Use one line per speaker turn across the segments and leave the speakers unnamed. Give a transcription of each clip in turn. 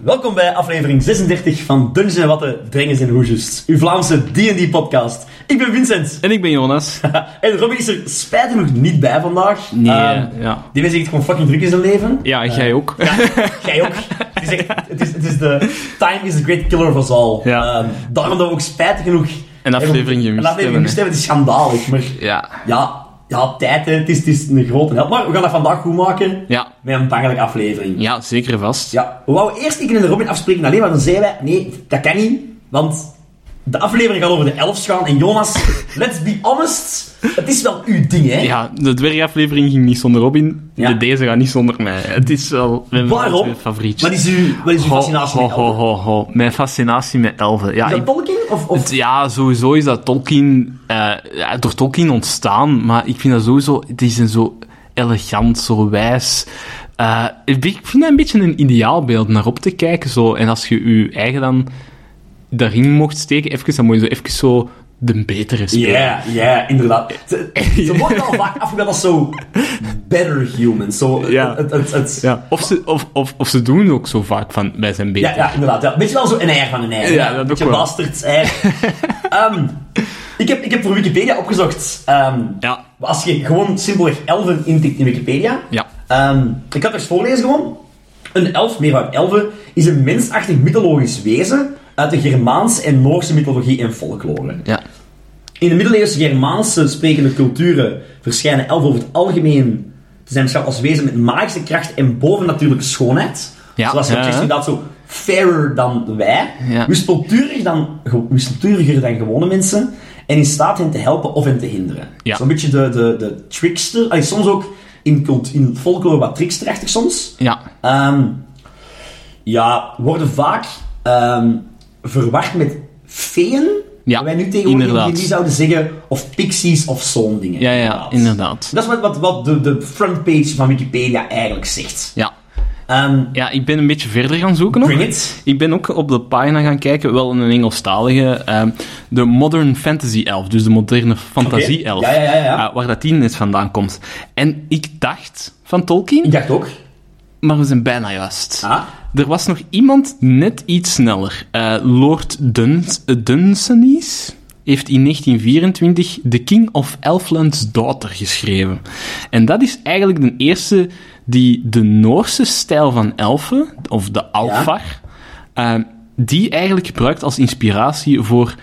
Welkom bij aflevering 36 van Dungeons en Watten, Drengens en Hoesjes, uw Vlaamse D&D-podcast. Ik ben Vincent
En ik ben Jonas.
en Robin is er spijtig nog niet bij vandaag. Ehm,
Ehm, ja.
die mensen heeft gewoon fucking druk in zijn leven.
Ja, jij ook.
Jij ook. Het is, echt, het is, het is de... Time is the great killer of us all.
Ja.
Ehm, daarom dat we ook spijtig genoeg...
Een aflevering
Een
gemist
aflevering
hebben.
gemist hebben. Het is schandalig, maar...
Ja.
Ja, ja tijd, hè. Het is, het is een grote help. Maar we gaan dat vandaag goed maken
Ja.
met een bangelijke aflevering.
Ja, zeker vast.
Ja, we wouden eerst ik en Robin afspreken alleen, maar dan zeiden wij, nee, dat kan niet, want de aflevering gaat over de elfs gaan en Jonas, let's be honest, het is wel uw ding, hè?
Ja, de dwergaflevering ging niet zonder Robin.
Ja.
De deze gaat niet zonder mij. Het is wel mijn
Waarom?
favorietje.
Wat is uw, wat is uw fascinatie
ho,
met
ho,
elfen?
ho, ho. Mijn fascinatie met elfen. Ja,
Is dat
ik-
Tolkien? Of, of...
het- ja, sowieso is dat Tolkien... eh, ja, door Tolkien ontstaan. Maar ik vind dat sowieso... Die zijn zo elegant, zo wijs. Eh, ik vind- ik vind dat een beetje een ideaalbeeld naar op te kijken. Zo. En als je je eigen dan daarin mocht steken, even, dan moet je zo even zo de betere
Ja,
spelen.
ja, inderdaad. Ze, ze worden al vaak afgebeeld als zo better humans. Zo,
Ja.
het, het, het- ja.
Ja, of, ze, of, of, of ze doen ook zo vaak van wij zijn beter.
Ja, inderdaad. Ja. Beetje wel zo een eier van een eier.
Ja, dat
Een
ook
beetje
wel.
bastards eier. Ehm, ik, heb, ik heb voor Wikipedia opgezocht ehm,
Ja.
Maar Als je gewoon simpelweg elfen intikt in Wikipedia...
Ja.
Ehm, ik had het eens voorlezen gewoon. Een elf, meervoud elfen, is een mensachtig mythologisch wezen uit de Germaanse en Noorse mythologie en folklore.
Ja.
In de middeleeuwse Germaanse sprekende culturen verschijnen elfen over het algemeen te zijn beschouwd als wezen met magische kracht en bovennatuurlijke schoonheid.
Ja,
Zoals
ja,
je zegt,
ja.
inderdaad zo fairer dan wij,
Ja.
wispelturiger dan, ge- wispelturiger dan gewone mensen en in staat hen te helpen of hen te hinderen.
Ja.
Zo'n beetje de, de, de trickster, allee, soms ook in, cult, in folklore wat tricksterachtig soms.
Ja.
Ehm, ja, worden vaak ehm, verward met feeën.
Ja,
wat wij nu tegenwoordig
inderdaad.
in die zouden zeggen. Of pixies of zo'n dingen.
Ja, ja, inderdaad.
Dat is wat, wat, wat de, de frontpage van Wikipedia eigenlijk zegt.
Ja.
Ehm,
Ja, ik ben een beetje verder gaan zoeken nog.
Bring it.
Ik ben ook op de pagina gaan kijken, wel in een Engelstalige, ehm, de Modern Fantasy Elf, dus de moderne fantasie elf.
Ja, ja, ja, ja.
eh, waar dat die net vandaan komt. En ik dacht van Tolkien,
ik dacht ook.
maar we zijn bijna juist.
Ah.
Er was nog iemand net iets sneller. Eh, Lord Duns Dunsany's heeft in 1924 The King of Elfland's Daughter geschreven. En dat is eigenlijk de eerste die de Noorse stijl van elfen, of de Alfar, eh, die eigenlijk gebruikt als inspiratie voor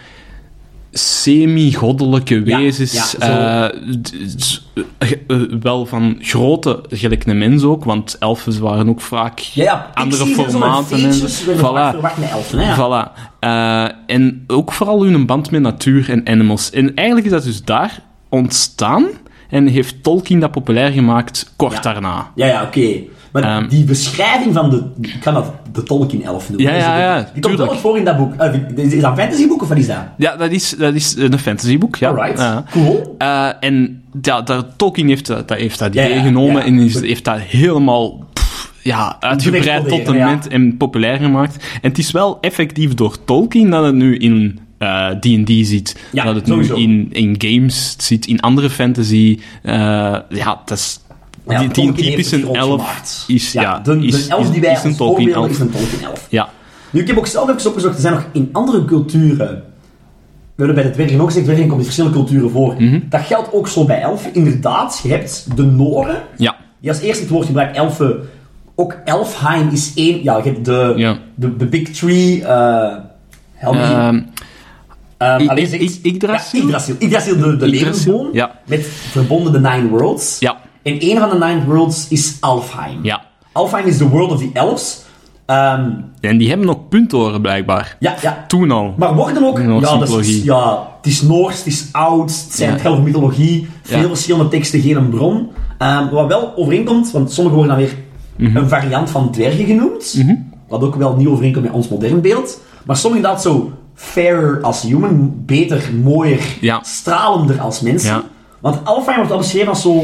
semi-goddelijke
Ja,
wezens,
ja, zo.
eh, d- s- eh, eh, wel van grote, gelijk een mens ook, want elfen waren ook vaak
Ja, ja,
andere
pixies en zo'n
formaten. En,
feestjes, we worden vaak
voilà.
verward met elfen. Hè?
voilà. Eh, en ook vooral hun band met natuur en animals. En eigenlijk is dat dus daar ontstaan en heeft Tolkien dat populair gemaakt kort
Ja.
daarna.
Ja, ja, oké. Maar
Ehm.
die beschrijving van de... Ik kan dat de Tolkien-elf noemen.
Ja,
hè? Zo
ja,
de-
ja,
Die komt wel
tuurlijk.
ook voor in dat boek. Eh, is dat een fantasyboek of wat is dat?
Ja, dat is, dat is een fantasyboek. Ja.
Alright,
Ja.
cool.
Eh, en ja, daar, Tolkien heeft dat, dat, heeft dat
Ja,
idee
ja,
genomen
ja.
en is, heeft dat helemaal pff, ja, uitgebreid tot
exploderen,
een
ja.
moment en populair gemaakt. En het is wel effectief door Tolkien dat het nu in eh, D&D zit,
Ja,
dat het
sowieso.
nu in, in games zit, in andere fantasy. eh, ja, dat is...
Ja,
die, die
Tolkien heeft het
typische
groot
elf
gemaakt.
is, ja,
de, de
is,
elf
is-
die wij
is een
als voorbeelden
Tolkien-elf.
is een Tolkien-elf.
Ja,
Nu, ik heb ook zelf even opgezocht, er zijn nog in andere culturen... We hebben bij de dwergen ook gezegd, dwergen komt in verschillende culturen voor.
Mhm.
Dat geldt ook zo bij elfen. Inderdaad, je hebt de Noren,
ja,
die als eerste het woord gebruikt, elfen. Ook Elfheim is één... Ja, je hebt de,
Ja.
de, de Big Tree... eh help me.
Ehm,
Ehm,
I-
alleen
I-
zegt-
I- Yggdrasil?
Ja, Yggdrasil. Yggdrasil, de, de
Yggdrasil,
levensboom.
ja.
Met verbonden de Nine Worlds.
Ja.
En een van de Nine Worlds is Alfheim.
Ja.
Alfheim is the world of the elves. Ehm,
en die hebben nog puntoren blijkbaar.
ja, ja.
Toen al.
Maar worden ook...
Noorse
ja, dat is, dus-
mythologie.
ja, het is Noors, het is oud, het zijn
Ja.
het helft mythologie. Veel
Ja.
verschillende teksten, geen een bron. Ehm, wat wel overeenkomt, want sommige worden dan weer
Mhm.
een variant van dwergen genoemd. Wat ook wel niet overeenkomt met ons modern beeld. Maar sommige inderdaad zo fairer als human, beter, mooier,
Ja.
stralender als mensen.
Ja.
Want Alfheim wordt al beschreven als zo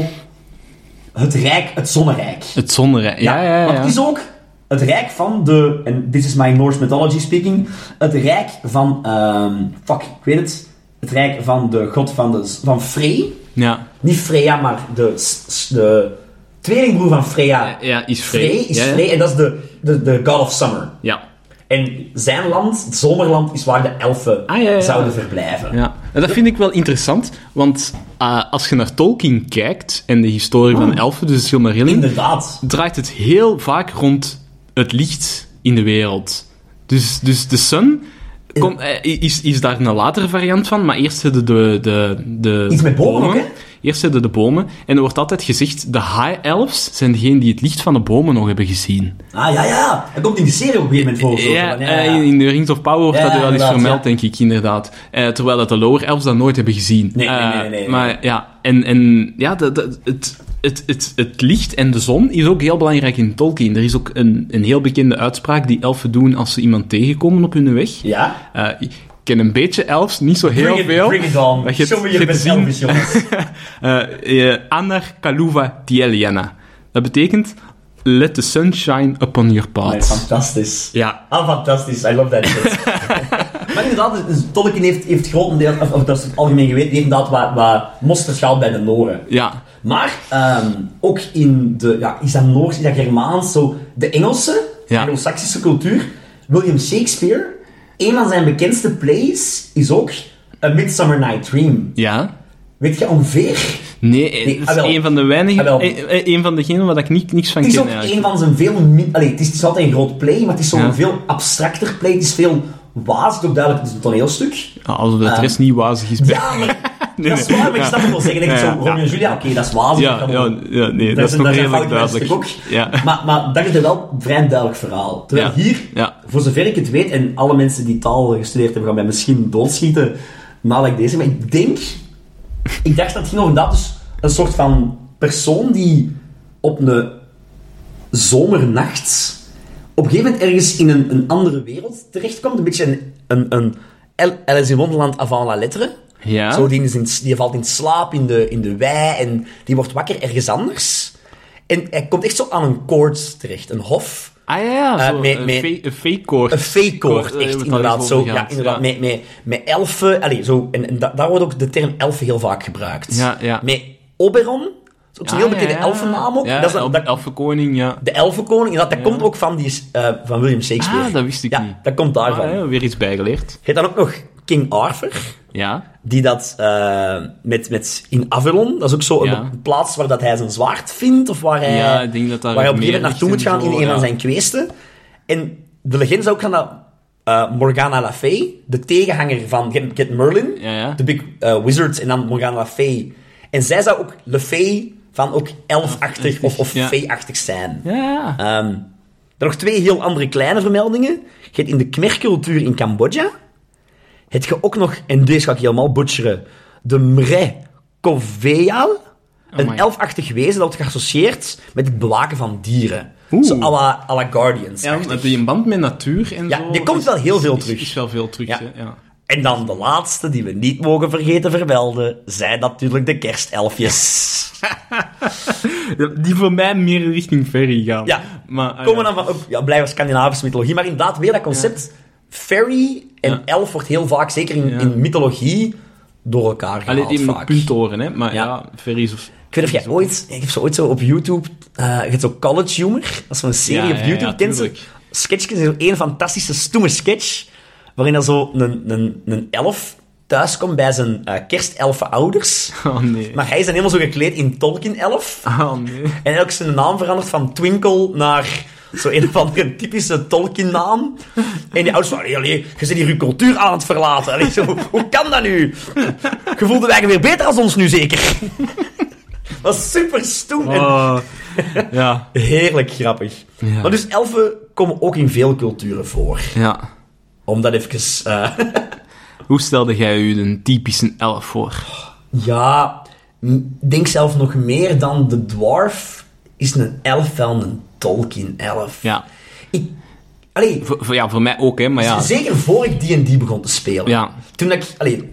het rijk, het zonnerijk.
Het zonnere. Ja, ja, ja.
Want het is ook het rijk van de... En this is my Norse mythology speaking. Het rijk van... ehm, fuck, ik weet het. Het rijk van de god van, de, van Frey.
Ja.
Niet Freya, maar de, s- s- de tweelingbroer van Freya.
Ja, is
Frey
Frey.
is
ja, ja.
Frey en dat is de, de, de God of Summer.
Ja.
En zijn land, het zomerland, is waar de elfen
Ah, ja, ja, ja.
zouden verblijven.
Ja, en dat vind ik wel interessant, want eh, als je naar Tolkien kijkt en de historie van
Ah.
elfen, dus de Silmarillion,
Inderdaad.
draait het heel vaak rond het licht in de wereld. Dus, dus de sun kom, eh, is, is daar een latere variant van, maar eerst hebben de, de, de
Iets met bomen ook, hè?
Eerst hebben de bomen, en er wordt altijd gezegd, de high elves zijn degenen die het licht van de bomen nog hebben gezien.
Ah, ja, ja. Dat komt in de serie op een gegeven moment voor. zo.
Ja,
Van,
eh, in- in de Rings of Power wordt
Ja,
dat er wel eens
inderdaad,
vermeld,
ja.
denk ik, inderdaad. Eh, terwijl dat de Lower Elves dat nooit hebben gezien.
Nee, nee, nee,
Eh,
nee, nee.
Maar ja, en, en ja, dat, dat- het, het, het, het licht en de zon is ook heel belangrijk in Tolkien. Er is ook een, een heel bekende uitspraak die elfen doen als ze iemand tegenkomen op hun weg.
Ja.
Eh, ik ken een beetje elfs, niet zo heel
Bring it,
veel.
bring it on.
Maar je hebt-
Show me
je
your
hebt
best
gezien-
selfies, jongens.
eh eh, Anar Kaluva Tieliana. Dat betekent, let the sunshine upon your
Nee,
path.
fantastisch.
ja,
Ah, fantastisch. I love that shit. maar inderdaad, dus Tolkien heeft, heeft grotendeels, of, of dat is het algemeen geweten, die heeft inderdaad wat, wat mosterd gehaald bij de Noren.
ja.
Maar ehm, ook in de, ja, is dat Noors, is dat Germaans, zo, de Engelse,
Ja.
Anglo-Saxische cultuur. William Shakespeare, een van zijn bekendste plays is ook A Midsummer Night Dream.
ja.
Weet je ongeveer?
Nee,
Nee,
het
ah,
is
wel.
een van de weinigen,
Ah, wel.
eh, eh, een van degenen waar ik ni- niks van
Het is
ken
ook
eigenlijk.
een van zijn veel... min- Allee, het is, het is altijd een groot play, maar het is zo'n
Ja.
veel abstracter play. Het is veel waas, het is ook duidelijk, het is een toneelstuk.
Ah, alsof dat de
Ah.
rest niet wazig is. bij-
Ja, maar...
Nee,
dat is
nee.
waar, maar ik
Ja.
snap het wel zeggen. Ik denk
Ja,
zo,
ja.
Romeo en Julia, oké, dat is wazig.
Ja,
dat kan-
ja, ja, nee, dat,
Daar
is nog
daar
redelijk
fouten mensen
duidelijk.
Ook.
Ja.
Maar, maar daar is er wel een vrij duidelijk verhaal. Terwijl
Ja.
hier,
Ja.
voor zover ik het weet, en alle mensen die taal gestudeerd hebben, gaan mij misschien doodschieten nadat ik deze... Maar ik denk... Ik dacht dat het ging over dat, dus een soort van persoon die op een zomernacht op een gegeven moment ergens in een, een andere wereld terechtkomt. Een beetje een, een, een El- Alice in Wonderland avant la lettre.
Ja.
Zo, die, is in, die valt in slaap in de, in de wei en die wordt wakker ergens anders. En hij komt echt zo aan een koord terecht, een hof.
Ah ja, ja,
Eh,
zo,
met-
een
met-
fe- een fake-koord.
Een fake-koord,
Eh,
echt,
wat
inderdaad.
daarover
Zo,
gaat,
ja, inderdaad Met, met, met elfen. Allee, zo, en en da- daar wordt ook de term elfen heel vaak gebruikt.
Ja, ja.
Met Oberon, dat is ook zo'n
Ah,
heel bekende
ja, ja.
elfennaam ook.
Ja,
dat is,
elf-
dat,
elfenkoning, ja.
de elfenkoning, dat, dat komt ook van, die, eh, van William Shakespeare.
Ah, dat wist ik
ja,
niet.
dat komt daarvan.
Ah, ja, weer iets bijgeleerd.
Heet dan ook nog King Arthur.
Ja,
die dat eh, met, met in Avalon, dat is ook zo een
Ja.
plaats waar dat hij zijn zwaard vindt, of waar hij,
Ja, ik denk dat daar
waar hij op een
meer
gegeven moment naartoe moet
ligt en
gaan in
zo,
een van
ja.
zijn kweesten. En de legende is ook gaan dat eh, Morgana Le Fay, de tegenhanger van je hebt- je hebt Merlin,
Ja, ja.
de big eh, wizard, en dan Morgana Le Fay. En zij zou ook Le Fay van ook elfachtig of, of
ja.
fee-achtig zijn.
ja, ja.
Ehm, dan nog twee heel andere kleine vermeldingen. Je hebt in de Khmer-cultuur in Cambodja... heb je ook nog, en deze ga ik helemaal butcheren... de Mre Koveal. Een
Oh my.
elfachtig wezen dat wordt geassocieerd met het bewaken van dieren.
Oeh.
Zo à la, à la Guardians.
ja want die in band met natuur en
Ja,
zo...
die komt
is-
wel heel veel
is-
terug.
Is wel veel terug,
Ja.
hè, ja.
En dan de laatste die we niet mogen vergeten vermelden... zijn natuurlijk de kerstelfjes.
Die voor mij meer richting ferry gaan.
Ja.
Maar, ah,
Komen
ja.
dan van, ook, ja, blijven Scandinavische mythologie, maar inderdaad weer dat concept fairy en
Ja.
elf wordt heel vaak, zeker in,
Ja.
in mythologie, door elkaar
Allee,
gehaald
die met
vaak.
puntoren, hè. Maar Oh, ja,
Ja.
ferries of...
Ik weet of jij ooit, ik heb zo ooit zo op YouTube, eh je hebt zo College Humor, dat is zo'n serie
Ja,
op
ja,
YouTube,
ja,
kent ze?
tuurlijk.
Sketchjes, zo één fantastische stoeme sketch, waarin er zo een, een, een elf thuiskomt bij zijn eh kerstelfen ouders,
Oh, nee.
maar hij is dan helemaal zo gekleed in Tolkien-elf.
Oh, nee.
En hij had ook zijn naam veranderd van Twinkle naar zo een of andere typische Tolkien-naam. En die ouders van, allee, allee, je zit hier je cultuur aan het verlaten. Allee, zo, hoe kan dat nu? Je voelt je eigenlijk weer beter als ons nu zeker. Dat is super stoem en
Oh, ja.
heerlijk grappig.
Ja.
Maar dus elfen komen ook in veel culturen voor.
Ja.
Om dat even... eh,
Hoe stelde jij u een typische elf voor?
ja, m- denk zelf nog meer dan de dwarf is een elf wel een Tolkien-elf.
Ja.
Ik, allee,
Voor, voor- ja, voor mij ook, hè. Maar ja.
Zeker voor ik D&D begon te spelen.
Ja.
Toen ik... Allee,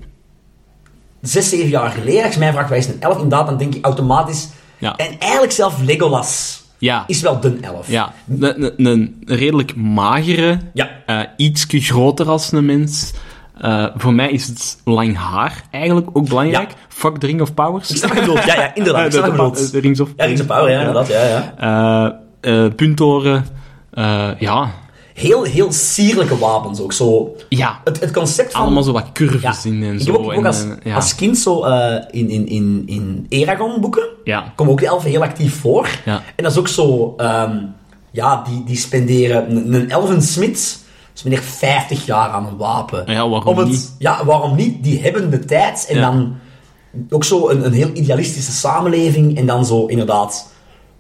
zes, zeven jaar geleden, als je mij vraagt, wij is een elf? Inderdaad, dan denk ik automatisch...
Ja.
En eigenlijk zelf Legolas
Ja.
is wel de elf.
Ja. Een, een- een redelijk magere...
Ja.
eh, ietsje groter als een mens. Eh, voor mij is het lang haar eigenlijk ook belangrijk.
Ja.
Fuck the Ring of Powers.
Ik snap wat je bedoelt. Ja, ja, inderdaad. Ik snap wat je
Eh, de-
bedoelt.
de Rings of
Ja, Rings of Power, ja, inderdaad. Ja, ja.
Eh, eh, puntoren. eh, ja.
Heel, heel sierlijke wapens ook. Zo.
Ja.
Het, het concept van...
Allemaal zo wat curves in en
ik
zo.
heb ook, ook
en,
als,
eh, ja.
als kind zo eh, in, in, in, in Eragon-boeken
Ja.
komen ook de elfen heel actief voor.
Ja.
En dat is ook zo... ehm, ja, die, die spenderen... Een, een elfensmid spendeert 50 jaar aan een wapen.
Ja, waarom
Om het,
niet?
Ja, waarom niet? Die hebben de tijd. En
Ja.
dan ook zo een, een heel idealistische samenleving. En dan zo inderdaad...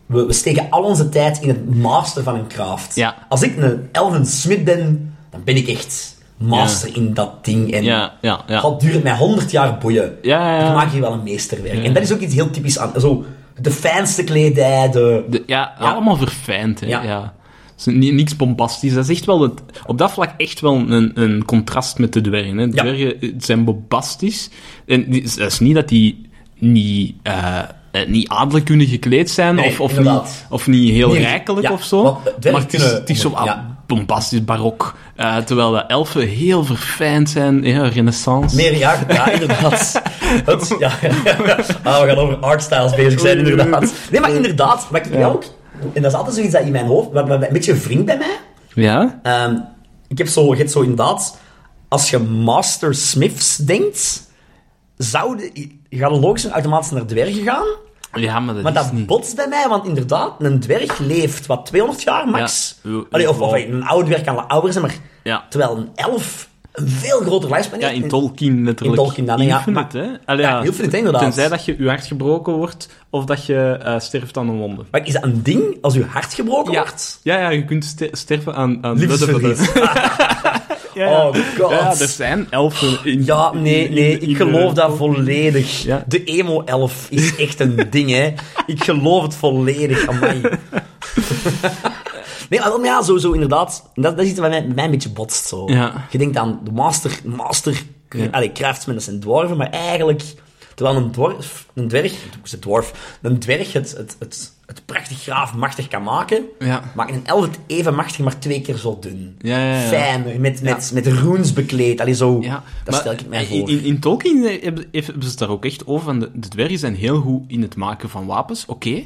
We, we steken al onze tijd in het master van een craft.
Ja.
Als ik een elfensmid ben, dan ben ik echt master in dat ding. En
ja, ja, ja.
al duurt het mij 100 jaar boeien.
Ja, ja, ja.
Ik maak hier wel een meesterwerk. En dat is ook iets heel typisch aan. Zo, de fijnste kledij, de...
De- ja, allemaal verfijnd. Hè? Ja.
Ja.
Dus ni- niks bombastisch. Dat is echt wel het, op dat vlak echt wel een, een contrast met de dwergen. Hè? De
Ja.
dwergen eh, zijn bombastisch. En die- dat is niet dat die niet, eh, eh, niet adellijk kunnen gekleed zijn
Nee,
of, of, niet,
inderdaad.
of niet heel
Nee,
rijkelijk
ja,
of zo.
want dwergen
maar het is,
kunnen-
het is zo wat
ja.
bombastisch, barok. Eh, terwijl de elfen heel verfijnd zijn. Ja, renaissance.
Meer ja, ja, inderdaad. Het, ja, Ah, we gaan over artstyles bezig zijn, inderdaad. Nee, maar inderdaad, wat ik wel ook... En dat is altijd zoiets dat in mijn hoofd... Wat, wat- wat een beetje wringt bij mij.
Ja?
Ehm, ik heb zo, je hebt zo inderdaad... Als je Master Smiths denkt... Zouden... Gaat het logisch en automatisch naar dwergen gaan?
ja, maar dat
Maar
is
dat
niet...
botst bij mij, want inderdaad, een dwerg leeft wat 200 jaar max.
Ja, u-
Allee, of,
wel.
of een oud dwerg kan wel ouder zijn, maar
Ja.
terwijl een elf een veel groter lifespan
Ja,
heeft.
in Tolkien letterlijk.
in Tolkien dan, ja.
Infinite, hè? Allee,
Ja, Infinite, inderdaad.
Tenzij dat je je hart gebroken wordt, of dat je eh, sterft aan een wonde.
Maar is dat een ding als uw hart gebroken
Ja,
wordt?
ja, ja, je kunt ste- sterven aan... aan
Liefdesverdriet.
Ja, ja.
Oh, God.
Ja, er zijn elfen in...
Ja, nee,
in-
nee,
in- in-
ik geloof dat volledig.
Ja.
De emo-elf is echt een ding, hè. Ik geloof het volledig, amai. Nee, maar wel, maar ja, sowieso, inderdaad. Dat, dat is iets wat mij, mij een beetje botst, zo.
Ja.
Je denkt aan de master, master,
Ja.
allee, craftsmen, dat zijn dwarven, maar eigenlijk... Terwijl een dwarf, een dwerg, ik zeg dwarf, een dwerg het, het, het, het prachtig graaf machtig kan maken,
Ja.
maakt een elf het even machtig, maar twee keer zo dun.
Ja, ja, ja.
Fijner, met, met, met runes bekleed, allee, zo...
Ja,
dat
maar eh,
stel ik mij voor.
in, in, in Tolkien eh, hebben hebben ze het daar ook echt over. Van de, de dwergen zijn heel goed in het maken van wapens, oké.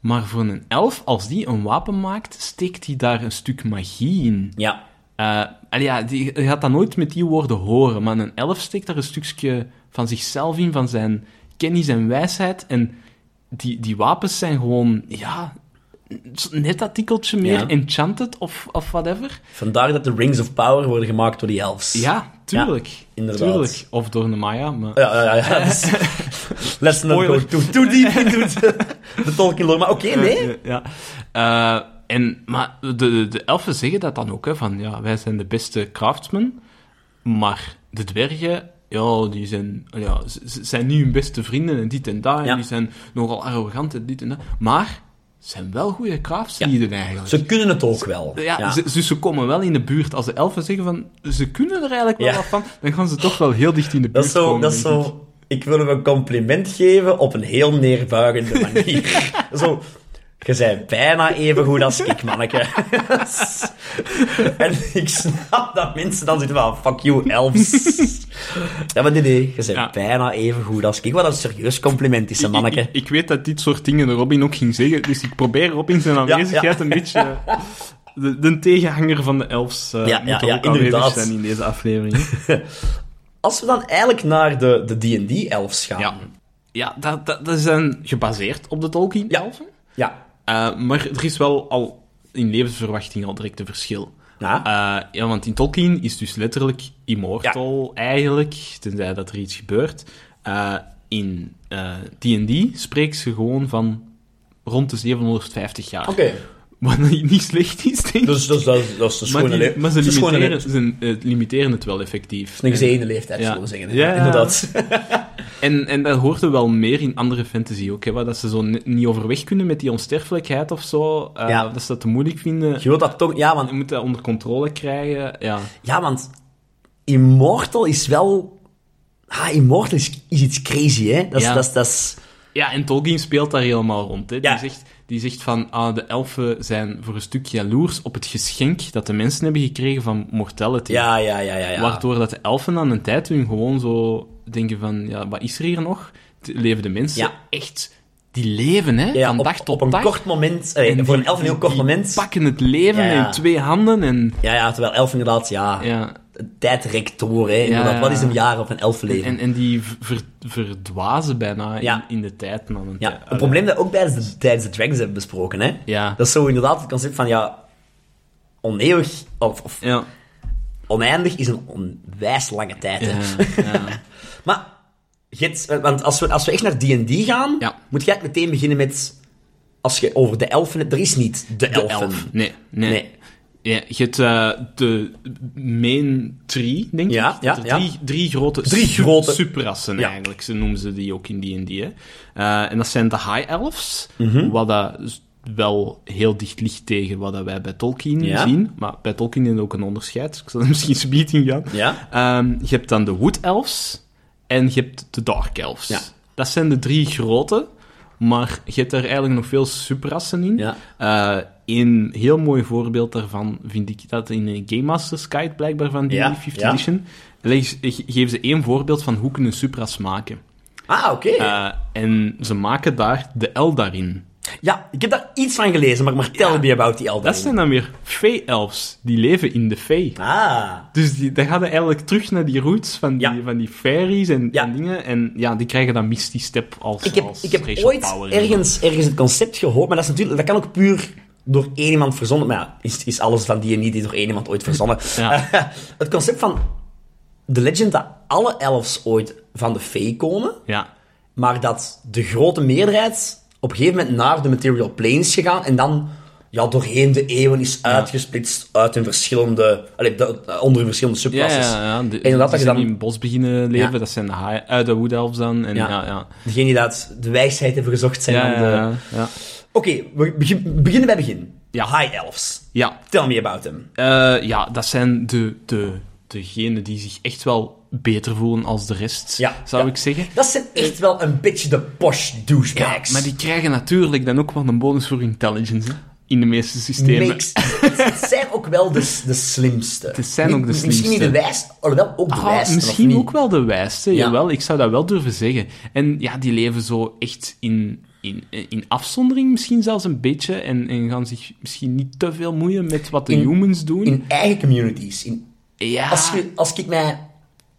maar voor een elf, als die een wapen maakt, steekt hij daar een stuk magie in.
Ja.
Eh, allee, ja, die, je gaat dat nooit met die woorden horen, maar een elf steekt daar een stukje van zichzelf in, van zijn kennis en wijsheid. En die, die wapens zijn gewoon, ja, net dat tikkeltje meer
Ja.
enchanted of, of whatever.
Vandaar dat de Rings of Power worden gemaakt door die elves.
Ja, tuurlijk.
inderdaad.
Tuurlijk. Of door de Maya, maar...
Ja, ja, ja. ja. Dus, let's not go
Spoiler.
too, too deep into the, the Tolkien lore. Maar oké, nee.
Ja. Eh, en, maar de, de, de elfen zeggen dat dan ook, hè, van ja, wij zijn de beste craftsmen, maar de dwergen, ja, die zijn, ja, ze- ze zijn niet hun beste vrienden en dit en dat, en
Ja.
die zijn nogal arrogant en dit en dat, maar ze zijn wel goede craftslieden eigenlijk.
Ze kunnen het ook wel.
ja, Ze, dus ze komen wel in de buurt. Als de elfen zeggen van, ze kunnen er eigenlijk wel
Ja.
wat van, dan gaan ze toch wel heel dicht in de buurt
dat is zo...
komen,
Dat is
denk ik.
zo ik wil hem een compliment geven op een heel neerbuigende manier. zo... Je bent bijna even goed als ik, manneke. en ik snap dat mensen dan zitten van... Fuck you, elves. Ja, maar nee, nee. Je bent
Ja.
bijna even goed als ik. Wat een serieus compliment is, hè,
Ik-
manneke.
Ik, ik weet dat dit soort dingen de Robin ook ging zeggen, dus ik probeer Robin zijn aanwezigheid
ja.
een beetje... eh, De, de tegenhanger van de elfs eh
Ja,
moet
ja,
er
ja,
ook aanwezig
inderdaad.
zijn in deze aflevering.
Als we dan eigenlijk naar de de D&D-elfs gaan.
Ja, ja dat, dat, dat is dan gebaseerd op de Tolkien-elfen.
Ja.
Eh, maar er is wel al in levensverwachting al direct een verschil.
Ja.
Eh, ja, want in Tolkien is dus letterlijk immortal eigenlijk, tenzij dat er iets gebeurt. Eh, in eh, D&D spreekt ze gewoon van rond de 750 jaar.
Oké.
Wat niet niet slecht is, denk ik.
Dus, dus dat, is- dat is een
maar,
schone
die-
leeftijd.
maar ze,
een schone
limiteren,
leeftijd.
ze eh, limiteren het wel effectief.
Een
En-
gezegende leeftijd,
Ja.
zullen we zeggen.
Ja, ja.
Inderdaad.
En, en dat hoort er wel meer in andere fantasy ook, hè, waar dat ze zo ni- niet overweg kunnen met die onsterfelijkheid of zo. eh,
Ja.
Dat ze dat te moeilijk vinden.
Je wilt dat toch... Ja,
Je
want,
moet dat onder controle krijgen. Ja,
ja, want Immortal is wel... Ah, Immortal is, is iets crazy, hè. Dat is,
Ja.
dat is, dat is,
Ja, en Tolkien speelt daar helemaal rond. Hè.
Ja.
Die, zegt, die zegt van, ah, de elfen zijn voor een stuk jaloers op het geschenk dat de mensen hebben gekregen van mortality.
Ja, ja, ja, ja. ja.
Waardoor dat de elfen aan een tijd hun gewoon zo denken van, ja, wat is er hier nog? Het Leven de mensen
Ja.
echt... Die leven, hè?
Ja,
van
op,
dag tot
op een
dag.
kort moment, eh, voor een elf een heel kort
die
moment.
pakken het leven
Ja, ja.
in twee handen en...
Ja, ja, terwijl elf inderdaad, ja,
Ja,
de tijd rekt door, hè. Inderdaad,
ja.
wat is een jaar op een elf leven?
en, en die v- ver- verdwazen bijna in-
Ja.
in, de tijd. Man, een
ja,
tijd.
een probleem dat we ook tijdens de, tijdens de Dragons hebben besproken, hè.
Ja.
Dat is zo inderdaad het concept van, ja, oneeuwig, of, of
Ja,
oneindig is een onwijs lange tijd, hè.
ja, ja.
Maar, Gits, eh, want als we, als we echt naar D&D gaan,
Ja.
moet je eigenlijk meteen beginnen met... Als je over de elfen... hebt, Er is niet de,
De
elfen.
elf. Nee, nee.
Nee.
Ja, je hebt eh, de main three, denk
Ja,
ik.
ja,
Dat er
ja.
Drie, drie grote,
Drie
sub-
grote-
subrassen
Ja.
eigenlijk. Ze noemen ze die ook in D&D. hè. Eh, en dat zijn de high elves,
Mhm.
wat dat s- wel heel dicht ligt tegen wat dat wij bij Tolkien
Ja.
zien. Maar bij Tolkien is er ook een onderscheid. dus Ik zal er misschien zometeen in gaan.
Ja.
Ehm, je hebt dan de Wood Elves en je hebt de Dark Elves.
Ja.
Dat zijn de drie grote, maar je hebt er eigenlijk nog veel subrassen in.
Ja.
Eh, een heel mooi voorbeeld daarvan vind ik dat in een Game Masters Guide, blijkbaar van die
Ja,
5th
ja.
Edition, leggen ze- ge- geven ze één voorbeeld van hoe kunnen supras maken.
Ah, oké.
Eh, en ze maken daar de Eldar in.
ja, ik heb daar iets van gelezen, maar, maar tell me about die elfen.
Dat zijn dan weer Fey-elves, die leven in de Fey.
Ah.
Dus die, dan gaan we eigenlijk terug naar die roots van die,
Ja.
van die fairies en,
Ja.
en dingen. En ja, die krijgen dan Misty Step als
Ik heb,
als
ik heb
racial
ooit
power.
ergens, ergens het concept gehoord, maar dat, is natuurlijk, dat kan ook puur door één iemand verzonnen. Maar ja, is, is alles van die en niet die door één iemand ooit verzonnen.
Ja.
Eh, het concept van de legend dat alle elfs ooit van de fee komen,
Ja,
maar dat de grote meerderheid op een gegeven moment naar de material planes is gegaan en dan ja, doorheen de eeuwen is uitgesplitst uit hun verschillende, allee, de- onder hun verschillende
ja,
subclasses.
ja, ja. De,
en dat
die
je
zijn
dan
in het bos beginnen leven,
Ja.
dat zijn de, high, eh, de Wood Elves dan. En, ja.
Ja.
Ja, ja.
degenen die dat de wijsheid hebben gezocht zijn
Ja,
aan de...
ja, ja.
Oké, we begin- beginnen bij begin.
Ja.
High Elves.
Ja,
Tell me about them.
Eh, ja, dat zijn de, de, degenen die zich echt wel beter voelen als de rest,
Ja,
zou
ja.
ik zeggen.
Dat zijn echt wel een beetje de posh douchebags.
Maar die krijgen natuurlijk dan ook wel een bonus voor intelligence hè, in de meeste systemen.
Makes- het zijn ook wel de, de slimste.
Het zijn ook de
Misschien niet
slimste.
de wijst, alhoewel ook de
Ah,
wijste. of
misschien
niet?
ook wel de wijste,
Ja.
jawel, ik zou dat wel durven zeggen. En ja, die leven zo echt in, in, in afzondering misschien zelfs een beetje en, en gaan zich misschien niet te veel moeien met wat de
In-
humans doen.
In eigen communities. In,
ja,
als, je, als ik mij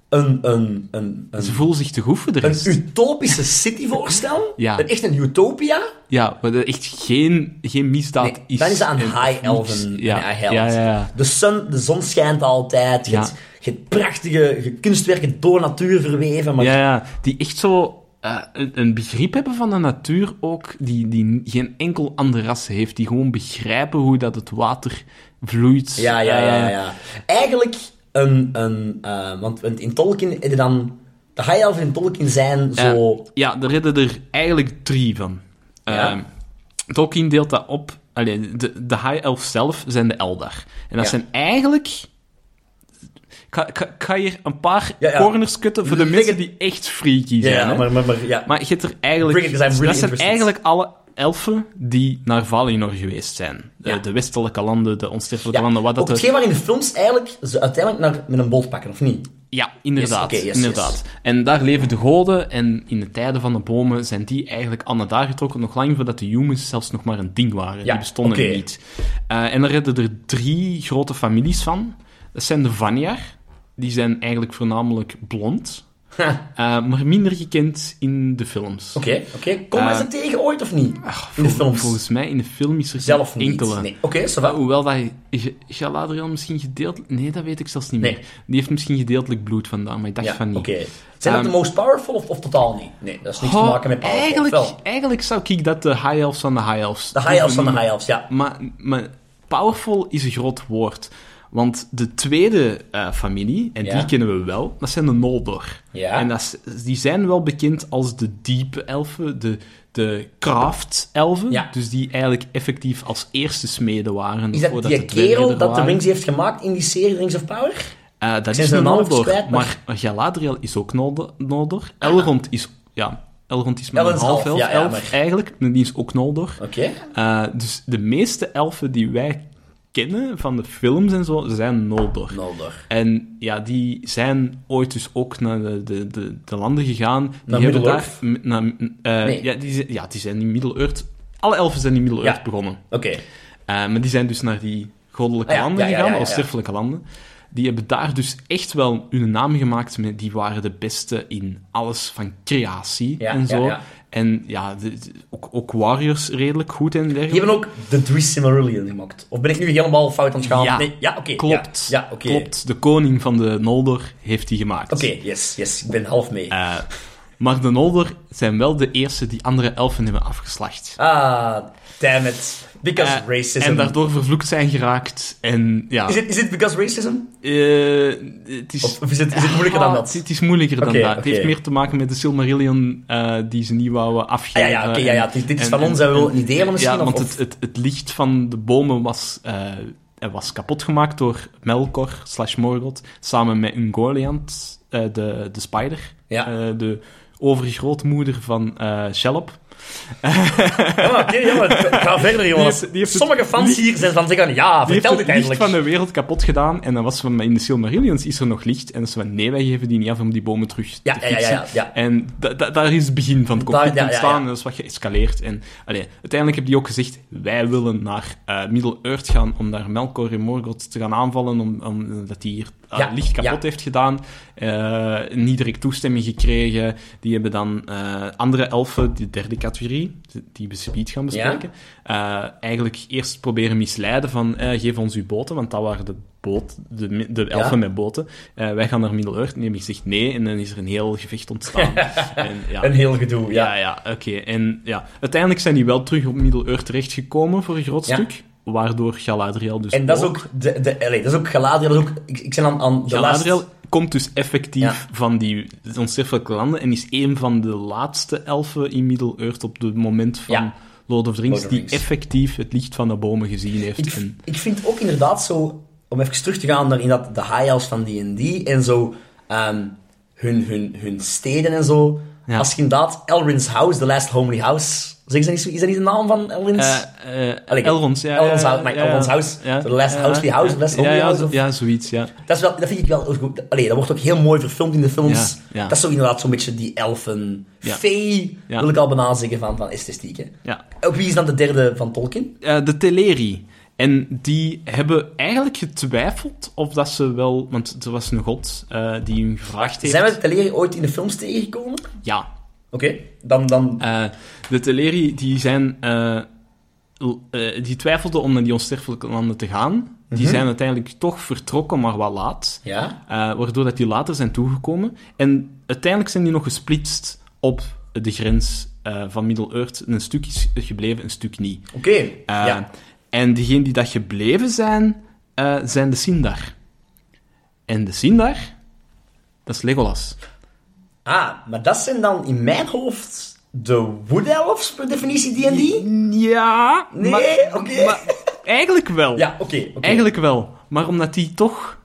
een, een, een, een,
ze voelen zich te goed voor de
een
rest.
utopische city voorstel,
Ja.
een- echt een utopia,
Ja, wat er echt geen, geen misdaad is.
dan is dat een
en-
high
of niks.
elven
Ja,
een high held.
ja, ja, ja.
De, sun, de zon schijnt altijd, je
Ja.
hebt, je hebt prachtige je kunstwerken door natuur verweven, maar
Ja, ja, die echt zo eh, een, een begrip hebben van de natuur ook, die, die geen enkel ander ras heeft. Die gewoon begrijpen hoe dat het water vloeit.
Ja, ja, ja, ja,
Eh,
ja. Eigenlijk een... een eh, want in Tolkien heb je dan... De high elfen in Tolkien zijn zo...
eh, ja, er redden er eigenlijk drie van.
Ja.
Eh, Tolkien deelt dat op. Allee, de, de High Elf zelf zijn de Eldar. En dat
Ja.
zijn eigenlijk... Ik ga, ik ga- ik ga hier een paar
Ja, ja.
corners kutten voor de
Leg
mensen die echt freaky zijn.
ja,
hè.
maar, maar, maar, ja.
Maar je hebt er eigenlijk...
Bring it, 'cause I'm really
dat zijn
interested.
eigenlijk alle elfen die naar Valinor geweest zijn. De-
Ja.
De, westelijke landen, de onsterfelijke
ja.
landen, wat dat
Ook
de-
hetgeen waarin de films eigenlijk ze uiteindelijk naar, met een boot pakken, of niet?
Ja, inderdaad.
Yes, oké, yes,
inderdaad. En daar leven de goden en in de tijden van de bomen zijn die eigenlijk aan daar getrokken, nog lang voordat de humans zelfs nog maar een ding waren.
Ja,
die bestonden
oké.
niet. Eh, en daar redden er drie grote families van. Dat zijn de Vanjar. Die zijn eigenlijk voornamelijk blond,
Ha,
eh, maar minder gekend in de films.
Oké, oké. Komen
Eh,
ze tegen ooit of niet? in de films.
Volgens mij in de film is er
Zelf niet.
enkele.
Nee. Oké, zo
Ah, Hoewel dat G- Galadriel misschien gedeeltelijk... Nee, dat weet ik zelfs niet
Nee.
meer. Die heeft misschien gedeeltelijk bloed vandaan, maar ik dacht
Ja,
van
oké.
niet.
Zijn dat
Ehm,
de most powerful of, of totaal niet? Nee, dat heeft niks
Goh,
te maken met powerful.
eigenlijk,
Wel,
eigenlijk zou ik dat de high elves van de high elves...
de high elves van de high elves, ja.
Maar, maar powerful is een groot woord. Want de tweede eh, familie, en
Ja.
die kennen we wel, dat zijn de Noldor.
Ja.
En dat is- die zijn wel bekend als de diepe elfen, de, de craft-elfen.
Ja.
Dus die eigenlijk effectief als eerste smeden waren.
Is dat
voordat
die
de tweeleden
kerel dat de
waren.
rings heeft gemaakt in die serie Rings of Power?
Eh, dat
Zijn
is
ze
een
een half
Noldor,
spijt,
maar Galadriel is ook Noldor. Noldor. Elrond is... Ja, Elrond is maar
Elrond
een
is
half
half,
elf,
ja, ja,
elf
maar-
eigenlijk. En die is ook Noldor.
Oké.
Eh, dus de meeste elfen die wij kennen van de films en zo, zijn Noldor.
Noldor.
En ja, die zijn ooit dus ook naar de, de, de, de landen gegaan. Die
Naar
hebben daar...
Middle-earth?
m- Naar, eh,
Nee.
ja, die, zijn- ja, die zijn in Middle-earth... Alle elfen zijn in Middle-earth
Ja.
begonnen.
Oké.
Eh, maar die zijn dus naar die goddelijke
Ah, ja,
landen
ja, ja,
gegaan,
ja, ja,
of sterfelijke landen. Die hebben daar dus echt wel hun naam gemaakt. Met, die waren de beste in alles van creatie
Ja, ja,
en zo.
ja.
En ja, de- de- ook, ook warriors redelijk goed en dergelijke.
Die hebben ook de Three Silmarillion gemaakt. Of ben ik nu helemaal fout aan het gaan?
Ja.
Nee, ja, oké.
Klopt.
Ja, ja, oké.
Klopt. De koning van de Noldor heeft die gemaakt.
Oké, yes, yes. Ik ben half mee.
Eh, maar de Noldor zijn wel de eerste die andere elfen hebben afgeslacht.
Ah, damn it. Because
Eh,
racism.
En daardoor vervloekt zijn geraakt. En ja,
Is het is it because racism?
eh, het is...
Of is het, is het moeilijker dan
Ah,
dat?
Het is moeilijker dan
Oké,
dat. Het
oké.
heeft meer te maken met de Silmarillion eh, die ze niet wouden
Ah,
afgeven.
ja, ja, oké, ja, ja. Dit, dit is van ons en we willen het niet delen misschien.
Ja, want
of,
het, het, het licht van de bomen was, eh, er was kapot gemaakt door Melkor slash Morgoth samen met Ungoliant, eh, de, de spider,
Ja.
eh, de overgrootmoeder van eh Shelob.
Ah, oké, jongen. Ga verder, jongens.
heeft- die heeft het-
Sommige fans
die-
hier zijn van zeggen, ja,
Die heeft
Ah, vertel
het
dit
licht
eindelijk.
van de wereld kapot gedaan en dan was van, maar in de Silmarillions is er nog licht. En ze van, nee, wij geven die niet af om die bomen terug
Ja,
te
ja, ja,
fixen.
ja, ja.
En da- da- daar is het begin van het
Daar-
conflict
ja, ja,
ontstaan
ja.
en dat is wat geëscaleerd. En allee, uiteindelijk hebben die ook gezegd, wij willen naar eh Middle-earth gaan om daar Melkor en Morgoth te gaan aanvallen, omdat om, omdat die hier eh,
Ja,
licht kapot
ja.
heeft gedaan. Eh, niet direct toestemming gekregen. Die hebben dan eh, andere elfen, de derde categorie, die we zometeen gaan bespreken, eh, eigenlijk eerst proberen misleiden van eh, geef ons uw boten, want dat waren de, boot, de, mi- de elfen met boten. Eh, wij gaan naar Middle-earth. En die hebben gezegd nee, en dan is er een heel gevecht ontstaan. en, ja.
Een heel gedoe, ja.
Ja, ja, oké. En ja, uiteindelijk zijn die wel terug op Middle-earth terechtgekomen voor een groot
Ja.
stuk. Waardoor Galadriel dus
En dat is ook, de, de, allee, dat is ook Galadriel, dat is ook, ik, ik ben aan, aan de
Galadriel
laatste...
komt dus effectief
Ja.
van die onsterfelijke landen en is een van de laatste elfen in Middle-earth op het moment van
Ja.
Lord of the Rings,
Lord of the
die
Rings.
effectief het licht van de bomen gezien heeft.
Ik,
En-
ik vind ook inderdaad zo, om even terug te gaan naar in dat, de high elves van D&D en zo, ehm, hun, hun, hun steden en zo.
Ja.
Als je inderdaad Elrind's House, The Last Homely House, zeg, is, dat niet, zo- is dat niet de naam van Elrind's?
Eh, eh,
Allee,
Elrond's, ja.
Elrond's
ja,
house, maar
ja, ja.
Elrond's house. Zo de last house, die house, de last
ja,
homely
ja,
house,
zo-
of-
Ja, zoiets, ja.
Dat, is wel, dat vind ik wel... goed. Allee, dat wordt ook heel mooi verfilmd in de films.
Ja, ja.
Dat is zo inderdaad zo'n beetje die elfen...
Ja.
Fee,
Ja.
wil ik al bijna zeggen, van, van esthetiek. Hè.
ja.
Eh, Wie is dan de derde van Tolkien?
Eh, de Teleri. En die hebben eigenlijk getwijfeld of dat ze wel... Want er was een god eh, die hun gevraagd heeft...
Zijn we de Teleri ooit in de films tegengekomen? Oké,
Ja,
dan... dan
Eh, de Teleri, die zijn... eh, l- eh, die twijfelden om naar die onsterfelijke landen te gaan. Die
Mhm.
zijn uiteindelijk toch vertrokken, maar wat laat.
ja?
Eh, waardoor dat die later zijn toegekomen. En uiteindelijk zijn die nog gesplitst op de grens eh, van Middle-earth. En Een stuk is gebleven, een stuk niet.
Oké,
Eh,
ja.
En degenen die dat gebleven zijn, eh, zijn de Sindar. En de Sindar, dat is Legolas.
Ah, maar dat zijn dan in mijn hoofd de Wood Elves, per definitie D&D?
Ja,
Nee,
maar-
oké.
maar eigenlijk wel.
Ja, oké, oké.
Eigenlijk wel. Maar omdat die toch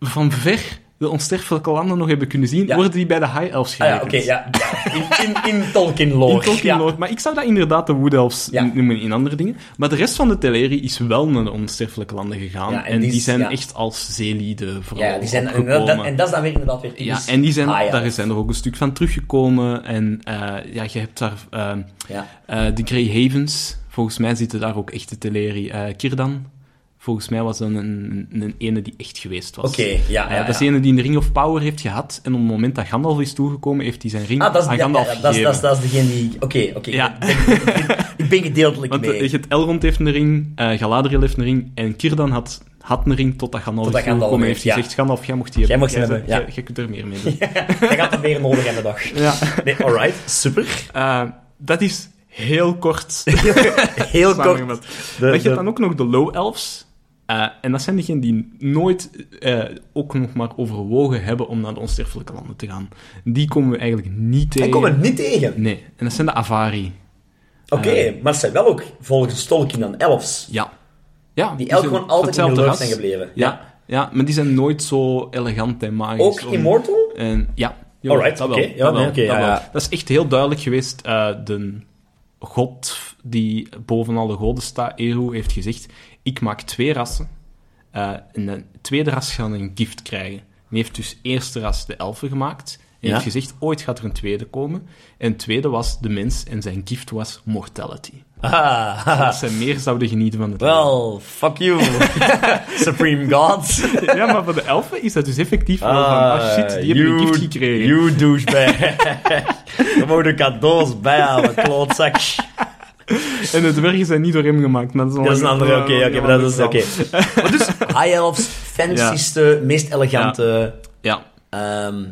van ver de onsterfelijke landen nog hebben kunnen zien,
Ja.
worden die bij de High Elves
Ah, ja,
gerekend.
oké, ja. ja. In, in, in Tolkien lore.
In Tolkien
Oh, ja.
lore. Maar ik zou dat inderdaad de Wood Elves
Ja.
noemen in andere dingen. Maar de rest van de Teleri is wel naar de onsterfelijke landen gegaan.
Ja,
en,
en
die,
die is-
zijn
ja.
echt als zeelieden vooral
Ja, die zijn, en,
opgekomen.
dat, dat- en dat is Ah, dan weer inderdaad weer
ja,
typisch
en die zijn,
high elf.
daar zijn er ook een stuk van teruggekomen. En eh, ja, je hebt daar eh,
Ja.
eh, de Grey Havens. Volgens mij zitten daar ook echte Teleri. eh Kirdan, volgens mij was dat een, een, een ene die echt geweest was.
Oké, ja,
Eh,
ja,
dat is de
ja.
ene die een Ring of Power heeft gehad. En op het moment dat Gandalf is toegekomen, heeft hij zijn ring
Ah, dat is,
aan
ja,
Gandalf
ja, dat, is,
gegeven.
dat, is, dat is degene die... Oké, oké.
Ja.
ik, ben- ik ben gedeeltelijk
Want
mee.
eh, je hebt Elrond heeft een ring, eh, Galadriel heeft een ring, en Kirdan had, had een ring totdat Gandalf is
Totdat Gandalf
toegekomen. Heeft
heeft,
hij
ja.
gezegd, Gandalf, jij mocht die
Jij mag
Jij
die
zei,
hebben, ja.
jij- jij kunt er meer mee doen.
Dat gaat het weer nodig hebben, dag.
ja.
Nee, alright. Super.
Eh, dat is heel kort.
Heel kort.
samengevat.
de-
Maar je hebt
de-
dan ook nog de Low Elves. Eh, en dat zijn diegenen die nooit eh, ook nog maar overwogen hebben om naar de onsterfelijke landen te gaan. Die komen we eigenlijk niet tegen.
Ik kom er niet tegen.
Nee, en dat zijn de Avari.
Oké,
Eh.
maar ze zijn wel ook volgens Tolkien dan elfs.
Ja. ja
Die elk
zijn
gewoon altijd
van
in de lucht
ras.
zijn gebleven.
Ja, ja, maar die zijn nooit zo elegant en magisch.
Ook
om-
Immortal?
En, Eh, ja, Jawel,
Alright,
dat wel,
oké, ja,
dat wel,
nee, oké,
dat
ja,
wel.
ja.
Dat is echt heel duidelijk geweest. eh, de god die boven alle goden staat, Eru, heeft gezegd... Ik maak twee rassen. eh, en de tweede ras gaat een gift krijgen. Die heeft dus eerste ras de elfen gemaakt. En
Ja.
heeft gezegd, ooit gaat er een tweede komen. En het tweede was de mens en zijn gift was mortality.
Ah,
Dat
haha.
zij meer zouden genieten van het leven.
well, fuck you. Supreme God.
Ja, maar voor de elfen is dat dus effectief wel van,
Ah,
ah shit, die hebben een gift gekregen.
You douchebag. We mogen cadeaus bijhouden, klootzak.
En de dwergen zijn niet door hem gemaakt. Maar dat is,
Dat is een andere, oké,
eh,
oké, maar dat is
een
oké.
andere
Maar dus, high elves, fancyste, meest elegante...
verhaal. Ja.
ehm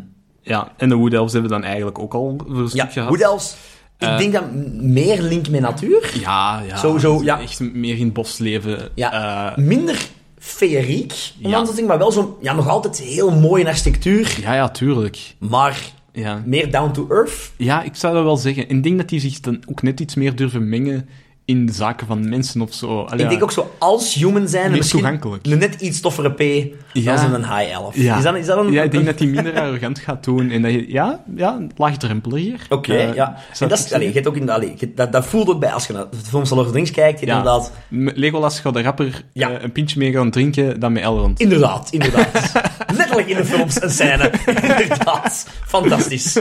ja, en de wood elves hebben we dan eigenlijk ook al voor een
ja,
stuk gehad.
wood elves. Ik
Eh.
denk dat m- meer link met natuur.
Ja, ja.
Sowieso, ja.
Echt meer in het bos leven.
Ja.
Eh,
Minder feeriek, om
Ja.
aan te denken, maar wel zo'n... Ja, nog altijd heel mooi in architectuur,
ja, ja, tuurlijk.
maar
Ja.
meer down to earth.
ja, ik zou dat wel zeggen. En ik denk dat die zich dan ook net iets meer durven mengen in de zaken van mensen of zo. Allee,
Ik denk
ja.
ook zo, als human zijn... en misschien
toegankelijk.
Een net iets toffere P
Ja.
dan een high elf.
Ja.
Is dat, is dat een...
ja, ik denk dat hij minder arrogant gaat doen. En dat je, ja, ja, laagdrempeliger.
Oké,
Eh,
ja. En
zou
dat,
ik
is, allee, je hebt ook in, allee, je- dat, dat voelt ook bij als je naar de film Lord of the Rings kijkt. je hebt
Ja.
Inderdaad,
M- Legolas gaat de rapper
Ja.
eh, een pintje meer gaan drinken dan met Elrond.
inderdaad, inderdaad. Letterlijk in de films een scène. inderdaad. Fantastisch.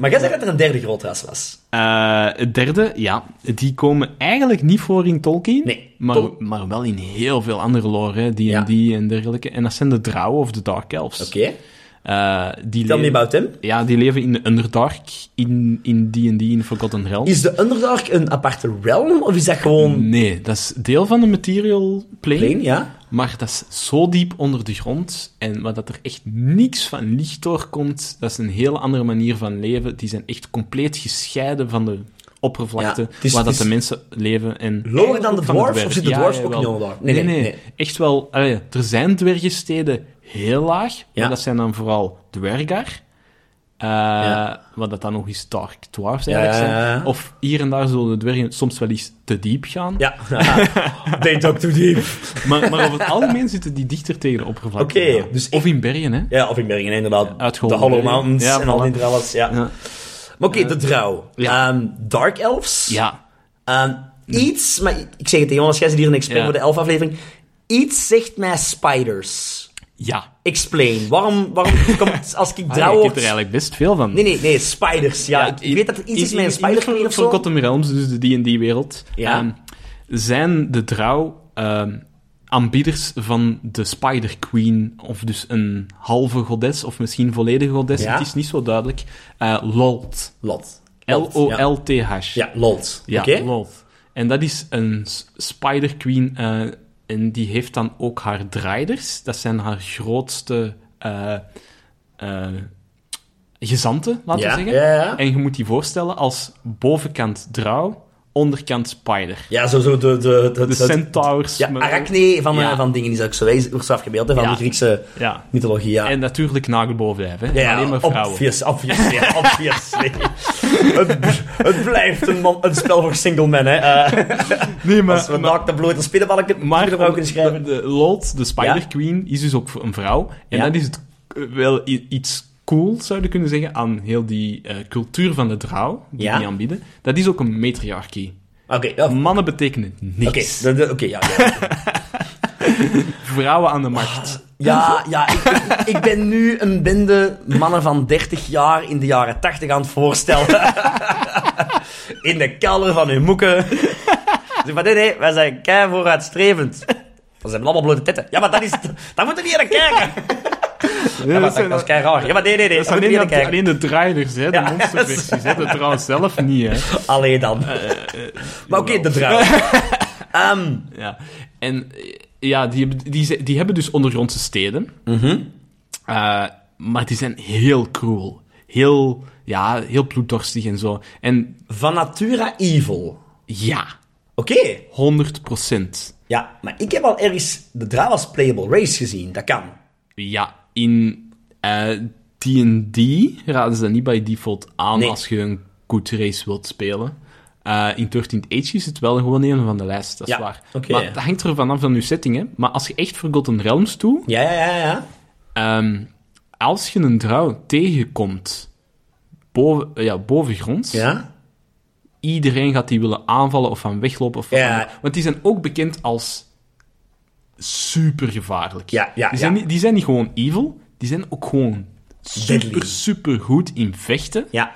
Maar jij zei dat er een derde groot ras was.
Eh, het derde, ja, die komen eigenlijk niet voor in Tolkien,
Nee,
maar,
Tol-
maar wel in heel veel andere lore, hè, D&D
Ja.
en dergelijke. En dat zijn de Drow of de Dark Elves.
Oké.
Eh, die
Tell me
leven-
about him.
Ja, die leven in de Underdark, in in D&D, in Forgotten Realms.
Is de Underdark een aparte realm? Of is dat gewoon...
Nee, dat is deel van de Material Plane,
Plane, ja?
maar dat is zo diep onder de grond, en waar dat er echt niks van licht doorkomt, dat is een hele andere manier van leven. Die zijn echt compleet gescheiden van de oppervlakte
Ja, het is-
waar dat
het is-
de mensen leven. En
Lower dan de
van
dwarfs?
dwergen.
Of zitten
Ja,
dwarfs
ja,
ook
wel.
niet onder
Nee nee, echt wel. allee, er zijn dwergensteden heel laag,
Ja.
maar dat zijn dan vooral dwergar. eh,
Ja.
Wat dat dan nog eens dark dwarfs
Ja,
eigenlijk
ja, ja.
zijn. Of hier en daar zullen de dwergen soms wel eens te diep gaan.
Ja. They talk too deep.
Maar, maar over het algemeen zitten die dichter tegen de oppervlakte.
Oké,
Ja.
dus
of in bergen, hè?
Ja, of in Bergen, inderdaad.
uitgeholpen
de Hollow
Bergen.
Mountains
Ja,
en al
voilà.
die alles. Ja.
Ja.
Maar oké, de trouw.
ja.
Ehm, dark Elves.
Ja,
Ehm, iets, maar ik- ik zeg het tegen Jonas, jij zit hier een expert
Ja.
voor de elf-aflevering. Iets zegt mij spiders.
ja.
Explain. Waarom, waarom komt als ik
Ah,
trouw
ik
word...
heb er eigenlijk best veel van.
Nee, nee, nee, spiders. Ja,
Ja,
ik weet dat er iets is met een spider
in- in-
geweest of zo.
Forgotten Realms, dus de D&D-wereld,
Ja.
ehm, zijn de trouw ehm, aanbieders van de Spider Queen, of dus een halve godes, of misschien volledige godes,
Ja.
het is niet zo duidelijk, eh, Lolt.
Lot. Lot, Ja,
L-O-L-T-H.
ja Lot.
Ja,
Oké.
Lolt. En dat is een s- Spider Queen, eh, en die heeft dan ook haar draiders, dat zijn haar grootste... eh, eh, gezanten, laten we
Ja,
zeggen.
ja, ja.
En je moet die voorstellen als bovenkant Drow, onderkant Spider.
Ja, zo, zo de... De, de,
De
het-
centaurs.
ja,
maar-
arachne van, eh,
Ja.
van dingen is ook zo. Hij is- wordt zo afgebeeld hè, van
Ja.
de Griekse
Ja.
mythologie. Ja.
En natuurlijk nagelbovenlijf, hè.
Ja,
Alleen maar vrouwen.
Obvious, obvious, ja, obviously. het, b- het blijft een, man, een spel voor single men, hè. Eh,
Nee, maar...
als we naakt op blote spinnenbalken
maar
spinnenbalken kunnen schrijven.
de, de Lot, de Spider
Ja.
Queen, is dus ook een vrouw. En
Ja.
dat is het, eh, wel i- iets cool, zouden we kunnen zeggen, aan heel die eh, cultuur van de Drow, die
Ja.
die aanbieden. Dat is ook een matriarchie.
Oké, ja, oké.
Mannen betekenen niks.
de- de- Oké, ja. Ja,
Vrouwen aan de
Ah.
macht.
ja, ja ik, ik, ik ben nu een bende mannen van 30 jaar in de jaren 80 aan het voorstellen. in de kelder van hun moeken. Ze van, nee, nee, wij zijn kei vooruitstrevend. Ze hebben allemaal blote tetten. Ja, maar dat is... Daar moeten we niet naar kijken. Ja, maar dat, dat is kei raar. Ja, maar nee, nee, nee. daar
Dat zijn
moeten
alleen,
we
dat,
niet naar kijken.
alleen de draaiers, hè, de
Ja.
monsterversies. Hè, de trouwens zelf niet. Hè.
Allee dan. maar oké, de draad. Ehm,
Ja. En eh, ja, die, hebben- die, ze- die hebben dus ondergrondse steden.
Mhm.
Eh, maar die zijn heel cruel. Heel, ja, heel bloeddorstig en zo. En
van natura evil.
ja,
Oké.
100 procent.
Ja, maar ik heb al ergens de draad als playable race gezien. Dat kan.
Ja, in eh, D&D raden ze dat niet bij default aan
Nee.
als je een good race wilt spelen. Eh, in 13th Age is het wel gewoon een van de lijst, dat is
Ja,
waar.
oké.
Maar dat hangt er vanaf van je setting, hè. Maar als je echt Forgotten Realms doet,
Ja, ja, ja, ja.
ehm, als je een trouw tegenkomt boven, ja, bovengronds,
Ja?
iedereen gaat die willen aanvallen of van weglopen. Of van-
Ja.
Want die zijn ook bekend als super gevaarlijk.
Ja, ja,
die, zijn
ja.
Niet, die zijn niet gewoon evil, die zijn ook gewoon
Deadly.
super, super goed in vechten.
Ja.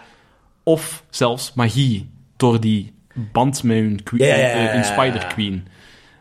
Of zelfs magie door die band met hun que-
Ja, ja, ja,
eh, hun
ja, ja.
Spider-Queen.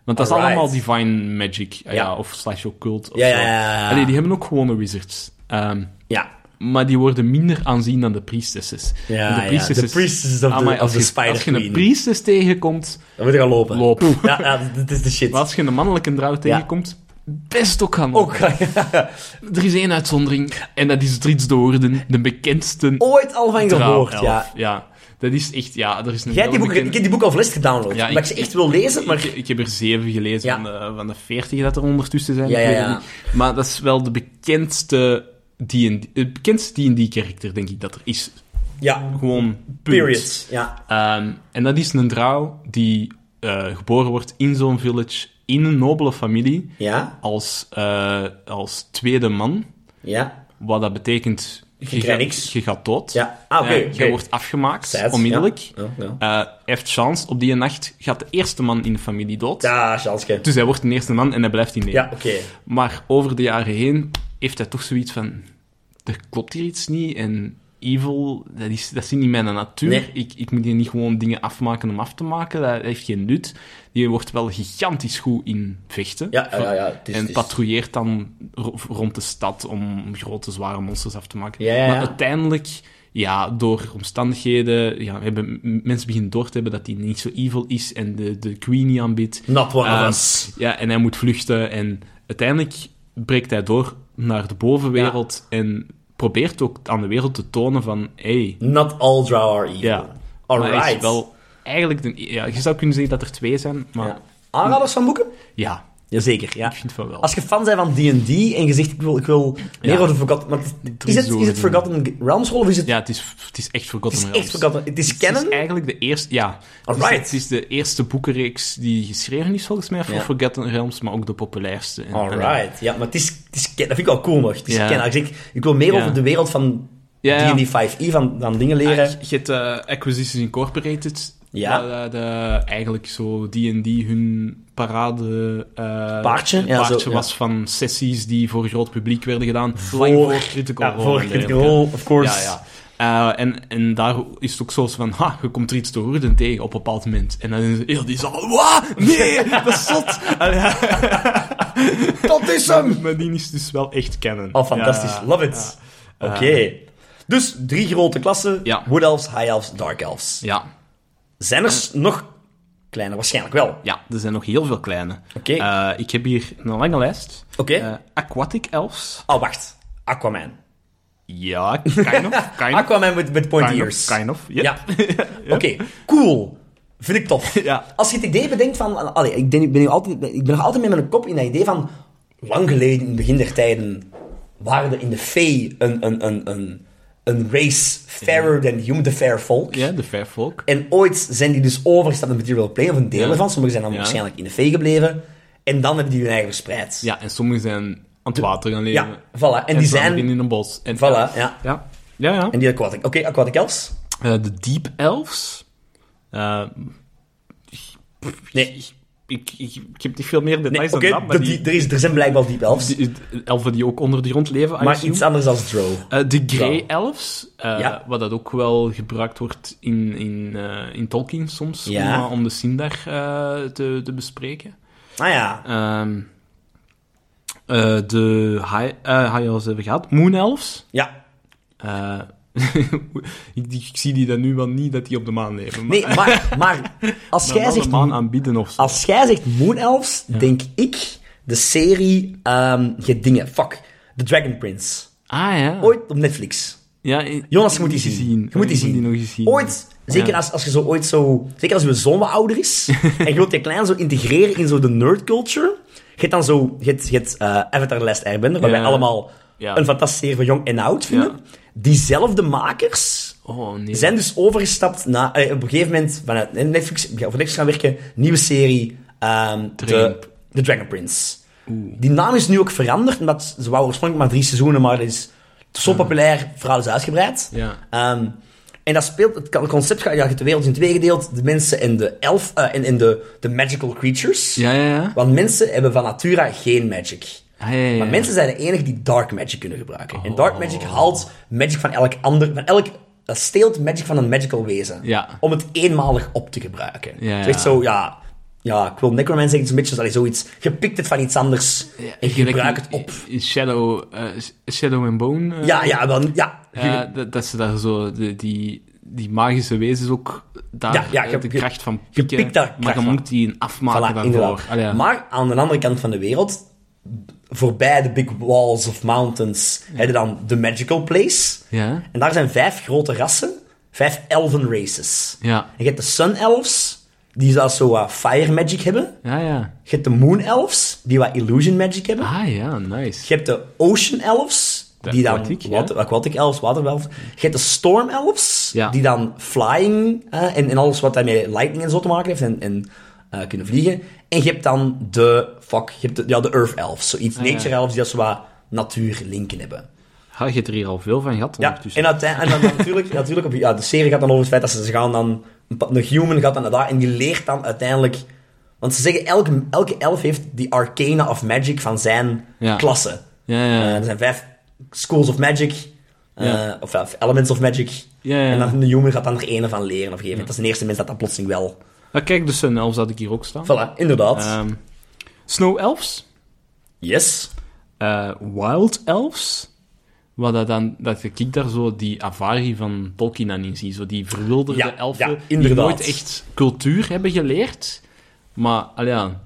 Want dat
Alright.
is allemaal divine magic. eh, Ja,
Ja.
of slash occult. Of
Ja,
zo.
ja, ja, ja.
Allee, die hebben ook gewone wizards. Ehm,
Ja.
maar die worden minder aanzien dan de priestesses.
Ja,
En
ja, de priestesses of de-
Amai,
of de
als je- Als je
Spider-Queen.
een priestess tegenkomt,
Dan moet je gaan lopen.
Loop.
Ja, ja, dit is de shit.
maar als je een mannelijke trouw tegenkomt, best ook gaan lopen.
Ook ga je-
Er is één uitzondering, en dat is Drits de Woorden, de bekendste
Ooit al van
trouw
gehoord, ja.
Dat is echt, ja, er is een
Jij hebt die boek,
welbekende-
ik heb die boek alvast gedownload.
Ja,
maar ik ze echt wil lezen, maar...
Ik, ik heb er zeven gelezen
Ja.
van, de, van de veertig dat er ondertussen zijn.
Ja,
Ik
ja,
weet het
ja.
niet. Maar dat is wel de bekendste D&D, het eh, bekendste D&D-karakter, denk ik, dat er is.
Ja,
Gewoon punt.
period. Ja.
Ehm, en dat is een trouw die eh, geboren wordt in zo'n village, in een nobele familie,
Ja,
als, eh, als tweede man.
ja,
Wat dat betekent... Je,
krijgt
gaat-
niks.
Je gaat dood.
Ja. Ah, oké,
Eh,
oké.
Je wordt afgemaakt,
Sad,
onmiddellijk.
ja. Ja, ja.
Eh, heeft chance, op die nacht gaat de eerste man in de familie dood.
ja Sjanske.
Dus hij wordt de eerste man en hij blijft in leven.
Ja, oké.
Maar over de jaren heen heeft hij toch zoiets van... Er klopt hier iets niet en evil, dat is, dat is niet mijn natuur.
Nee.
Ik, ik moet hier niet gewoon dingen afmaken om af te maken. Dat heeft geen nut. Die wordt wel gigantisch goed in vechten.
Ja, ja, ja, ja, het is-
en
het is-
patrouilleert dan ro- rond de stad om grote, zware monsters af te maken.
Ja, ja,
Maar
ja.
uiteindelijk... Ja, door omstandigheden... Ja, hebben, m- mensen beginnen door te hebben dat hij niet zo evil is en de, de Queenie aanbidt.
Not one
Ehm,
of us.
ja, en hij moet vluchten. En uiteindelijk breekt hij door naar de bovenwereld en probeert ook aan de wereld te tonen van... Hey,
Not all draw are evil.
ja. Maar hij
Alright.
is wel eigenlijk... De, ja, je zou kunnen zeggen dat er twee zijn, maar
Ja.
ja,
Aanraders van boeken? Jazeker,
ik vind van wel.
Als je fan bent van D&D en je zegt, ik wil, ik wil meer
Ja.
over Forgotten... Want is, het, is het Forgotten Realms rol of is het,
Ja, het is, het is echt
het
Forgotten
is echt
Realms.
Forgotten... Het is
Het
canon?
is eigenlijk de eerste... Ja. Het is,
Alright.
het is de eerste boekenreeks die geschreven is, volgens mij, voor
Ja.
Forgotten Realms, maar ook de populairste. En- en-
Alright. Ja, maar het is, het is canon. Dat vind ik wel cool nog. Het is
Ja.
canon. Ik, zeg, ik wil meer
Ja.
over de wereld van
Ja, ja.
D&D 5e, van, van dingen leren.
Ah, je hebt eh, Acquisitions Incorporated.
Ja.
Dat, eh, de- eigenlijk zo D&D hun parade... eh,
Paardje, ja,
paardje
zo, ja.
was van sessies die voor groot publiek werden gedaan. Lang voor Critical
ja,
Role.
voor
en
Critical
dergelijke.
Role, of course.
Ja, ja. Eh, en, en daar is het ook zo van, ha, je komt er iets te horen tegen op een bepaald moment. En dan is heel die zaal, wa, nee, dat is zot.
Dat is hem!
maar die is dus wel echt kennen.
Oh, fantastisch. Love it. Oké. Dus drie grote klassen.
Ja.
Wood Elves, High Elves, Dark Elves.
Ja,
Zijn er s- nog kleine? Waarschijnlijk wel. Oké.
ja, er zijn nog heel veel kleine.
Oké.
Eh, ik heb hier een lange lijst. Eh, aquatic elves.
oh, wacht. Aquaman.
Ja, kind of. Kind of.
Aquaman met, met pointy
Kind
ears.
of, kind of, yep.
Ja. Oké, cool. Vind ik tof.
Ja.
Als je het idee bedenkt van... Allee, ik, denk, ik ben nu altijd, ik ben nog altijd met mijn kop in dat idee van... Lang geleden, in het begin der tijden... waren er in de Fae een, een, een, een, een race fairer than human, the fair folk.
Ja, de fair folk.
En ooit zijn die dus overgestapt naar material play, of een deel
Ja.
ervan. Sommigen zijn dan
Ja.
waarschijnlijk in de Fae gebleven. En dan hebben die hun eigen verspreid.
Ja, en sommigen zijn aan het water gaan leven.
Ja, voilà. En die zijn-
veranderen in een bos. En,
Voilà, ja.
Ja, ja. ja.
En die aquatic. Oké, aquatic elves.
Eh, de deep elves. Eh,
Nee,
ik, ik, ik heb niet veel meer
nee
details
oké,
dan dat, maar
dat
die,
die- er, is- er zijn blijkbaar die elves.
die- die elfen die ook onder de grond leven, I
maar
assume.
iets anders dan Drow.
Eh, de Grey Elves, eh,
Ja.
wat dat ook wel gebruikt wordt in, in, eh, in Tolkien soms,
Ja.
om, eh, om de Sindar eh, te, te bespreken.
Ah ja.
Ehm, eh, de high, eh high Elves hebben we gehad. Moon Elves.
Ja.
Eh, ik, ik zie die dan nu wel niet dat die op de maan leven.
Nee, maar, maar als, jij
de
zegt, Ah,
maan aanbieden of zo.
als jij zegt Moon Elves, denk ik de serie ehm je dingen. Fuck. The Dragon Prince.
Ah ja.
Ooit op Netflix.
ja ik-
Jonas, je
ik
moet die
die
zien. Je moet die zien.
nog eens zien.
Ooit, zeker
Ja.
als, als je zo ooit zo... Zeker als je zoon wat ouder is, en je wilt je klein zo integreren in zo de nerd culture. Je hebt dan zo... Je hebt, je hebt eh, Avatar The Last Airbender, waar
Ja.
wij allemaal
Ja.
een fantastische serie van jong en oud vinden.
Ja.
Diezelfde makers...
Oh nee.
zijn dus overgestapt naar... eh, op een gegeven moment vanuit Netflix, ja, voor Netflix gaan werken. Nieuwe serie. ehm, de,
Dragon-
de Dragon Prince. Die naam is nu ook veranderd, omdat ze wou oorspronkelijk maar drie seizoenen, maar dat is... Het is zo populair, het verhaal is uitgebreid.
Ah. Ja.
Ehm, en dat speelt, het kan- het concept gaat, ja, je hebt de wereld in twee gedeeld. De mensen en de elf, eh, en, en de, de magical creatures.
Ja, ja, ja.
Want mensen hebben van natura geen magic.
Ah, ja, ja, Oh. ja.
Maar mensen zijn de enigen die dark magic kunnen gebruiken. En dark magic haalt magic van elk ander, van elk, dat steelt magic van een magical wezen.
Ja.
Om het eenmalig op te gebruiken.
Ja,
Het is echt
ja.
zo, ja, ja, ik wil necromancy zeggen, het is een beetje zoals zoiets, je pikt het van iets anders en je
Gelijk
gebruikt het
in-
op.
in Shadow, eh, Shadow and Bone. eh,
Ja, ja, dan, ja.
eh, dat, dat ze daar zo de- die, die magische wezens ook daar
Ja, ja,
eh,
je-
de
je-
kracht van
je
pikken.
pikt daar
maar
kracht
je
van.
moet die een afmaken
Voilà,
daarvoor.
inderdaad.
Allee, ja.
Maar aan de andere kant van de wereld, voorbij de big walls of mountains, heb je dan de magical place.
Ja.
En daar zijn vijf grote rassen, vijf elven races.
Ja.
En je hebt de sun elves, die zelfs zo wat fire magic hebben.
ja, ja.
Je hebt de moon elves, die wat illusion magic hebben.
Ah ja, nice.
Je hebt de ocean elves,
De
die dan
aquatic, ja.
water, aquatic elves, water elves. Je hebt de storm elves,
Ja.
die dan flying eh, en, en alles wat daarmee lightning en zo te maken heeft en, en eh, kunnen vliegen. En je hebt dan de, fuck, je hebt de, ja, de earth elves, zoiets,
Ah, ja.
nature elves, die dat zo wat natuurlinken hebben.
Ha, Ah, je hebt er hier al veel van gehad
Ja,
ondertussen.
en, uiteindelijk, en dan natuurlijk, natuurlijk op, ja, de serie gaat dan over het feit dat ze ze gaan dan... een pa- Een human gaat dan naar daar en die leert dan uiteindelijk... Want ze zeggen, elke, elke elf heeft die arcana of magic van zijn
Ja.
klasse.
Ja, ja, ja.
Eh, er zijn vijf schools of magic. eh,
Ja.
Of ja, elements of magic.
Ja, ja.
En dan de human gaat dan er één van leren. Of geven. Dat is de eerste mens dat dat plotseling wel...
Ah, kijk, de Sun Elves had ik hier ook staan.
Voilà, inderdaad.
Ehm, Snow Elves.
yes.
eh, Wild Elves. Wat dat dan, dat ik daar zo die avari van Tolkien aan in zie. Zo die verwilderde
Ja,
elfen
ja,
die
inderdaad.
nooit echt cultuur hebben geleerd. Maar, allee, ja,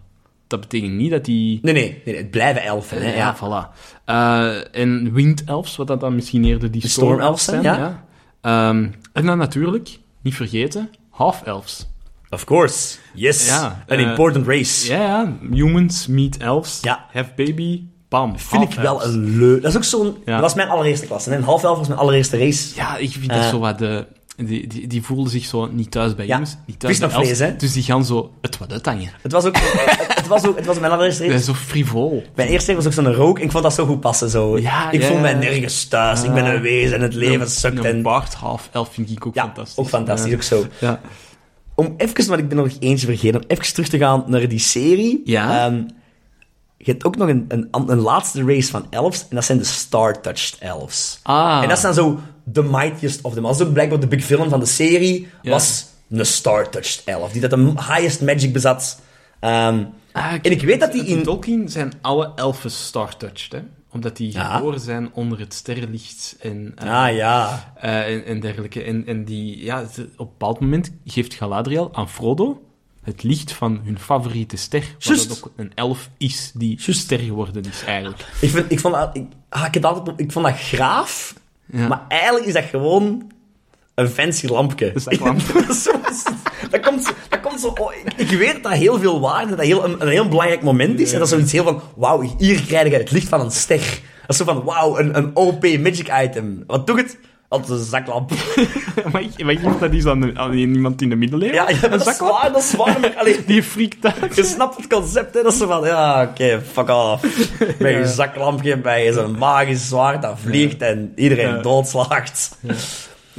dat betekent niet dat die...
Nee, nee. nee, nee, het blijven elfen.
ja,
hè, ja.
voilà. Eh, en Wind Elves, wat dat dan misschien eerder die
storm
Storm Elves
elves
zijn.
zijn,
ja. Ehm, en dan natuurlijk, niet vergeten, Half Elves.
Of course. Yes.
Ja,
An
eh,
important race.
Ja, ja. Humans meet elves.
Ja.
Have baby. Bam.
vind ik wel een leuk. Dat is ook zo'n.
Ja.
Dat was mijn allereerste klasse. hè. Een half elf was mijn allereerste race.
Ja, ik vind
Eh.
dat zo wat... De, die, die, die voelden zich zo niet thuis bij
Ja,
jongens, niet thuis bij
visnafvlees,
elves.
hè?
Dus die gaan zo het wat uithangen.
Het was ook. het, het was ook. Het was mijn allereerste
Dat
race.
is zo frivol.
Mijn eerste race was ook zo'n rook. En ik vond dat zo goed passen. Zo.
Ja,
ik
ja,
voel mij
ja.
nergens thuis. ik ben een wezen en het leven sukt.
Een
En,
baard half elf vind ik ook
ja,
fantastisch.
ook fantastisch. Ook zo.
Ja.
Om even, want ik ben er nog eentje vergeten. Om even terug te gaan naar die serie.
Ja.
Ehm, je hebt ook nog een, een, an- een laatste race van elves. En dat zijn de Star-Touched Elves.
Ah.
En dat zijn zo de mightiest of them. Dat is ook blijkbaar de big villain van de serie.
Ja.
Was een Star-Touched Elf. Die dat de highest magic bezat. Ehm,
Ah,
en ik weet dat die
In
in...
Tolkien zijn alle elfen star-touched, hè? Omdat die
Ja.
geboren zijn onder het sterrenlicht en, eh,
Ah ja.
eh, en, en dergelijke. En, en die, ja, ze- op een bepaald moment geeft Galadriel aan Frodo het licht van hun favoriete ster.
Juist.
Wat dat ook een elf is, die ster geworden is eigenlijk.
Ik, vind, ik, vond dat, ik, ah, ik, heb altijd, ik vond dat graaf.
Ja.
Maar eigenlijk is dat gewoon een fancy lampje.
Dus dat kwam.
dat, is zo- dat komt, zo- dat komt zo... oh, ik- ik weet dat dat heel veel waarde, dat heel, een, een heel belangrijk moment is. En dat is zoiets heel van... Wauw, hier krijg je het licht van een ster. Dat is zo van... Wauw, een, een OP magic item. Wat doet het? Als een zaklamp.
maar ik- maar ik dacht dat is aan, de- aan iemand in de middeleeuwen.
Ja, ja dat, is
zaklamp.
waar, dat is waar. Maar, allee,
Die freakt uit.
je snapt het concept, hè. Dat is zo van... Ja, oké, fuck off. Bij je zaklampje, bij zo'n magisch zwaard dat vliegt en iedereen
Ja.
doodslaagt.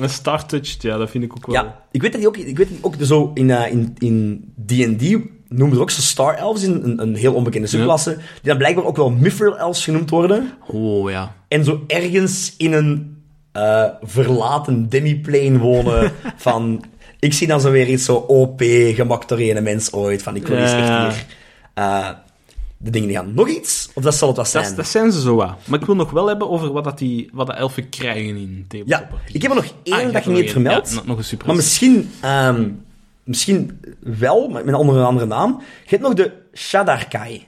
Een star-touched, ja, dat vind ik ook wel.
Ja, ik weet dat die ook, ik weet dat die ook zo in eh, in in D&D noemen ze ook zo Star Elves, in, een, een heel onbekende subklasse, die dan blijkbaar ook wel Mithril Elves genoemd worden.
Oh, ja.
En zo ergens in een eh, verlaten demiplane wonen van... Ik zie dan zo weer iets zo OP, gemaakt door ene mens ooit, van ik wil eens echt
Ja.
hier... eh, de dingen die gaan. Nog iets? Of dat zal het wel zijn?
Dat, dat zijn ze zo wat. Maar ik wil nog wel hebben over wat, dat die, wat de elfen krijgen in
Ja,
tabletop.
ik heb er nog één
Ah, je hebt
dat
er
je
nog
niet hebt
één.
vermeld.
Ja, nog- nog een surprise.
Maar misschien, ehm, misschien wel, maar met een andere, een andere naam. Je hebt nog de Shadarkai.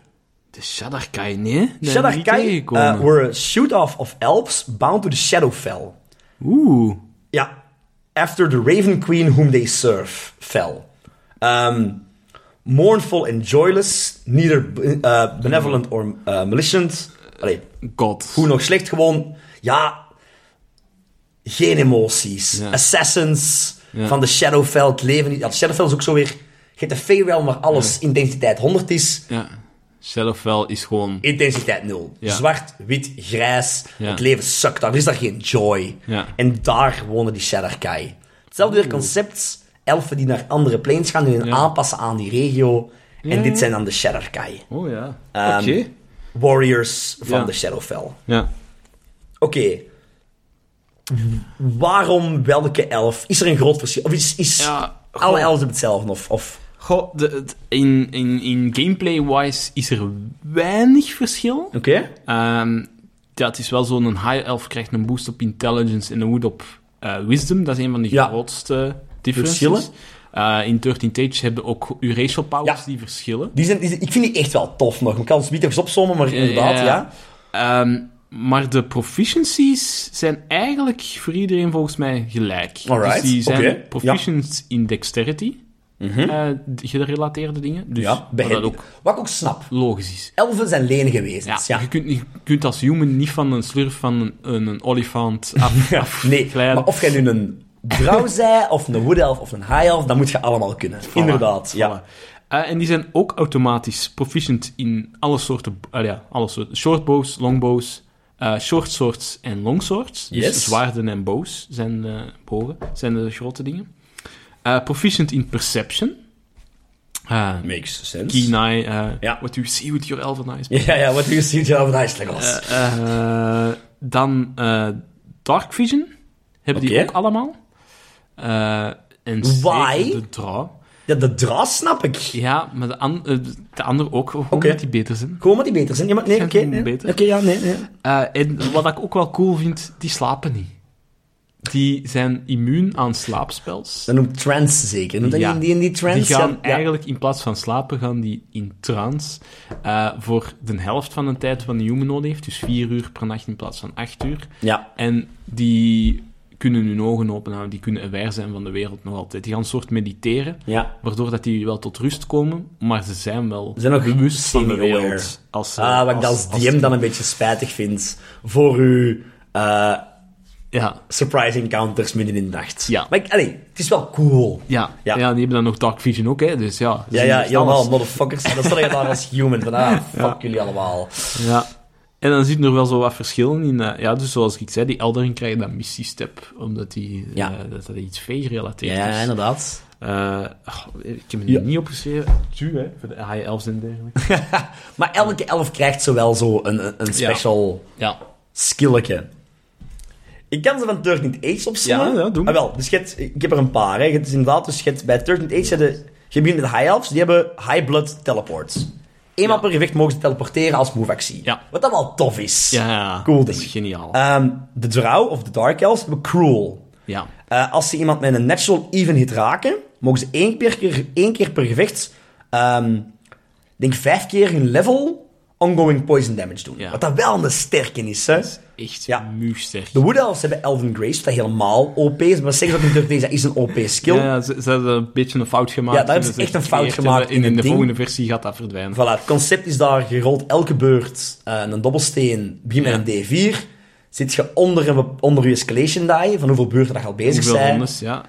De Shadarkai, nee. nee
Shadarkai
gekomen.
eh, were a shoot-off of elves bound to the Shadowfell.
Oeh.
Ja, after the Raven Queen whom they serve fell. Ehm, mournful and joyless, neither eh, benevolent or eh, malicious. Allee,
God.
Hoe nog slecht, gewoon, ja, geen emoties.
Ja.
Assassins
Ja.
van de Shadowfeld leven niet. Ja, de Shadowfeld is ook zo weer, je hebt de Feyrealm waar alles intensiteit 100 is.
Ja. Shadowfell is gewoon...
Intensiteit nul.
Ja.
Zwart, wit, grijs.
Ja.
Het leven sukt daar. Er is daar geen joy.
Ja.
En daar wonen die Shaddarkai. Hetzelfde weer concept. Elfen die naar andere planes gaan en hun
Ja.
aanpassen aan die regio. En
Ja.
dit zijn dan de Shaddarkai.
Oh ja.
Ehm,
Oké.
Warriors van
Ja.
de Shadowfell.
Ja.
Oké. Waarom welke elf? Is er een groot verschil? Of is, is
Ja,
alle
goh.
elfen hetzelfde? Of, of...
Goh, de, het- in, in, in gameplay-wise is er weinig verschil.
Oké.
Ehm, ja, het is wel zo'n een high elf krijgt een boost op intelligence en een wood op eh, wisdom. Dat is een van de
Ja.
grootste differences.
Verschillen.
Eh, in 13 Tages hebben ook uw racial powers
Ja.
die verschillen.
Die zijn, die zijn- ik vind die echt wel tof nog. Ik kan het niet even opzommen, maar inderdaad, ja.
Eh, Ehm, maar de proficiencies zijn eigenlijk voor iedereen volgens mij gelijk.
Alright,
Dus die zijn
oké, Mhm.
proficient in dexterity, eh, de- gerelateerde dingen. Dus
ja.
wat dat
behendig.
ook
Wat ik ook snap.
logisch is.
Elfen zijn lenige
Ja,
wezens, ja.
Je, kunt, niet- je kunt als human niet van een slurf van een, een, een olifant af,
Nee,
afglijden.
maar of jij nu een vrouw zij, of een wood elf, of een high elf, dat moet je allemaal kunnen. Inderdaad,
Voilà,
ja.
voilà. Eh, en die zijn ook automatisch proficient in alle soorten, eh, ja, alle soorten. Shortbows, longbows, eh short swords en long swords.
Yes.
Dus zwaarden en bows zijn, eh bogen, zijn de grote dingen. Eh, proficient in perception. Eh
Makes sense.
keen eye, eh,
Ja.
what you see with your elven eyes.
Ja, ja, wat je ziet, ja, wat ijselijk was.
Eh, dan eh, dark vision hebben die
Oké.
ook allemaal. Eh, en zeker
Why?
de draw.
Ja, de draas snap ik.
Ja, maar de, an eh, de andere ook, gewoon
Oké.
omdat die beter zijn.
Gewoon maar die beter zijn. Ja, maar nee,
Zijn
oké.
ze
nee. Oké,
beter?
ja, nee, nee.
Eh, en wat ik ook wel cool vind, die slapen niet. Die zijn immuun aan slaapspels.
Dat noemt trance zeker. Noemt dat
Ja.
die, die, die trance?
Die gaan
Ja, ja.
eigenlijk in plaats van slapen, gaan die in trance eh, voor de helft van de tijd wat een humanoid heeft, dus vier uur per nacht in plaats van acht uur.
Ja.
En die kunnen hun ogen open houden, die kunnen aware zijn van de wereld nog altijd. Die gaan een soort mediteren,
Ja.
waardoor dat die wel tot rust komen, maar ze zijn wel
Ze zijn ook
bewust van de
semi-aware.
wereld. Als, ze-
Ah, wat ik als, DM dan een beetje spijtig vind voor uw eh,
Ja,
surprise encounters midden in de nacht.
Ja.
Maar ik, allee, het is wel cool.
ja,
Ja.
ja. die hebben dan nog Dark Vision ook, hè, dus ja. ze
Ja,
zien
ja,
echt
helemaal,
alles.
motherfuckers. En dan sta je daar als human van, ah, fuck jullie allemaal.
Ja. En dan zitten er wel zo wat verschillen in. eh, ja, dus zoals ik zei, die Eldering krijgen dan missiestep, omdat die, eh,
Ja.
dat, dat iets vee-gerelateerd
Ja,
is.
inderdaad.
Eh, ach, ik heb het
Ja.
niet opgeschreven. Tu, hè, voor de high elves en dergelijke.
Maar elke elf krijgt zowel zo een, een- een special
Ja.
skilletje. Ik kan ze van 13 Age opzommen.
Ja, ja, doe maar.
Ah, wel, dus je hebt- ik heb er een paar. Hè. Je hebt dus inderdaad, dus je hebt bij 13 Age, de, je begint met de High Elves, die hebben High Blood Teleports. Eenmaal
Ja.
per gevecht mogen ze teleporteren als move-actie.
Ja.
Wat dan wel tof is.
Ja, ja,
Cool
dat is
ding.
geniaal.
Ehm, de Drow, of de Dark Elves, hebben Cruel.
ja.
Eh, als ze iemand met een natural even hit raken, mogen ze één keer, één keer per gevecht, ehm, ik denk vijf keer hun level, ongoing poison damage doen.
Ja.
Wat dat wel een sterke is, hè.
Echt
Ja.
ja. muursterk.
De Wood Elves hebben Elven Grace, dat helemaal OP is. Maar zeggen ze ook niet deze, dat is een OP skill.
Ja, ja, ze, ze hebben een beetje een fout gemaakt.
Ja, daar
en
hebben ze
dat
echt een
is
fout
gecreëerd
gemaakt
en
in
in,
het
de
ding.
volgende versie gaat dat verdwijnen.
Voilà, het concept is daar, je rolt elke beurt eh, een dobbelsteen, begin met een D4. Zit je onder, een, onder je escalation die, van hoeveel beurten dat je al bezig
Hoeveel
zijn,
rondes, ja.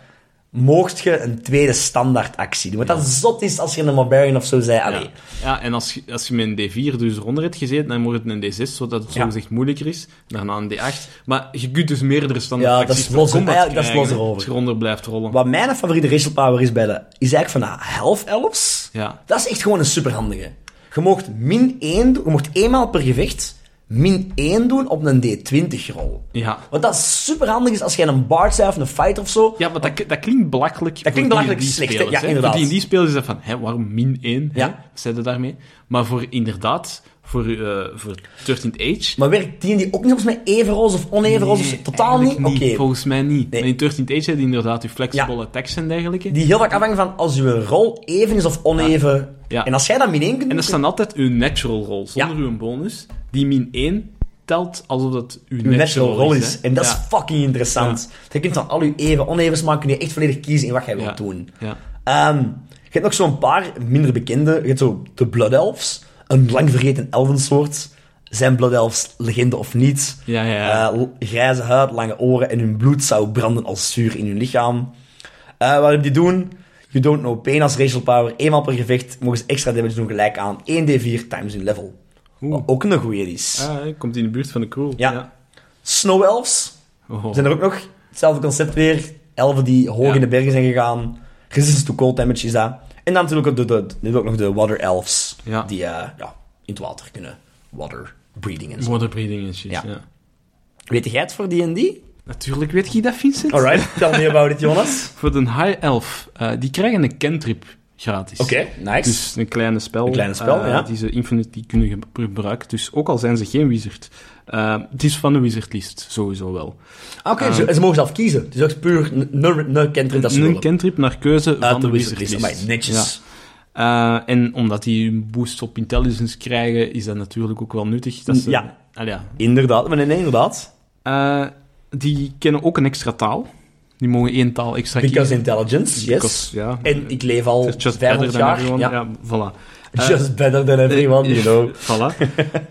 mocht je een tweede standaard actie doen. Wat dat zot is als je een barbarian of zo zei. Allee.
Ja. ja, en als, je- als je met een D4 dus eronder hebt gezeten, dan wordt het een D6, zodat het
Ja.
soms echt moeilijker is. Daarna een D8. Maar je kunt dus meerdere standaard
Ja, dat
acties
is los-
per combat
eigenlijk, dat is
krijgen,
los erover.
Als je eronder blijft rollen.
Wat mijn favoriete racial power is bij de, is eigenlijk van de half elves.
Ja.
Dat is echt gewoon een superhandige. Je mocht min 1 doen, je mocht eenmaal per gevecht min 1 doen op een D20 rol.
Ja.
Wat dat superhandig is als jij een bard bent of een fight of zo.
Ja, want dat, dat klinkt belachelijk. Dat
klinkt belachelijk slecht, hè? Ja, inderdaad.
Voor die spelers is dat van, hè, waarom min 1?
Ja.
Wat zijn ze daarmee? Maar voor inderdaad, voor, eh voor 13th Age...
Maar werkt die en die ook niet volgens mij even roze of oneven roze?
Nee,
Totaal niet?
eigenlijk
Oké.
Volgens mij niet.
Nee.
Maar in 13th Age heb je inderdaad je flexible
Ja.
attacks en dergelijke.
Die heel vaak afhangen van als je rol even is of oneven.
Ja.
En als jij dat min 1 kunt
En
doen,
er staan altijd uw natural roll, zonder
Ja.
uw bonus. Die min 1 telt alsof dat uw,
uw natural rol is.
hè.
En dat
Ja.
is fucking interessant. Je kunt van al uw even, onevens maken, kun je echt volledig kiezen in wat jij
Ja.
wilt doen.
Ja.
Ehm, je hebt nog zo'n paar minder bekende. Je hebt zo de Blood Elves, een lang vergeten elfensoort. Zijn Blood Elves legende of niet?
Ja, ja, ja.
Eh, l- grijze huid, lange oren en hun bloed zou branden als zuur in hun lichaam. Eh, wat hebben die doen? You don't know pain als racial power. Eenmaal per gevecht mogen ze extra damage doen gelijk aan 1d4 times hun level. Wat ook een goeie is.
Ah, komt in de buurt van de cool.
Ja. Snow Elves
Oh.
zijn er ook nog. Hetzelfde concept weer. Elven die hoog
Ja.
in de bergen zijn gegaan. Resistance to cold damage is dat. En dan natuurlijk ook, de, de, nu ook nog de Water Elves.
Ja.
Die eh, ja, in het water kunnen. Water breeding en zo.
Water breathing en shit,
Ja.
ja.
Weet jij het voor D&D?
Natuurlijk weet je dat, Vincent.
Alright, tell me about it, Jonas.
Voor een high elf, eh, die krijgen een cantrip gratis.
nice.
Dus een kleine spel,
Een kleine spel,
eh,
ja.
die ze infinity kunnen gebru- gebruiken. Dus ook al zijn ze geen wizard. eh, het is van de wizardlist, sowieso wel.
Ah, Oké,
eh,
ze, ze mogen zelf kiezen. Dus dat is puur n- n- n- kentering dat ze
Een
willen.
cantrip naar keuze
Uit
van de,
de wizardlist.
wizardlist.
Amai, netjes.
Ja. Eh, en omdat die een boost op intelligence krijgen, is dat natuurlijk ook wel nuttig. Dat ze,
Ja.
Ah, ja.
Inderdaad, maar nee, nee, inderdaad.
Eh, die kennen ook een extra taal. Die mogen één taal extra
Because
kiezen.
intelligence, yes.
Because, ja.
En ik leef al
It's just better
500
than
jaar.
everyone.
Ja.
Ja, voilà. Eh,
Just better than everyone, you know.
Voilà.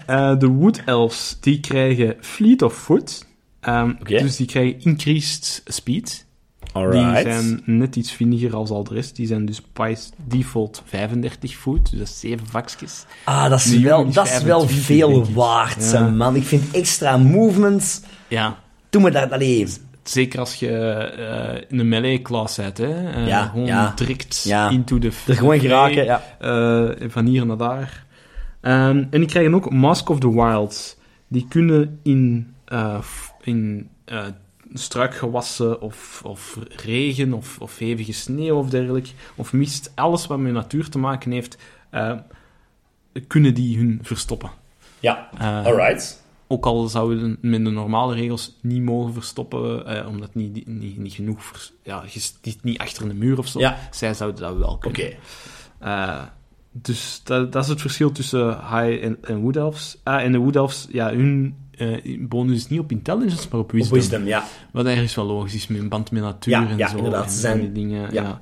Eh, de Wood Elves, die krijgen Fleet of Foot. Ehm,
Oké.
Dus die krijgen increased speed. Die zijn net iets vindiger als al de rest. Die zijn dus by default 35 foot, dus dat is 7 vakjes.
Ah, dat is
Die
wel,
jongen
dat
is
is wel
25,
veel
denk ik.
waard,
Ja.
hè, man. Ik vind extra movements...
Ja,
Doe me dat alleen.
zeker als je eh, in een melee-class zit, hè. Eh,
Ja,
gewoon
ja.
direct
Ja.
into the...
Er gewoon geraken, ja.
Eh, van hier naar daar. Ehm, en die krijgen ook Mask of the Wild. Die kunnen in, eh, f- in eh, struikgewassen of, of regen of, of hevige sneeuw of dergelijke, of mist, alles wat met natuur te maken heeft, eh, kunnen die hun verstoppen.
Ja,
Eh,
alright.
Ook al zouden we met de normale regels niet mogen verstoppen, eh, omdat niet, niet, niet genoeg... Vers, ja, je zit niet achter een muur of zo.
Ja.
Zij zouden dat wel kunnen.
Oké.
Eh, dus dat, dat is het verschil tussen High en, en Wood Elves. Ah, en de Wood Elves, ja, hun eh, bonus is niet op intelligence, maar op
Op
wisdom.
wisdom, ja.
Wat ergens wel logisch is, met een band met natuur
Ja,
en
ja,
zo.
inderdaad.
En
Ze zijn-
van die dingen,
ja.
ja.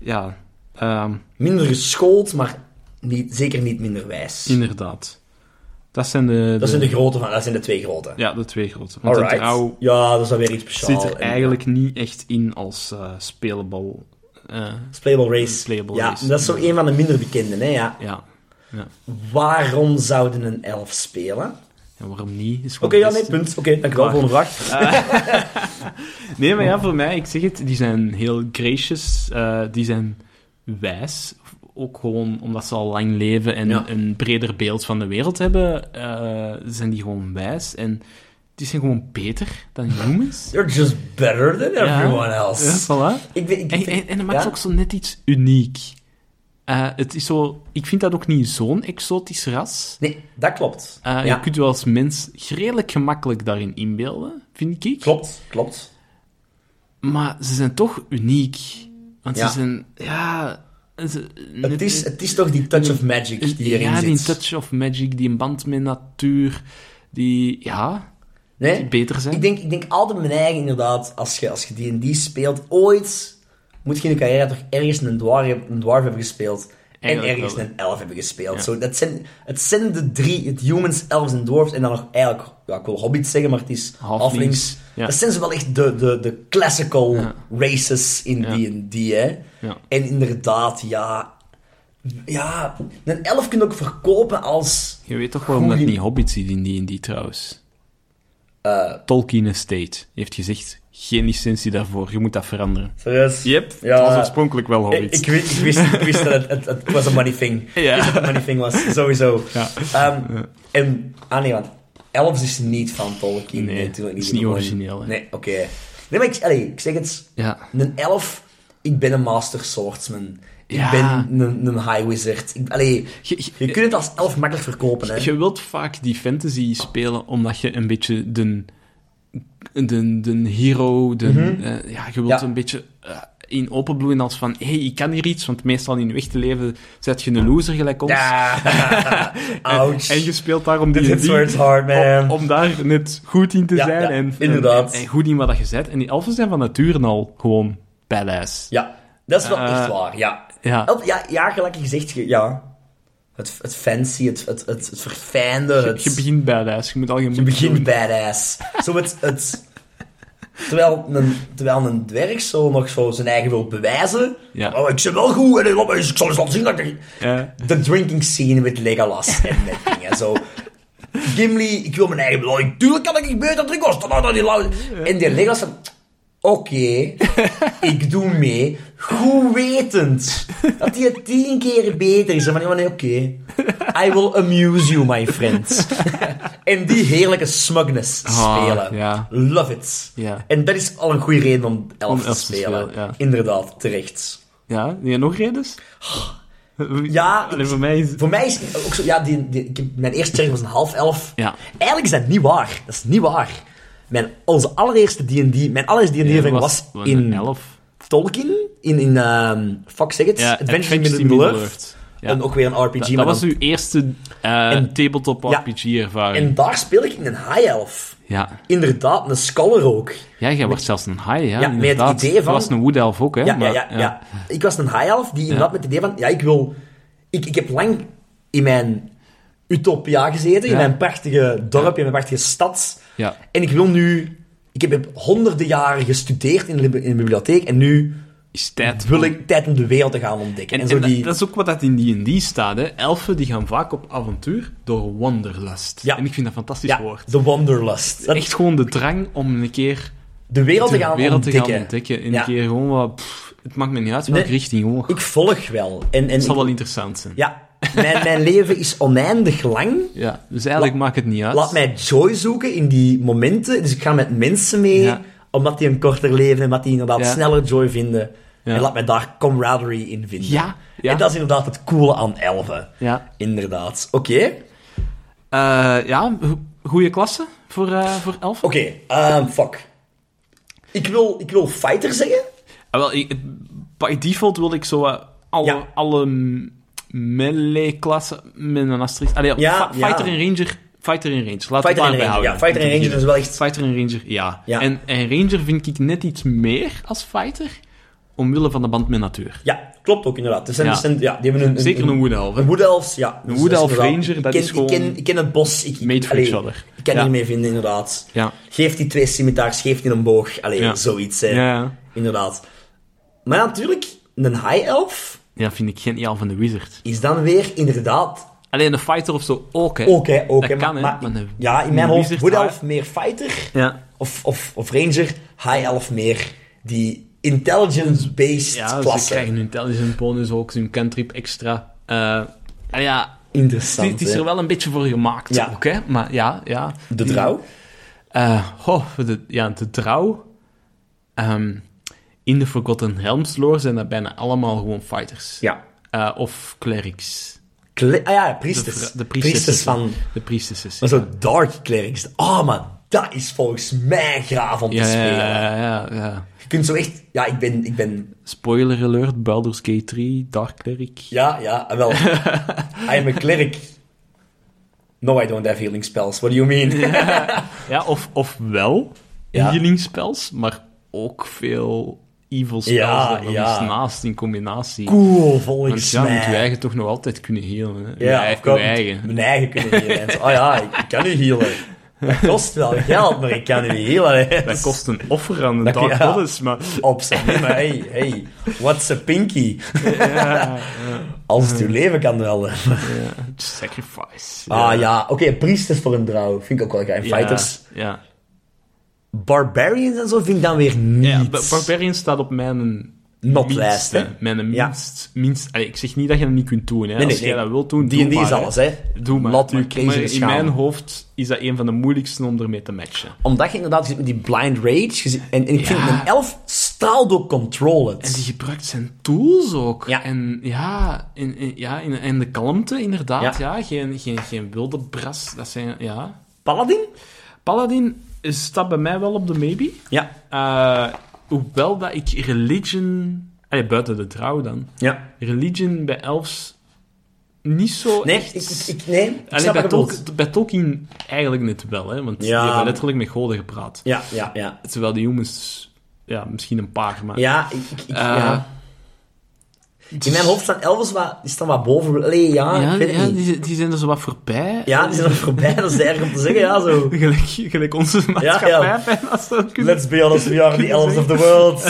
Ja, ehm,
Minder geschoold, maar niet, zeker niet minder wijs.
inderdaad. Dat zijn de...
Dat zijn de grote van... Dat zijn de twee grote.
ja, de twee grote. Want de
Alright.
trouw
Ja, dat is dan weer iets speciaals.
zit er eigenlijk niet echt in als eh speelbal. Eh,
It's Playable Race.
Playable
ja,
Race.
dat is zo een van de minder bekende, hè, ja.
ja. ja.
Waarom zouden een elf spelen? Oké,
En waarom niet? Is gewoon
ja,
best.
nee, punt. Oké, dankjewel.
Klaar.
Volgende vraag.
Nee, maar ja, voor mij, ik zeg het, die zijn heel gracious, eh, die zijn wijs. Ook gewoon omdat ze al lang leven en
Ja.
een breder beeld van de wereld hebben, eh, zijn die gewoon wijs. En die zijn gewoon beter dan humans.
You're just better than
Ja.
everyone else.
Ja, voilà.
Ik, weet- ik,
En, en, en dat maakt
ja?
ze ook zo net iets uniek. Eh, het is zo, ik vind dat ook niet zo'n exotisch ras.
Nee, dat klopt.
Eh,
ja,
Je kunt je als mens redelijk gemakkelijk daarin inbeelden, vind ik.
Klopt, klopt.
Maar ze zijn toch uniek. Want
Ja.
ze zijn, ja... Ze,
Het is, het is toch die touch of magic die hierin
ja,
zit.
die touch of magic, die een band met natuur, die, ja,
nee?
die beter zijn.
Ik denk, ik denk altijd mijn eigen, inderdaad, als je, als je D&D speelt, ooit moet je in je carrière toch ergens een dwarf, een dwarf hebben gespeeld. En
Eigenlijk
ergens
wel, hè.
een elf hebben gespeeld.
Ja.
Zo, dat zijn, het zijn de drie, het humans, elves en dwarfs. En dan nog eigenlijk, ja, ik wil hobbits zeggen, maar het is
Halflings,
halflings.
ja.
Dat zijn ze wel echt de, de, de classical
Ja.
races in
Ja.
D&D, hè.
Ja.
En inderdaad, ja... Ja, een elf kun je ook verkopen als...
Je weet toch waarom dat
Goeie-
niet hobbits ziet in die en die trouwens?
Eh.
Tolkien Estate heeft gezegd, geen licentie daarvoor, je moet dat veranderen.
Serieus?
Yep,
Ja.
het was oorspronkelijk wel
Ik,
hobbits.
ik, wist, ik, wist, ik wist dat het, het, het was een money thing.
Ja.
Ik wist dat het een money thing was, sowieso.
Ja.
Ehm, en, ah nee, want Elves is niet van Tolkien.
Nee,
natuurlijk
is niet
Gewoon-
origineel, hè.
Nee, oké. Nee, maar ik, allee, ik zeg het,
Ja.
een elf, ik ben een master swordsman. Ik
Ja.
ben een, een high wizard. Ik, allee,
Je-
je,
je-
kunt het als elf makkelijk verkopen, hè.
Je wilt vaak die fantasy spelen omdat je een beetje de, de, de hero, de, eh, ja, je
Mhm.
wilt
Ja.
een beetje eh, in openbloeien als van, hé, hey, ik kan hier iets, want meestal in je echte leven zet je een loser gelijk ons.
Ja, ouch.
En je speelt daarom die
That's where it's hard, man.
om, om daar net goed in te
eh, Ja,
zijn
ja,
en,
inderdaad.
en, en goed in wat je zet. En die elfen zijn van nature al gewoon badass.
Ja, dat is wel
Eh,
echt waar, ja.
Ja.
Elf- Ja, ja gelijk gezegd, je- ja. Het, het fancy, het, het, het, het verfijnde,
Je,
het...
je begint badass, je moet al je
Je
moed
begint
doen.
badass. Zo het, het, Terwijl een, terwijl een dwerg zo nog zo zijn eigen wil bewijzen.
Ja.
Oh, ik ben wel goed en ik, ik zal eens laten zien dat ik...
Ja.
De drinking scene met Legolas en met dingen zo. Gimli, ik wil mijn eigen beloning. Tuurlijk kan ik beter drinken als dat nou dan die lauwe... En die Legolas van... Oké, ik doe mee. Goed wetend dat hij het tien keer beter is. En van, ja, maar nee, oké. I will amuse you, my friends. en die heerlijke smugness
Ah,
spelen.
ja.
Love it.
Ja.
En dat is al een goede reden om elf,
Om
te,
elf te
spelen.
spelen, ja.
Inderdaad, terecht.
Ja, ja nog redens?
Ja,
Allee, voor mij is...
Voor mij is ook zo, ja, die, die- ik heb- mijn eerste cherry was een half elf.
Ja.
Eigenlijk is dat niet waar. Dat is niet waar. Mijn, onze allereerste D&D, mijn allereerste D&D ervaring was, in
een elf.
Tolkien, in, in ehm, fuck zeg het,
Ja,
Adventures in
Adventures in
Middle
Middle
Earth.
Earth. Ja.
En ook weer een RPG.
Dat,
maar
dat was
dan-
uw eerste eh,
En-
tabletop
Ja.
RPG-ervaring.
en daar speel ik in een high elf.
Ja.
Inderdaad, een scholar ook.
ja, jij was zelfs een high, ja,
met het
inderdaad.
idee
Dat
van-
was een wood elf ook, hè.
Ja,
maar-
ja, ja, ja. Ik was een high elf die inderdaad met het idee van, ja, ik wil... Ik, ik heb lang in mijn utopia gezeten, in
Ja.
mijn prachtige dorp, in mijn prachtige stad.
Ja.
En ik wil nu... Ik heb- heb honderden jaren gestudeerd in de, lib- in de bibliotheek en nu
Is tijd.
wil ik tijd om de wereld te gaan ontdekken.
En,
En, zo
en dat-
die...
dat is ook wat dat in D&D staat, hè. Elfen die gaan vaak op avontuur door wanderlust.
Ja.
En ik vind dat een fantastisch
ja,
woord.
de wanderlust. Dat-
Echt gewoon de drang om een keer
de wereld te
de
gaan
wereld te
ontdekken.
gaan ontdekken. En
Ja.
een keer gewoon wat... pff, het maakt me niet uit welke
Nee.
richting, gewoon.
Ik volg wel. En, en
Het zal
ik-
wel interessant zijn.
ja, mijn, mijn leven is oneindig lang.
Ja, dus eigenlijk maakt het niet uit.
Laat mij joy zoeken in die momenten. Dus ik ga met mensen mee,
Ja.
omdat die een korter leven en omdat die inderdaad
Ja.
sneller joy vinden.
Ja.
En laat mij daar camaraderie in vinden.
Ja, ja.
En dat is inderdaad het coole aan elven.
Ja.
Inderdaad. Oké.
Eh, ja, goede klasse voor, eh voor elf.
Oké. ehm, fuck. Ik wil, ik wil fighter zeggen.
Ah, wel, ik, by default wil ik zo wat alle,
Ja.
alle m- melee-klassen met een asterisk... Allee,
Ja,
fi- fighter
ja.
en ranger... Fighter en ranger. Laat
Fighter
het
en
daarbij
ranger.
houden.
Ja, fighter en ranger is wel echt...
Fighter en ranger, ja.
Ja.
En, en ranger vind ik net iets meer als fighter, omwille van de band met natuur.
Ja, klopt ook inderdaad. Er zijn,
Ja.
er zijn- ja, die hebben een,
Zeker een wood elf, hè.
Een wood elf, ja. Dus
wood
dat is
elf
inderdaad-
ranger,
ik
dat
ken-
is gewoon
Ik ken, ik ken het bos. Ik, ik-
made for
allee,
each other.
Ik kan
Ja.
hiermee vinden, inderdaad.
Ja.
Geef die twee scimitars, geef die een boog. Allee,
Ja.
zoiets, hè.
Ja.
Inderdaad. Maar natuurlijk, een high elf
Ja, vind ik geniaal van de wizard.
is dan weer inderdaad...
Alleen een fighter of zo ook, hè.
Ook, hè, ook,
Dat
hè.
kan, hè,
maar,
maar een-
ja, in
een
mijn hoofd,
wizard
wood
high-
elf meer fighter.
Ja.
Of, of, of ranger, high elf meer die intelligence-based
Ja, dus ze
klasse.
krijgen hun intelligent bonus ook, hun cantrip extra. Eh, ah ja, het,
Interessant,
het is
hè.
er wel een beetje voor gemaakt
Ja.
ook, hè. Maar ja, ja.
De trouw?
Eh, goh, de, ja, de trouw. Ehm, in de Forgotten Realms lore zijn dat bijna allemaal gewoon fighters.
Ja.
Eh, of clerics.
Kle- ah ja,
De,
priesters.
vra- de
priesters.
priestesses.
van...
De priestesses.
Maar zo dark clerics. Ah, maar dat is volgens mij graaf om te
Ja, ja,
spelen.
ja, ja, ja.
Je kunt zo echt... Ja, ik ben... Ik ben
Spoiler alert, Baldur's Gate 3, Dark Cleric.
ja, ja, ah, wel. I am a cleric. No, I don't have healing spells. What do you mean?
Ja, of, of wel
Ja.
healing spells, maar ook veel evil spells
Ja,
er nog
ja.
eens naast in combinatie.
Cool,
Want
volgens
ja, je moet
mij.
je eigen toch nog altijd kunnen healen. Hè?
ja,
je
of
eigen,
kan-
je eigen.
Mijn eigen kunnen healen. En zo, Ah ja, ik, ik kan u healen. Dat kost wel geld, maar ik kan u healen. hè.
Dat kost een offer aan de Dark
ja.
Goddess, maar...
Op zijn maar hey, hey, what's a pinky? Als het uw leven kan wel.
Sacrifice.
Ah ja, oké, priesters voor een trouw. Vind ik ook wel gaaf. En
Ja,
fighters.
Ja.
Barbarians en zo vind ik dan weer niet.
ja. Bar- Barbarian staat op mijn...
Not
minste-
last, hè?
Mijn
Ja.
minst... minst allee, ik zeg niet dat je dat niet kunt doen, hè.
nee,
Als jij
nee.
dat wilt doen,
Die
doe
en die
maar,
is alles, hè?
Doe maar.
Laat uw
Maar-
keizer
maar in
schamen.
mijn hoofd is dat een van de moeilijkste om ermee te matchen.
Omdat je inderdaad je zit met die blind rage. je zit- en, en ik vind
Ja.
een elf straalt ook control
En die
het.
gebruikt zijn tools ook.
Ja.
En ja, en, en- ja en, en de kalmte inderdaad.
Ja.
Ja. Geen, geen, geen wilde bras. Dat zijn, ja.
Paladin?
Paladin is- staat bij mij wel op de maybe.
Ja.
Eh, hoewel dat ik religion... Allee, buiten de trouw dan.
Ja.
Religion bij elfs niet zo
Nee,
echt...
ik, ik, ik- nee, ik
Allee,
snap
bij,
wat je
Tolk-
bedoelt.
bij Tolkien eigenlijk net wel, hè. Want
Ja.
die hebben letterlijk met goden gepraat.
Ja, ja, ja. Eh,
Terwijl de humans... Ja, misschien een paar, maar...
Ja, ik, ik- ik- ja.
Eh,
In mijn hoofd staan elfers wat, die staan wat boven. Allee, ja,
Ja,
Ah, ik weet het
ja
niet.
die, die zijn er zo wat voorbij.
Ja, die zijn er voorbij, dat is erg om te zeggen, ja, zo.
Gelijk, gelijk onze maatschappij
ja.
bijna zou kunnen.
Let's be honest, we are the elves of the world.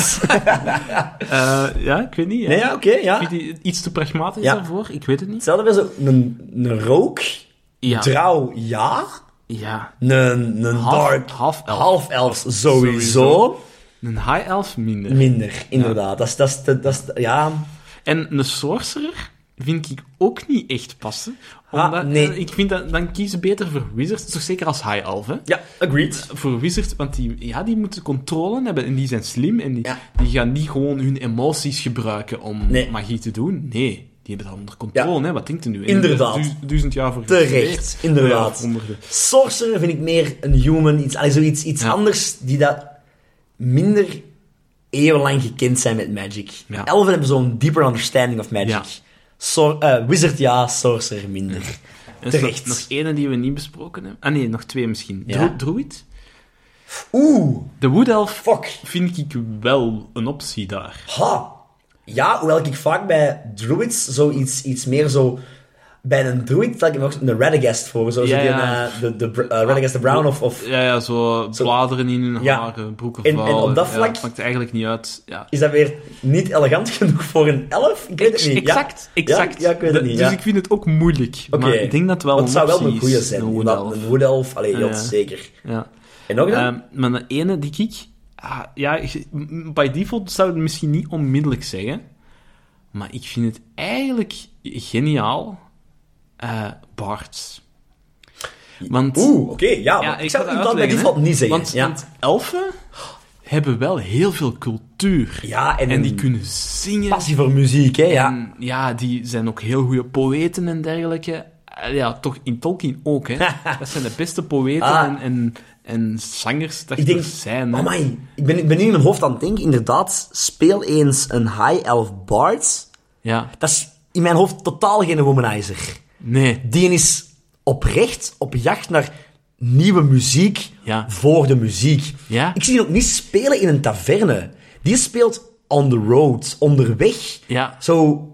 Eh, ja, ik weet niet. ja.
Nee, ja, oké, ja.
Vind je die iets te pragmatisch
Ja.
daarvoor? Ik weet het niet.
Hetzelfde bij zo, een, een rook,
Ja.
trouw, ja.
ja.
Een, een
Half,
dark,
half elf.
half elfs sowieso.
Sowieso. Een high elf minder.
Minder, inderdaad. Dat is, dat is, te- dat is, te- ja.
En een sorcerer vind ik ook niet echt passen.
Ah,
Omdat,
nee.
eh, Ik vind dat, dan kies je beter voor wizards, toch zeker als high elf, hè?
Ja, agreed.
Voor wizards, want die, ja, die moeten controle hebben en die zijn slim en die,
Ja.
die gaan niet gewoon hun emoties gebruiken om
Nee.
magie te doen. Nee, die hebben dat onder controle,
Ja.
hè? Wat denkt u nu? En
Inderdadaad.
die hebben er du- duizend jaar voor
Terecht,
gestudeerd.
inderdaad.
Ja, onder de-
Sorcerer vind ik meer een human, iets, allee, zoiets, iets
Ja.
anders die dat minder eeuwenlang gekend zijn met magic.
Ja.
Elven hebben zo'n deeper understanding of magic.
Ja.
Sor- eh, wizard ja, sorcerer minder.
Er is
Terecht.
Nog, nog ene die we niet besproken hebben. Ah nee, nog twee misschien.
Ja.
Dro- Druid?
Oeh,
De Wood Elf
fuck.
vind ik wel een optie daar.
Ha. Ja, hoewel ik vaak bij druids zoiets iets meer zo... Bij een druid stel ik me ook een Radagast voor. Zo, zo
Ja,
die,
ja.
eh, de, de, br- eh, Radagast de Brown of... of
Ja, ja zo, bladeren in hun
Ja.
haren, broeken
En- en op
vouwen.
dat
Ja,
vlak-
het maakt eigenlijk niet uit. Ja.
is dat weer niet elegant genoeg voor een elf? Ik weet het niet. Ja.
Exact, exact.
Ja, ja, ik weet het
De-
niet.
Dus
ja.
ik vind het ook moeilijk.
Oké.
Maar ik denk dat het wel
Want het
een
zou wel
optie
een goede
is,
zijn.
een Wood
inderdaad.
Elf.
Een Wood Elf, allee, ja,
Ja.
zeker.
Ja.
En nog een?
Ehm, maar de ene die ik... ah, ja, m- by default zou ik het misschien niet onmiddellijk zeggen. Maar ik vind het eigenlijk geniaal. eh Bart. Want...
Oeh, oké, ja. maar
ja,
ik, zou
ga
het dan bij
uitleggen,
default
hè.
niet zeggen.
Want,
ja.
want elfen hebben wel heel veel cultuur.
ja, en,
En die
een
kunnen zingen.
passie voor muziek, hè. Ja.
En Mm, ja, die zijn ook heel goede poëten en dergelijke. Eh, Ja, toch in Tolkien ook, hè. Dat zijn de beste poëten
Ah.
en, en, en zangers dat
Ik
ik
denk, Oh
zijn, hè.
amai, ik ben, ik ben nu in mijn hoofd aan het denken. Inderdaad, speel eens een high elf bard.
Ja,
Dat is in mijn hoofd totaal geen womanizer.
nee.
Die is oprecht op jacht naar nieuwe muziek
Ja.
voor de muziek.
Ja.
Ik zie die ook niet spelen in een taverne. Die speelt on the road, onderweg.
Ja.
Zo,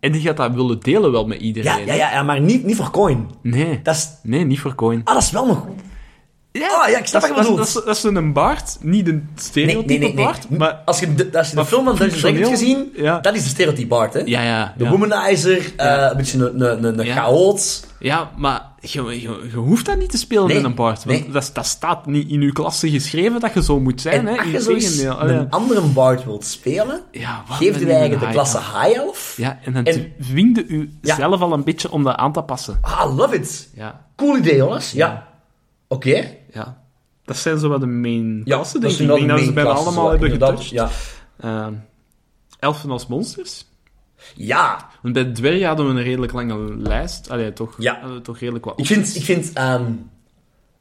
En die gaat dat willen delen wel met
ja,
iedereen.
ja, ja, ja, maar niet, niet voor coin.
Nee.
Dat is,
Nee, niet voor coin.
ah, dat is wel nog... Ah, ja, ik snap wat
dat,
je
is-
bedoelt.
dat, is- dat is een baard, niet een stereotype baard, maar...
als je de, als je de
maar
film van Dungeons Dragons hebt
functioneel,
gezien,
ja.
dat is de stereotype Bart, hè?
Ja, ja.
De
ja.
womanizer, eh, een beetje een, een, een, een
Ja.
chaot.
Ja, maar je, je, je hoeft dat niet te spelen
Nee,
met een bard. Want
nee.
dat, dat staat niet in uw klasse geschreven dat je zo moet zijn.
En
Hè?
als je
In
zo eens
tegendeel. Ah, Oh,
een andere Bart wilt spelen,
Ja, wat
geef
een
je eigenlijk de
high
klasse
elf.
high elf.
Ja, en dan
En-
dwingde u
Ja.
zelf al een beetje om dat aan te passen.
Ah, I love it.
Ja,
Cool idee, jongens. Ja. Oké.
ja. Dat zijn zo wat de main
Ja,
klassen,
dat
denk
is
ik. Ik
inderdaad
denk dat
de
ze bijna
main klasse,
allemaal hebben
inderdaad,
getouched. Ehm, elfen als monsters.
Ja. ja.
Want bij dwergen hadden we een redelijk lange lijst. Allee, toch,
Ja.
hadden we toch redelijk wat
Ik
opties.
vind, ik vind ehm,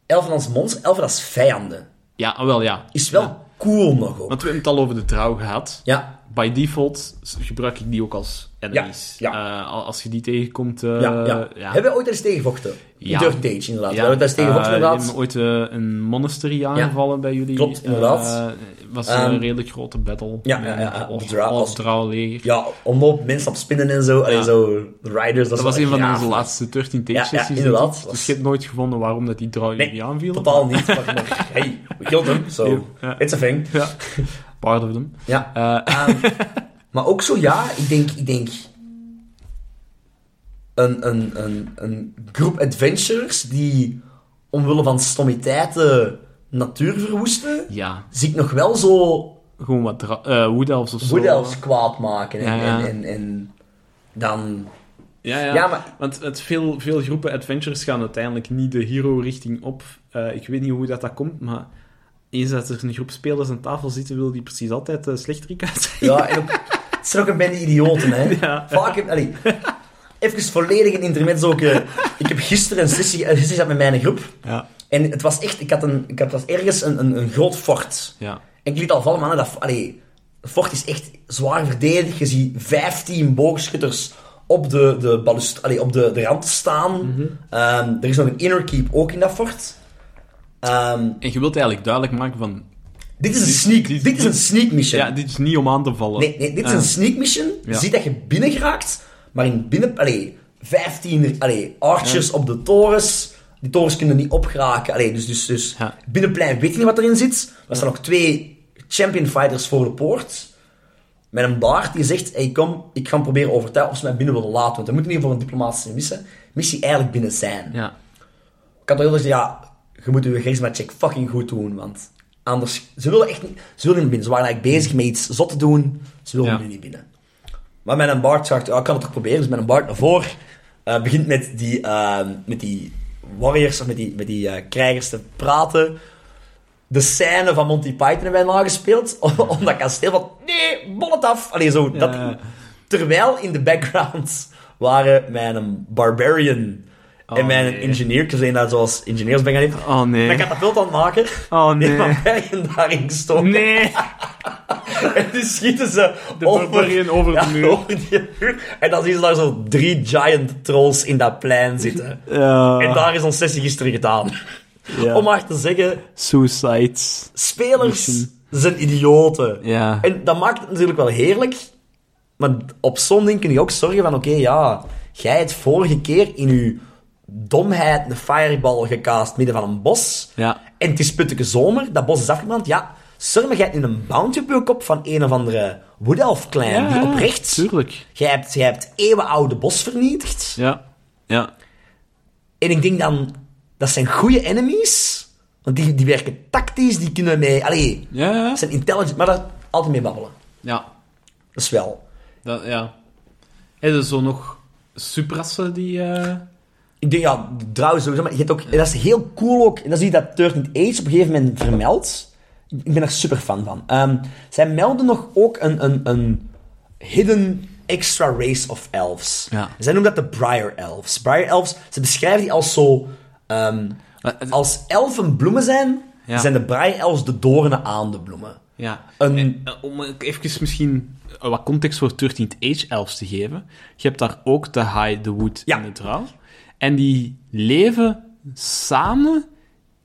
elfen als monsters, elfen als vijanden,
Ja, ah, wel ja.
is wel cool nog ook.
Want we hebben het al over de trouw gehad.
Ja.
By default gebruik ik die ook als enemies.
Ja,
Eh, al- als je die tegenkomt... eh,
Ja, ja.
ja.
Hebben we ooit eens tegenvochten? Ja.
Ja.
Dirt Age, inderdaad.
Ja,
We hebben ooit eens tegenvochten,
eh,
inderdaad.
hebben ooit eh, een monastery aangevallen bij jullie.
Klopt, inderdaad.
Eh, was
Ehm,
een redelijk grote battle.
ja, ja, ja, ja,
Of,
de dra-
of
als-
Drauwleger.
Ja, omloop, mensen op spinnen en zo. Allee, zo, de riders. Dat,
Dat was een van onze
laatste.
laatste 13
ja,
takesessies.
inderdaad.
Dus je hebt nooit gevonden waarom dat die draai jullie aanviel.
totaal niet. Maar, maar, hey, we killed him, so
Ja.
it's a thing.
Ja, pardon them.
Ja. Ehm,
Eh,
Maar ook zo, ja, ik denk... Ik denk een, een, een, een groep adventurers die omwille van stomiteit de natuur verwoesten,
ja,
zie ik nog wel zo
gewoon wat dra- eh, wood elves of zo.
Wood Elves kwaad maken. En,
Ja, ja.
En, en, en dan...
Ja, ja.
Ja, maar-
want het veel, veel groepen adventures gaan uiteindelijk niet de hero-richting op. Eh, ik weet niet hoe dat, dat komt, maar eens dat er een groep spelers aan tafel zitten, wil die precies altijd uh, slechterik uit zijn.
Ja, en ook, het is er ook een bende idioten, hè.
Ja.
Vaak heb... Allee, even volledig een intermezzo. Ik, eh, ik heb gisteren een sessie, een sessie gehad met mijn groep.
Ja.
En het was echt... Ik had, een, ik had was ergens een, een, een groot fort.
Ja.
En ik liet al vallen, mannen, dat... Allee, het fort is echt zwaar verdedigd. Je ziet 15 boogschutters op de, de, balust, allee, op de, de rand staan. Ehm, er is nog een inner keep ook in dat fort. Ehm,
En je wilt eigenlijk duidelijk maken van...
Dit is een sneak. Dit, is een sneak mission.
Ja, dit is niet om aan te vallen.
Nee, nee, dit is
Ah.
een sneak mission. Je
Ja.
ziet dat je binnen geraakt, maar in binnen... Allee, 15 allee, archers op de torens. Die torens kunnen niet opgeraken. Allee, dus, dus, dus
Ja.
binnenplein weet je niet wat erin zit. Er staan nog twee champion fighters voor de poort. Met een baard die zegt, hey, kom, ik ga hem proberen overtuigen of ze mij binnen willen laten. Want we moeten in ieder geval een diplomatische missie, missie eigenlijk binnen zijn.
Ja.
Ik had al heel erg gezegd, ja, je moet je charisma check fucking goed doen, want anders... Ze willen echt niet... Ze willen niet binnen. Ze waren eigenlijk bezig met iets zot te doen. Ze willen
Ja.
nu niet binnen. Maar met een Bart zegt, ja, ik kan het toch proberen. Dus met een Bart naar voren. eh, begint met die, eh, met die warriors, of met die, met die eh, krijgers te praten. De scène van Monty Python hebben wij nagespeeld. Om, om dat kasteel van, nee, bol het af. Allee, zo. Dat,
Ja.
terwijl in de background waren mijn barbarian en
Oh,
mijn
nee.
engineer. Ik was een dat zoals ingenieurs ben gaan in.
Oh nee.
Dat katapult aan het maken.
Oh, nee.
Die barbarian daarin gestoken.
Nee.
En dus schieten ze
De barbarian over de
ja,
muur.
over die muur. En dan zien ze daar zo drie giant trolls in dat plein zitten. En daar is ons sessie gisteren gedaan.
Ja.
Om maar te zeggen,
Suicides.
spelers
Misschien.
zijn idioten.
Ja.
En dat maakt het natuurlijk wel heerlijk. Maar op zo'n ding kun je ook zorgen van... Oké, ja, jij hebt vorige keer in je domheid een fireball gekaast midden van een bos.
Ja.
En het is putteke zomer, dat bos is afgebrand. Ja, sorry, maar jij hebt nu een bounty op je kop van een of andere wood elf clan. die oprecht...
Tuurlijk.
Jij hebt, jij hebt eeuwenoude bos vernietigd.
Ja. Ja.
En ik denk dan... Dat zijn goede enemies. Want die, die werken tactisch, die kunnen mee... Allee,
Ja.
dat zijn intelligent, maar daar altijd mee babbelen.
Ja.
Dat is wel.
Dat, ja. Is er zo nog suprassen die... eh,
Ik denk, ja, trouwens, sowieso, maar je hebt ook, en dat is heel cool ook, en dat is iets dat 13 Age op een gegeven moment vermeldt. Ik ben er super fan van. Ehm, zij melden nog ook een, een, een hidden extra race of elves.
Ja.
Zij noemen dat de Briar Elves. Briar Elves, ze beschrijven die als zo... ehm,
Maar het-
als elfen bloemen zijn,
Ja.
zijn de Briar Elves de doornen aan de bloemen.
Ja.
Een-
Eh, eh, om even misschien eh, wat context voor 13th Age Elves te geven. Je hebt daar ook de High, de Wood
Ja.
en de Drow. En die leven samen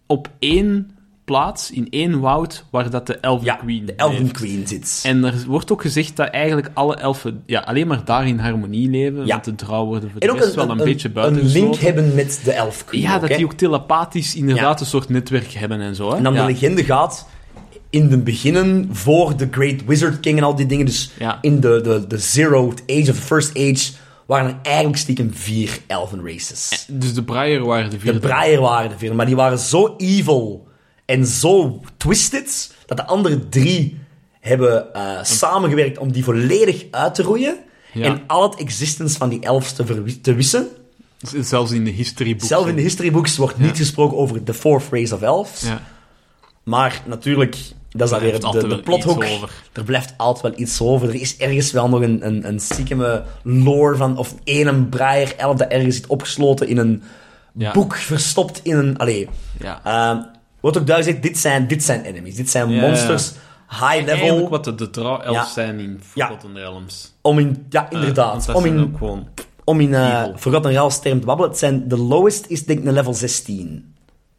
op één plaats, in één woud, waar dat de Elven
Ja,
Queen
de Elven
leeft.
Queen zit.
En er wordt ook gezegd dat eigenlijk alle elfen ja, alleen maar daar in harmonie leven.
Ja.
Want de Drow worden voor
En
de rest wel een, beetje buiten
een link hebben met de Elf Queen.
Ja,
ook,
dat
hè.
die ook telepathisch inderdaad een soort netwerk hebben en zo. Hè?
En dan
ja.
de legende gaat in de beginnen voor de Great Wizard King en al die dingen. Dus
Ja.
in de, de, de Zero Age of the First Age waren er eigenlijk stiekem vier elven races.
Dus de Briar waren de
De
vierde.
Briar waren er vier, maar die waren zo evil en zo twisted dat de andere drie hebben eh, samengewerkt om die volledig uit te roeien.
Ja.
En al het existence van die elfs te, verwi- te wissen.
Z- Zelfs in de historyboeken.
Zelf in de historybooks wordt niet gesproken over de fourth race of elves.
Ja.
Maar natuurlijk, dat is dan
Er
weer
blijft altijd
de, de
wel
plothoek.
iets over.
Er blijft altijd wel iets over. Er is ergens wel nog een, een, een stiekeme lore van... Of één braaier elf dat ergens zit opgesloten in een
Ja.
boek. Verstopt in een... Allee.
Ja.
Ehm, wat ook duidelijk zegt, dit zijn, dit zijn enemies. Dit zijn
Ja.
monsters. High level.
Eigenlijk wat de, de draw elves
Ja.
zijn in Forgotten Realms.
Om in... Ja,
Eh, want
inderdaad.
dat
om
zijn ook
in,
gewoon...
om in eh
evil.
Forgotten Realms term te babbelen. Het zijn... De lowest is denk ik een level 16.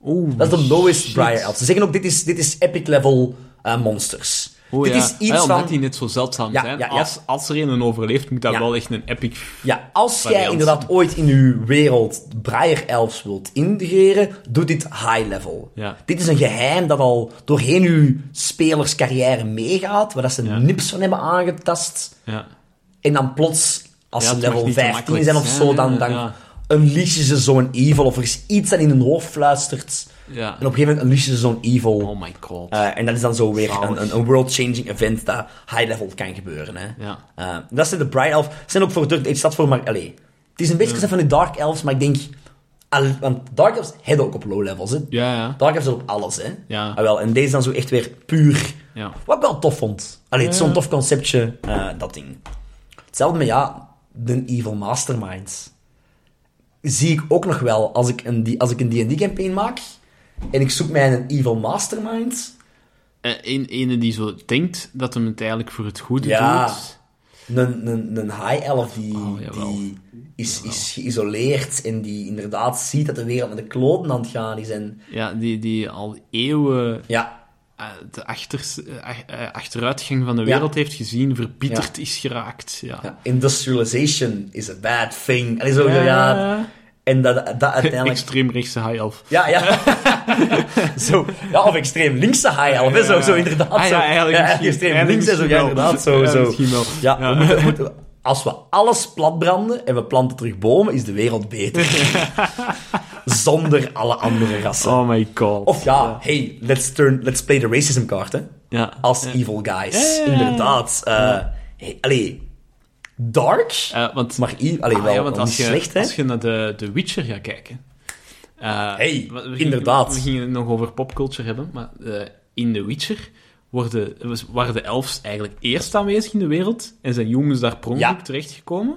Oeh,
Dat is de lowest
Oh, shit.
Briar Elf. Ze zeggen ook, dit is, dit is epic level eh, monsters.
Oh,
dit
ja.
is iets
Ah, ja, omdat
van...
die net zo zeldzaam
Ja,
zijn.
ja, ja.
Als, als er een overleeft, moet dat
Ja.
wel echt een epic...
Ja, als jij
Variant.
inderdaad ooit in uw wereld Briar Elves wilt integreren, doe dit high level.
Ja.
Dit is een geheim dat al doorheen uw spelerscarrière meegaat, waar dat ze nips van hebben aangetast.
Ja.
En dan plots, als
Ja,
ze
het mag
level
niet te
15
makkelijk
zijn of
zijn,
zo,
hè,
dan, dan
ja.
unleashen ze zo'n evil. Of er is iets dat in hun hoofd fluistert.
Ja.
En op een gegeven moment unleashen ze zo'n evil.
Oh my god.
Eh, en dat is dan zo weer
Zalig.
een, een, een world-changing event dat high-level kan gebeuren. Hè.
Ja.
Eh, dat zijn de Bright Elf. Zijn ook voor Dirt Age staat voor, maar allee. Het is een beetje gezegd van de Dark Elves, maar ik denk... al- want Dark Elves hebben ook op low levels, hè.
Ja, ja.
Dark Elves hebben op alles, hè.
Ja.
Ah, wel, en deze dan zo echt weer puur.
Ja.
Wat ik wel tof vond. Allee, het is zo'n
Ja.
tof conceptje, eh, dat ding. Hetzelfde met, ja, de Evil Masterminds. Zie ik ook nog wel, als ik een D- als ik een D&D-campaign maak... En ik zoek mij een evil mastermind.
Eh, een, ene die zo denkt dat hem het eigenlijk voor het goede
Ja.
doet.
een, een, een high elf die,
Oh, jawel.
die is, is geïsoleerd en die inderdaad ziet dat de wereld naar de kloten aan het gaan is. En
Ja, die, die al eeuwen
ja,
eh, de achters, eh, ach- eh, achteruitgang van de wereld heeft gezien, verbitterd is geraakt. Ja.
Ja, industrialization is a bad thing. En zo, ja. En dat, dat uiteindelijk...
Extreemrechtse high elf.
Ja, ja. zo, ja, of extreem linkse high elf, hè, zo, zo inderdaad.
Ah,
zo.
ja, eigenlijk misschien.
extreem
Eigenlijk
links en zo, ja,
misschien wel.
inderdaad, zo,
Ja,
zo.
misschien wel.
Ja,
Ja.
We moeten, we moeten- als we alles platbranden en we planten terug bomen, is de wereld beter. Zonder alle andere rassen.
Oh my god.
Of ja, hey, let's, turn, let's play the racism kaart, hè.
ja.
Als
Ja.
evil guys.
Ja, ja, ja.
Inderdaad. eh, hey, allee, dark,
Eh, want,
maar i- allee,
Ah,
wel,
ja, want
wel niet
als je,
slecht, hè.
Als je naar de, de Witcher gaat kijken... eh,
Hey,
wat- we
inderdaad.
Gingen, we gingen het nog over popculture hebben, maar eh, in The Witcher worden, was- waren de elfs eigenlijk eerst aanwezig in de wereld en zijn jongens daar per ongeluk
Ja.
terechtgekomen.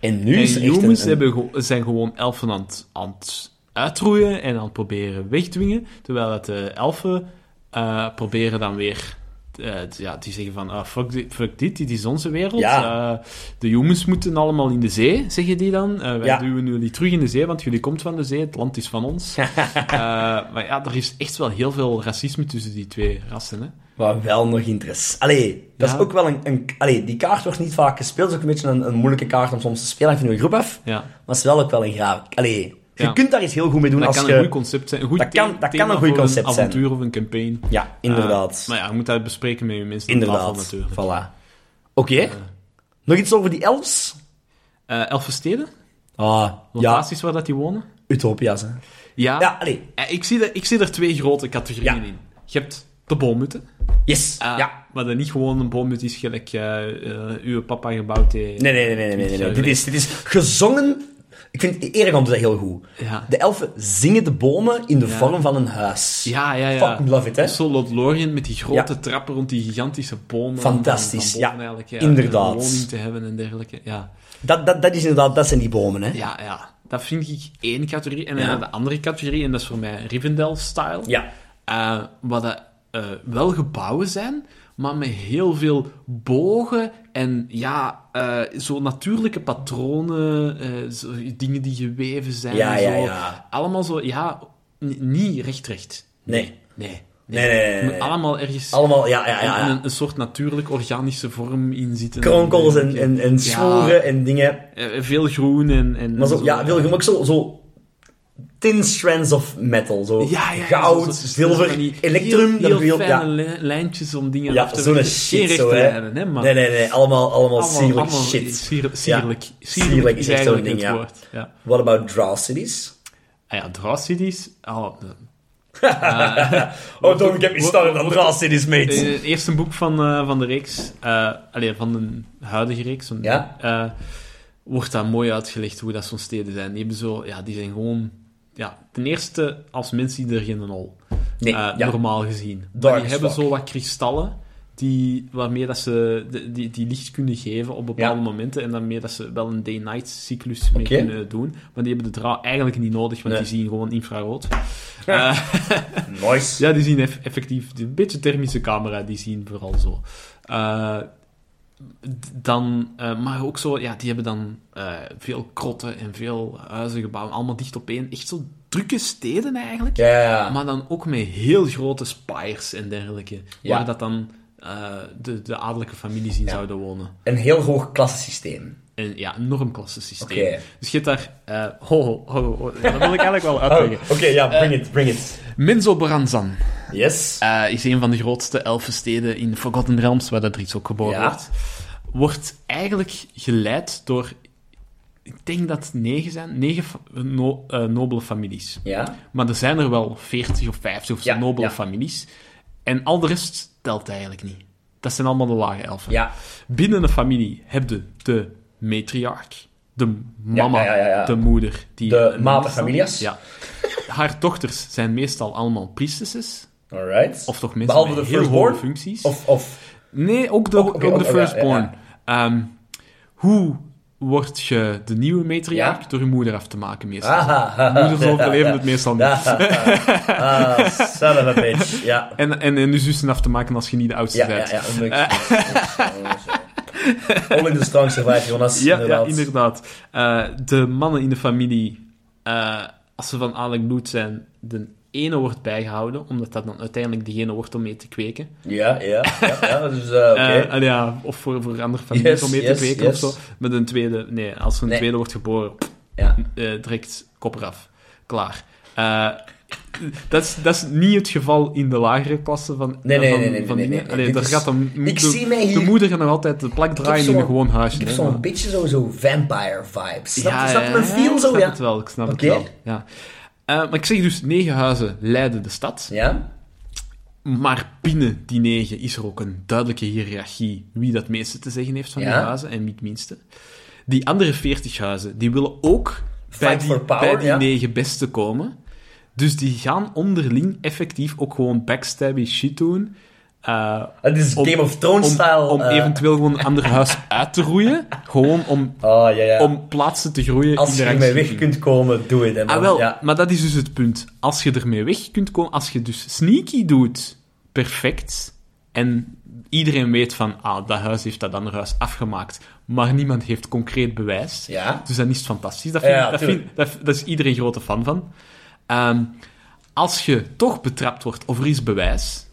En nu is
En
er echt
jongens
een- een-
hebben gewo- zijn gewoon elfen aan het, aan het uitroeien en aan het proberen wegdwingen, terwijl dat de elfen eh, proberen dan weer... eh, t- ja, die zeggen van, ah, fuck, dit, fuck dit, dit is onze wereld.
Ja.
Eh, de jongens moeten allemaal in de zee, zeggen die dan. Eh, wij
Ja.
duwen jullie terug in de zee, want jullie komt van de zee, het land is van ons. Eh, maar ja, er is echt wel heel veel racisme tussen die twee rassen. Hè?
Maar wel nog interesse. Allee, dat
Ja.
is ook wel een, een... Allee, die kaart wordt niet vaak gespeeld. Dat is ook een beetje een, een moeilijke kaart om soms te spelen van je groep af.
Ja.
Maar het is wel ook wel een graaf. Allee, je
Ja.
kunt daar iets heel goed mee doen
Dat
als
kan
je...
een goed concept zijn. Een goed
Dat
thema-
kan- dat kan
thema
een goed
voor
concept
een
zijn.
avontuur of een campaign.
Ja, inderdaad.
Eh, maar ja, je moet dat bespreken met je mensen aan tafel
inderdaad.
natuurlijk.
Voilà. Oké. Nog iets over die elves?
Eh, Elfensteden?
Ah, ja.
Locaties waar dat die wonen?
Utopia's, hè.
Ja.
Ja, allee.
Eh, ik, zie er, ik zie er twee grote categorieën
Ja.
in. Je hebt de boommutten.
Yes.
eh,
Ja.
Maar dat niet gewoon een boommut is gelijk eh, eh, uw papa gebouwd heeft.
Nee, nee, nee, nee, nee, nee. nee.
Sorry.
Dit, is, dit is gezongen... Ik vind Erik doet dat heel goed.
Ja.
De elfen zingen de bomen in de vorm van een huis.
Ja, ja, ja.
Fucking love it, hè.
Zo Lothlorien met die grote
Ja.
trappen rond die gigantische bomen.
Fantastisch,
Van- van bomen
ja.
eigenlijk,
Inderdaad.
Een woning te hebben en dergelijke. Ja.
Dat, dat, dat is inderdaad... Dat zijn die bomen, hè.
ja, ja. Dat vind ik één categorie. En dan
Ja.
hebben we de andere categorie, en dat is voor mij Rivendell-style.
Ja.
Eh, wat dat, eh, wel gebouwen zijn, maar met heel veel bogen en ja, eh, zo natuurlijke patronen, eh, zo, dingen die geweven zijn.
Ja,
en zo.
ja, ja.
Allemaal zo, ja, n- niet recht-recht.
Nee.
Nee.
Nee, nee, nee, nee, nee.
Allemaal ergens
Allemaal, ja, ja, ja.
in
ja.
een, een soort natuurlijk organische vorm in zitten.
Kronkels en, en, en zwoeren en dingen.
Eh, Veel groen en... en
Maar zo, ja, wil je
eh,
hem ook zo, zo... Tin strands of metal. Zo
Ja, ja,
goud,
zo- zo-
zilver,
van die
electrum.
Heel,
dat
heel
wil,
fijne
ja,
li- lijntjes om dingen
ja
af te
zo'n
werken. Geen
shit
rechte
zo, hè.
lijnen, hè, maar...
Nee, nee, nee. Allemaal, allemaal, sierlijk
allemaal
shit.
Sierlijk, sierlijk,
Ja,
sierlijk
sierlijk
is,
is echt zo'n
eigenlijk
ding, ja.
het woord. Ja.
What about Draw Cities?
Ah ja, Draw Cities. Oh, eh,
Oh, don't get me started on Draw Cities,
in
mate.
het eerste boek van, eh, van de reeks, eh allee, van de huidige reeks, van-
Ja.
eh, wordt dat mooi uitgelegd hoe dat zo'n steden zijn. Die, hebben zo, ja, die zijn gewoon... Ja, ten eerste, als mensen die er geen hol.
Nee,
Eh,
ja.
normaal gezien.
Dark
Maar die
as
hebben
fuck.
zo wat kristallen die, waarmee dat ze de- die, die licht kunnen geven op bepaalde
Ja.
momenten en daarmee dat ze wel een day-night cyclus mee
Oké.
kunnen doen. Maar die hebben de draal eigenlijk niet nodig, want
Nee.
die zien gewoon infrarood.
Nice.
Ja, die zien eff- effectief een beetje thermische camera, die zien vooral zo. Eh, d- dan, eh, maar ook zo, ja, die hebben dan eh, veel krotten en veel huizen gebouwd, allemaal dicht op één. Echt zo drukke steden eigenlijk.
Ja, ja, ja.
Maar dan ook met heel grote spires en dergelijke.
Ja.
Waar dat dan eh, de, de adellijke families in zouden wonen.
Een heel hoog klassensysteem.
En ja, een normklassensysteem.
Oké.
Dus je hebt daar... eh ho, ho, ho, ho. Ja, dat wil ik eigenlijk wel
Oh,
uitleggen.
oké, ja, bring it, bring it.
Menzo Baranzan
Yes.
eh, is een van de grootste elfensteden in Forgotten Realms, waar dat iets ook geboren
Ja.
wordt. Wordt eigenlijk geleid door... Ik denk dat het negen zijn. Negen fa- no- eh, nobele families.
Ja.
Maar er zijn er wel 40 of 50 of zo
Ja,
nobele
ja.
families. En al de rest telt eigenlijk niet. Dat zijn allemaal de lage elfen.
Ja.
Binnen een familie heb je de matriarch, de mama,
ja, ja, ja.
de moeder. Die
De
een-
mater familias.
Ja. Haar dochters zijn meestal allemaal priestesses.
Alright.
Of toch mensen
Behalve
met
de
heel
firstborn?
hoge functies.
Of, of...
Nee, ook de,
oké,
ook
ook-
de
oh, ja,
firstborn.
ja,
Ehm, hoe word je de nieuwe matriarch?
Ja.
Door je moeder af te maken meestal.
Aha.
Moeders overleven het meestal niet.
Ja. Ah, son of a bitch. Ja.
En, en, en je zussen af te maken als je niet de oudste
Ja, ja,
bent.
ja. onmogelijk. All in the strong survive, Jonas.
Eh. Ja,
inderdaad.
ja, inderdaad. Eh, de mannen in de familie, eh, als ze van adellijk bloed zijn, de ene wordt bijgehouden, omdat dat dan uiteindelijk degene wordt om mee te kweken.
Ja, ja, ja, ja, dus eh, oké.
Eh, en ja, of voor, voor andere families
Yes,
om mee
yes,
te kweken
yes.
of zo. Met een tweede, nee, als er een
Nee.
tweede wordt geboren, pff,
ja.
eh, direct kop eraf. Klaar. Eh, dat, is, dat is niet het geval in de lagere klasse van
Nee, nee,
van,
nee, nee,
van
nee, nee,
dingen.
nee.
Allee,
Dit
daar
is-
gaat de, mo-
Ik
de-
zie mij hier-
de moeder gaat nog altijd de plak draaien in
zo'n-
een gewoon huisje.
Ik heb
hè,
zo'n
maar-
beetje zo, zo vampire vibes. Snap,
ja,
je- snap je mijn
ja,
feel
ik
zo?
snap
Ja.
het wel, ik snap
Oké.
het wel. Ja. Eh, maar ik zeg dus, negen huizen leiden de stad.
ja?
Maar binnen die negen is er ook een duidelijke hiërarchie wie dat meeste te zeggen heeft van die
Ja.
huizen en wie het minste. Die andere veertig huizen, die willen ook bij
Fight
die,
for power,
bij die
ja.
negen beste komen. Dus die gaan onderling effectief ook gewoon backstabby shit doen. eh,
Het is
om-
Game of Thrones-style.
Om, om
eh,
eventueel gewoon een ander huis uit te roeien. Gewoon om,
Oh, ja, ja.
om plaatsen te groeien in
Als je
de
ermee weg
rangschikking.
kunt komen, doe het. hè, man.
Ah, wel,
Ja.
maar dat is dus het punt. Als je ermee weg kunt komen, als je dus sneaky doet, perfect. En iedereen weet van, ah, dat huis heeft dat andere huis afgemaakt. Maar niemand heeft concreet bewijs.
Ja.
Dus dan is het fantastisch. Dat, vind,
Ja,
dat,
tuurlijk.
vind- dat, dat is iedereen grote fan van. Ehm, als je toch betrapt wordt of er is bewijs...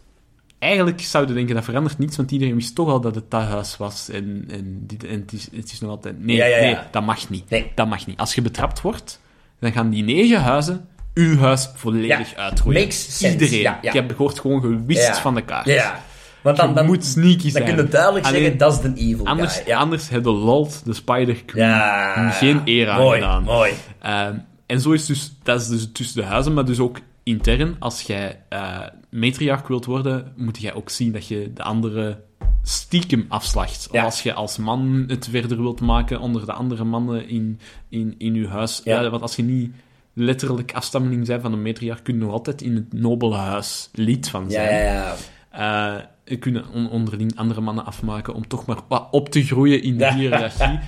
Eigenlijk zou je denken, dat verandert niets, want iedereen wist toch al dat het dat huis was. En, en, dit- en het, is, het is nog altijd... Nee,
Ja, ja, ja.
nee, dat mag niet.
Nee.
Dat mag niet. Als je betrapt wordt, dan gaan die negen huizen uw huis volledig
Ja,
uitroeien.
makes sense.
Iedereen.
Ja, ja.
Je hebt gehoord gewoon gewist
Ja.
van de kaart.
Ja. Want dan,
Je
dan,
moet sneaky
dan
zijn.
kun je duidelijk
Alleen,
zeggen, dat is de evil
Anders,
guy. Ja.
anders hebben Lolt de Spider Queen
Ja.
geen eer aan
mooi,
gedaan.
Mooi,
Ehm, en zo is dus, dat is dus tussen de huizen, maar dus ook intern. Als jij eh matriarch wilt worden, moet jij ook zien dat je de andere stiekem afslacht.
Ja.
Of als je als man het verder wilt maken onder de andere mannen in, in, in je huis.
Ja.
Ja, want als je niet letterlijk afstammeling bent van een matriarch, kun je nog altijd in het nobele huis lid van
Ja,
zijn.
ja, ja.
Eh, je kunnen on- onderling andere mannen afmaken om toch maar wat op te groeien in de hiërarchie.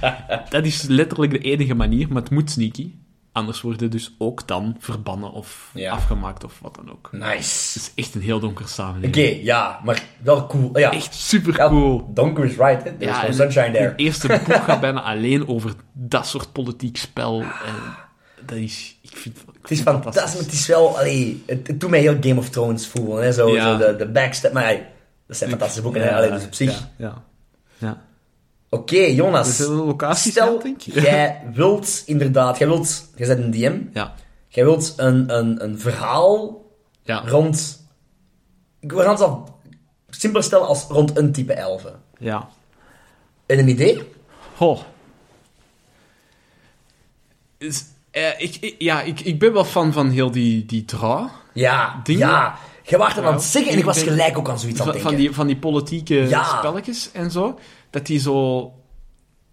dat is letterlijk de enige manier, maar het moet sneaky. Anders worden dus ook dan verbannen of
Ja.
afgemaakt of wat dan ook.
Nice.
Het is echt een heel donker samenleving.
Oké, ja, maar wel cool. Ja.
Echt super cool.
Ja, Donker is right, hè. There's no
en
sunshine there.
Het eerste boek gaat bijna alleen over dat soort politiek spel. En dat is, ik vind, ik
Het is fantastisch, maar het is wel... Allee, het, het doet mij heel Game of Thrones voelen, hè. Zo,
Ja.
zo de, de backstep. Maar allee, dat zijn fantastische boeken, hè. Allee, dus op zich...
Ja, ja. ja.
Oké, Jonas.
Er zijn locaties,
Stel,
denk ik.
jij wilt inderdaad... Jij wilt... Jij zet een DM.
Ja.
Jij wilt een, een, een verhaal
Ja.
rond... We gaan het al simpeler stellen als rond een type elfen.
ja.
En een idee?
Goh. Is- eh, ik, ik- ja, ik, ik ben wel fan van heel die, die draw.
Ja,
Ding?
ja. Jij waart hem aan het
Ja.
zeggen en ik was
Ik ben-
gelijk ook aan zoiets aan
Van,
het
van,
denken.
die, van die politieke
Ja.
spelletjes en zo. Dat die zo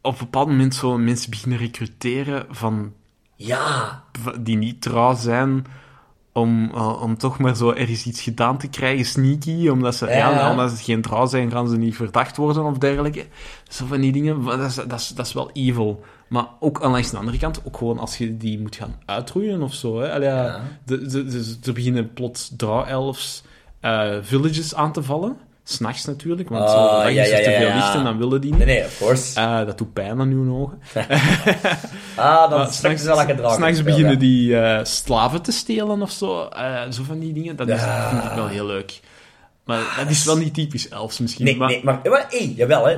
op een bepaald moment zo mensen beginnen recruteren van,
Ja,
van- die niet trouw zijn. Om, eh, om toch maar zo ergens iets gedaan te krijgen, sneaky. Omdat ze, ja.
Ja.
omdat ze geen trouw zijn, gaan ze niet verdacht worden of dergelijke. Zo van die dingen, maar dat is, dat, is, dat is wel evil. Maar ook aan langs de andere kant, ook gewoon als je die moet gaan uitroeien of zo. Hè. Allee, ja,
Ja.
de- de- de- er beginnen plots draw-elves eh, villages aan te vallen. S'nachts natuurlijk, want zo
Ah,
lang
ja,
is er
ja,
te
ja,
veel
ja.
licht en dan willen die niet.
nee, nee, of course.
Eh, dat doet pijn aan hun ogen.
ah, dan
Maar
straks is wel lekker draken.
s'nachts
Ja.
beginnen die eh, slaven te stelen of zo. eh, zo van die dingen. Dat is,
Ja. Ah,
vind ik wel heel leuk. Maar dat is wel niet typisch elfs misschien.
Nee,
maar,
nee, maar, maar hey, jawel hè.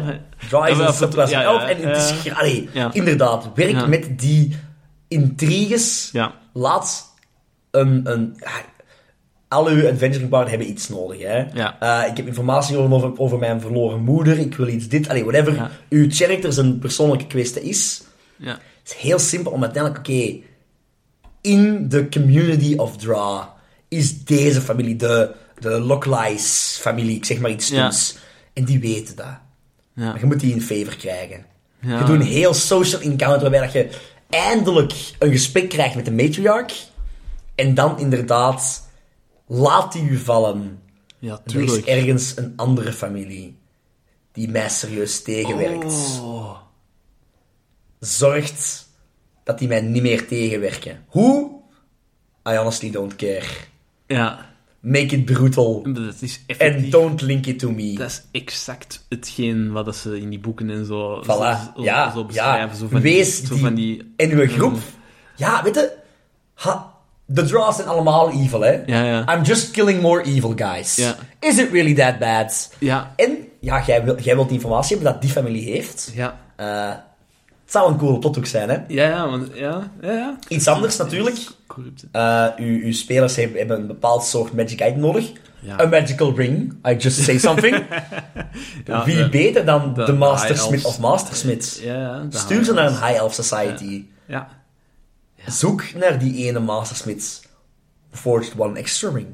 Draw is
Jawel,
een subclass
ja,
van elf
ja,
en het is...
ja.
gra- Allee,
Ja.
inderdaad, werk
Ja.
met die intriges.
Ja.
Laat een... een ah, al uw adventuring paard hebben iets nodig. Hè?
Ja.
Eh, ik heb informatie over, over, over mijn verloren moeder. Ik wil iets dit. Allee, whatever.
Ja.
Uw character zijn persoonlijke kwestie is.
Ja.
Het is heel simpel om uiteindelijk, oké, in de community of Draw is deze familie, de, de Locklies familie, ik zeg maar iets
Ja.
stoms. En die weten dat.
Ja.
Maar je moet die in favor krijgen.
Ja.
Je doet een heel social encounter waarbij dat je eindelijk een gesprek krijgt met de matriarch. En dan inderdaad laat die u vallen.
ja,
Er is
tuurlijk.
ergens een andere familie die mij serieus tegenwerkt
Oh.
zorgt dat die mij niet meer tegenwerken. Hoe? I honestly don't care.
Ja,
Make it brutal.
dat is effectief.
And don't link it to me.
Dat is exact hetgeen wat dat ze in die boeken en zo,
Voilà.
zo,
ja,
zo beschrijven.
ja.
Zo van
Wees
die, Mm.
die,
zo van die
En uw groep. Ja, weet je... Ha, de draws zijn allemaal evil, hè?
Ja, ja.
I'm just killing more evil guys.
Ja.
Is it really that bad?
Ja.
En ja, jij, wil, jij wilt die informatie hebben dat die familie heeft.
Ja.
Eh, het zou een coole plothoek zijn, hè?
Ja, ja, want, ja, ja, ja.
Iets anders natuurlijk.
Corrupt.
Eh, uw, uw spelers hebben, hebben een bepaald soort magic item nodig.
Ja.
Een magical ring. I just say something.
Ja,
Wie
de-
beter dan de,
de
mastersmith
high
of
elves.
mastersmith?
Ja, ja. de
Stuur ze naar een high elf society.
Ja.
Zoek naar die ene mastersmith. Forged one extra ring.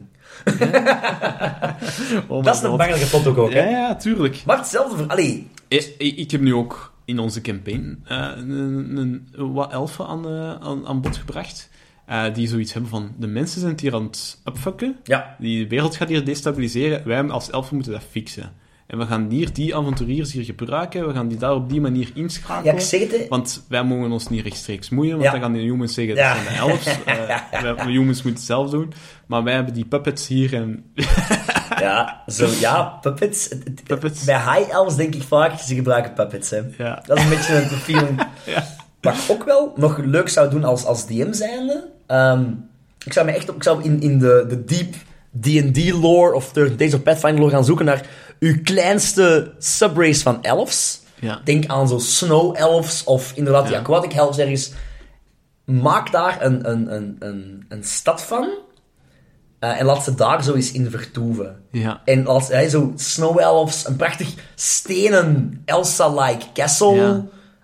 Dat is een bangelijke plot ook, ook
Ja,
hè?
ja, tuurlijk.
Maar hetzelfde voor... Allee,
Ik, ik ik heb nu ook in onze campaign eh, een, een, een- wat elfen aan, eh, aan, aan bod gebracht. eh, die zoiets hebben van, de mensen zijn het hier aan het upfucken.
ja.
Die de wereld gaat hier destabiliseren. Wij als elfen moeten dat fixen. En we gaan hier die avonturiers hier gebruiken. We gaan die daar op die manier
Ja,
inschakelen.
ik zeg het, hè.
Want wij mogen ons niet rechtstreeks moeien, want
Ja.
dan gaan de humans zeggen
Ja.
dat zijn de elves. Eh, wij- de humans moeten het zelf doen. Maar wij hebben die puppets hier en...
Ja, zo, ja, puppets. Het- het-
Puppets.
Bij high elves denk ik vaak, ze gebruiken puppets, hè.
Ja.
Dat is een beetje een feeling. Wat ik ook wel nog leuk zou doen als, als DM zijnde. ehm, ik zou me echt op, ik zou in, in de, de deep D&D lore of Third Days of Pathfinder lore gaan zoeken naar uw kleinste subrace van elves.
Ja.
Denk aan zo snow elves of inderdaad die
Ja.
aquatic elves ergens. Maak daar een, een, een, een, een stad van. eh, en laat ze daar zo eens in vertoeven.
Ja.
En als hij zo snow elves, een prachtig stenen Elsa-like castle.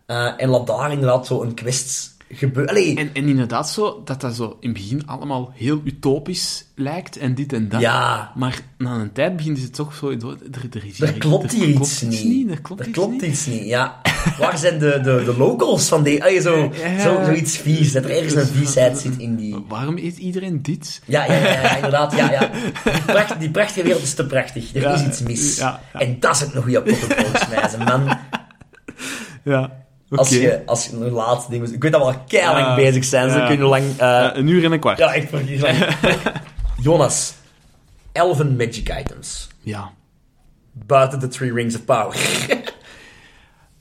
Ja.
Eh, en laat daar inderdaad zo een quest gebeuren. Allee,
En, en inderdaad zo, dat dat zo in het begin allemaal heel utopisch lijkt en dit en dat.
Ja.
Maar na een tijd begint het toch zo... door- Er, er, is hier-
er klopt hier
klopt
iets niet.
Er klopt
Er
iets
klopt
niet.
iets niet, ja. Waar zijn de, de, de locals van die... Allee, zo,
Ja.
zo, zoiets vies. Dat er ergens een viesheid zit in die...
Waarom eet iedereen dit?
Ja, ja, ja, ja, inderdaad. Ja, ja. Die, pracht- die prachtige wereld is te prachtig. Er
Ja,
is iets mis.
ja, ja.
En dat is ook nog goede potten volgens mij. Ze Man,
Ja, oké.
als je, als je een laatste ding... Ik weet dat we al keilang
Ja.
bezig zijn. Ze
Ja.
kunnen lang... eh,
Eh, een uur en een kwart.
Ja, echt precies. Jonas, elven magic items.
ja.
Buiten de Three Rings of Power. je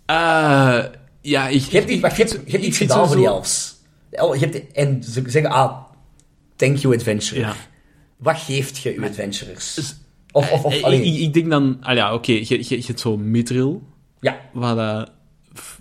Eh, ja, ik...
hebt, iets- wacht, je hebt, je hebt
ik
iets
vind
gedaan voor die
sowieso-
elves. De el- je hebt, en ze zeggen, ah, thank you adventurer.
Ja.
Wat geeft je uw adventurers? Of, of, of
Eh,
alleen-
ik, ik denk dan... Ah ja, oké, je, je, je hebt zo Mithril,
Ja,
waar dat f-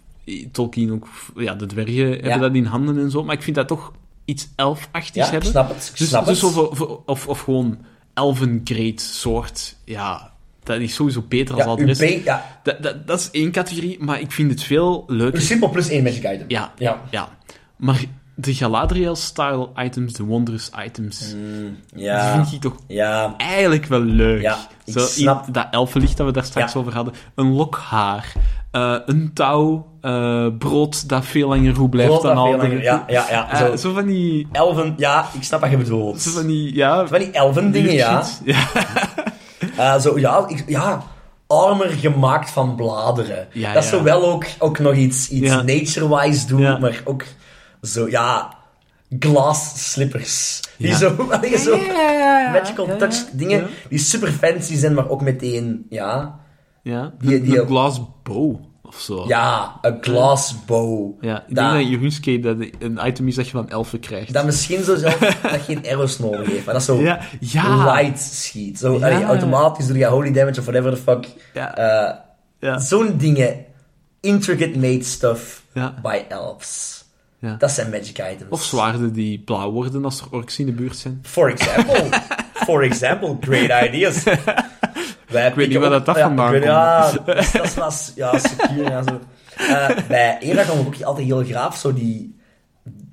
Tolkien ook... f- Ja, de dwergen hebben
Ja.
dat in handen en zo. Maar ik vind dat toch iets elfachtigs
ja ik
hebben.
snap het. Ik
Dus,
snap
dus
het.
Of, of, of, of gewoon elfengreed soort, ja, dat is sowieso beter
ja,
als al de
uw
rest.
ba- ja, Dus-
Dat, dat, dat is één categorie, maar ik vind het veel
uw
leuker.
simpel plus één magic item.
Ja,
Ja.
ja. Maar de Galadriel-style items, de wondrous items, die
Mm, Ja.
vind ik toch
Ja.
eigenlijk wel leuk.
Ja, ik
Zo, i-
snap.
Dat elfenlicht dat we daar straks
Ja.
over hadden, een lok haar, eh, een touw, eh, brood dat veel langer goed blijft
Brood
dan
dat veel
al.
langer- ja, ja, ja,
Eh,
zo.
zo. van die...
Elven, ja, ik snap wat je bedoelt.
Zo van die, ja...
Van die elven dingen, ja.
weird shit. ja.
Eh, zo, ja, ik, ja, armer gemaakt van bladeren.
Ja,
dat is
ja.
zo wel ook, ook nog iets, iets
Ja.
nature-wise doen,
Ja.
maar ook zo, ja, glass slippers. Die
Ja.
zo, die zo magical
Ja, ja,
touch dingen,
ja.
die super fancy zijn, maar ook meteen, ja,
Ja,
Die-
een-
die-
een glass bow of zo.
ja, een glass bow.
Ja, ik
dat,
denk dat Jeroenske dat een item is dat je van elfen krijgt.
dat misschien zo zelf dat geen arrows nodig heeft, maar dat zo
Ja, ja.
light schiet. Zo,
Ja.
allee, automatisch doe je holy damage of whatever the fuck.
Ja.
eh,
ja.
Zo'n dingen. Intricate made stuff
Ja.
by elves.
Ja.
Dat zijn magic items.
Of zwaarden die blauw worden als er orks in de buurt zijn.
For example. For example, great ideas. Wij ik
weet niet waar dat dat vandaan
Ja, dat dat was... Ja, secure en zo. Eh, bij Era kwam ook altijd heel graaf zo die...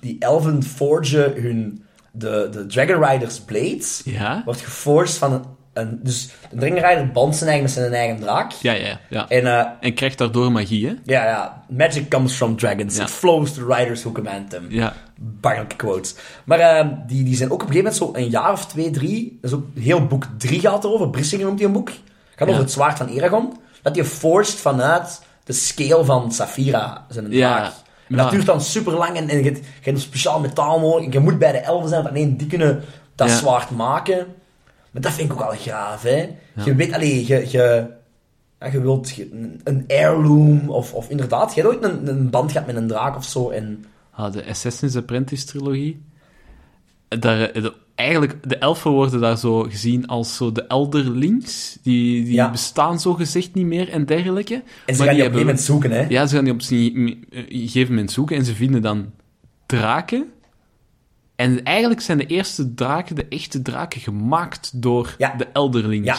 Die elven forgen hun... De, de Dragon Riders Blades
Ja?
wordt geforged van een... een dus de Dragon Rider bandt zijn eigen met zijn eigen draak.
Ja, ja, ja. En,
En eh,
krijgt daardoor magie, hè?
Ja, ja. Magic comes from dragons.
Ja.
It flows to riders who command them.
Ja.
Bangelijke quotes. Maar ehm, die, die zijn ook op een gegeven moment zo een jaar of twee, drie... Dat is ook heel boek drie gaat erover. Brissinger noemt die een boek. Gaat
Ja.
over het zwaard van Eragon. Dat die forged vanuit de scale van Saphira zijn
Ja.
draag. En dat
Ja.
duurt dan super lang en, en je, hebt, je hebt een speciaal metaal nodig. Je moet bij de elven zijn, want alleen die kunnen dat
Ja.
zwaard maken. Maar dat vind ik ook al graaf, hè. Je weet, allee, je... je ja, je wilt ge- een- een heirloom, of, of inderdaad, jij hebt ooit een, een band gehad met een draak of zo. En
Ah, de Assassin's Apprentice trilogie. daar, de- eigenlijk, de elfen worden daar zo gezien als zo de elderlings. Die, die
Ja.
bestaan zo gezegd niet meer en dergelijke.
En ze
Maar
gaan die op een gegeven
hebben-
moment zoeken, hè?
Ja, ze gaan die op een gegeven moment zoeken en ze vinden dan draken. En eigenlijk zijn de eerste draken, de echte draken, gemaakt door
Ja.
de elderlings.
Ja.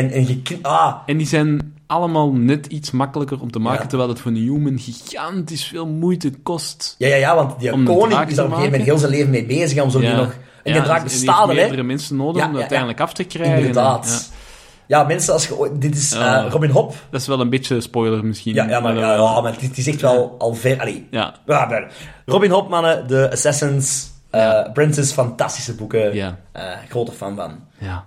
En, en je... kn- Ah,
En die zijn allemaal net iets makkelijker om te maken,
Ja.
terwijl het voor een human gigantisch veel moeite kost.
ja, ja, ja, want die
Om een
koning
draak
is
te
daar op een gegeven moment
maken.
heel zijn leven mee bezig om zo die nog... En die draak
en
bestaat
heeft
er, hè?
meerdere mensen nodig
Ja,
om
ja, ja.
dat uiteindelijk af te krijgen.
Inderdaad.
Ja. Ah.
Ja, mensen, als je... ooit- Dit is eh,
Ja.
Robin Hop.
Dat is wel een beetje spoiler misschien.
Ja, ja, maar, ja,
eh,
ja, maar het is- het is echt wel al ver... Allee,
ja.
Ja, maar- Robin Hobb, mannen, de Assassins, eh,
Ja.
Princess, fantastische boeken.
Ja.
Eh, grote fan van.
ja.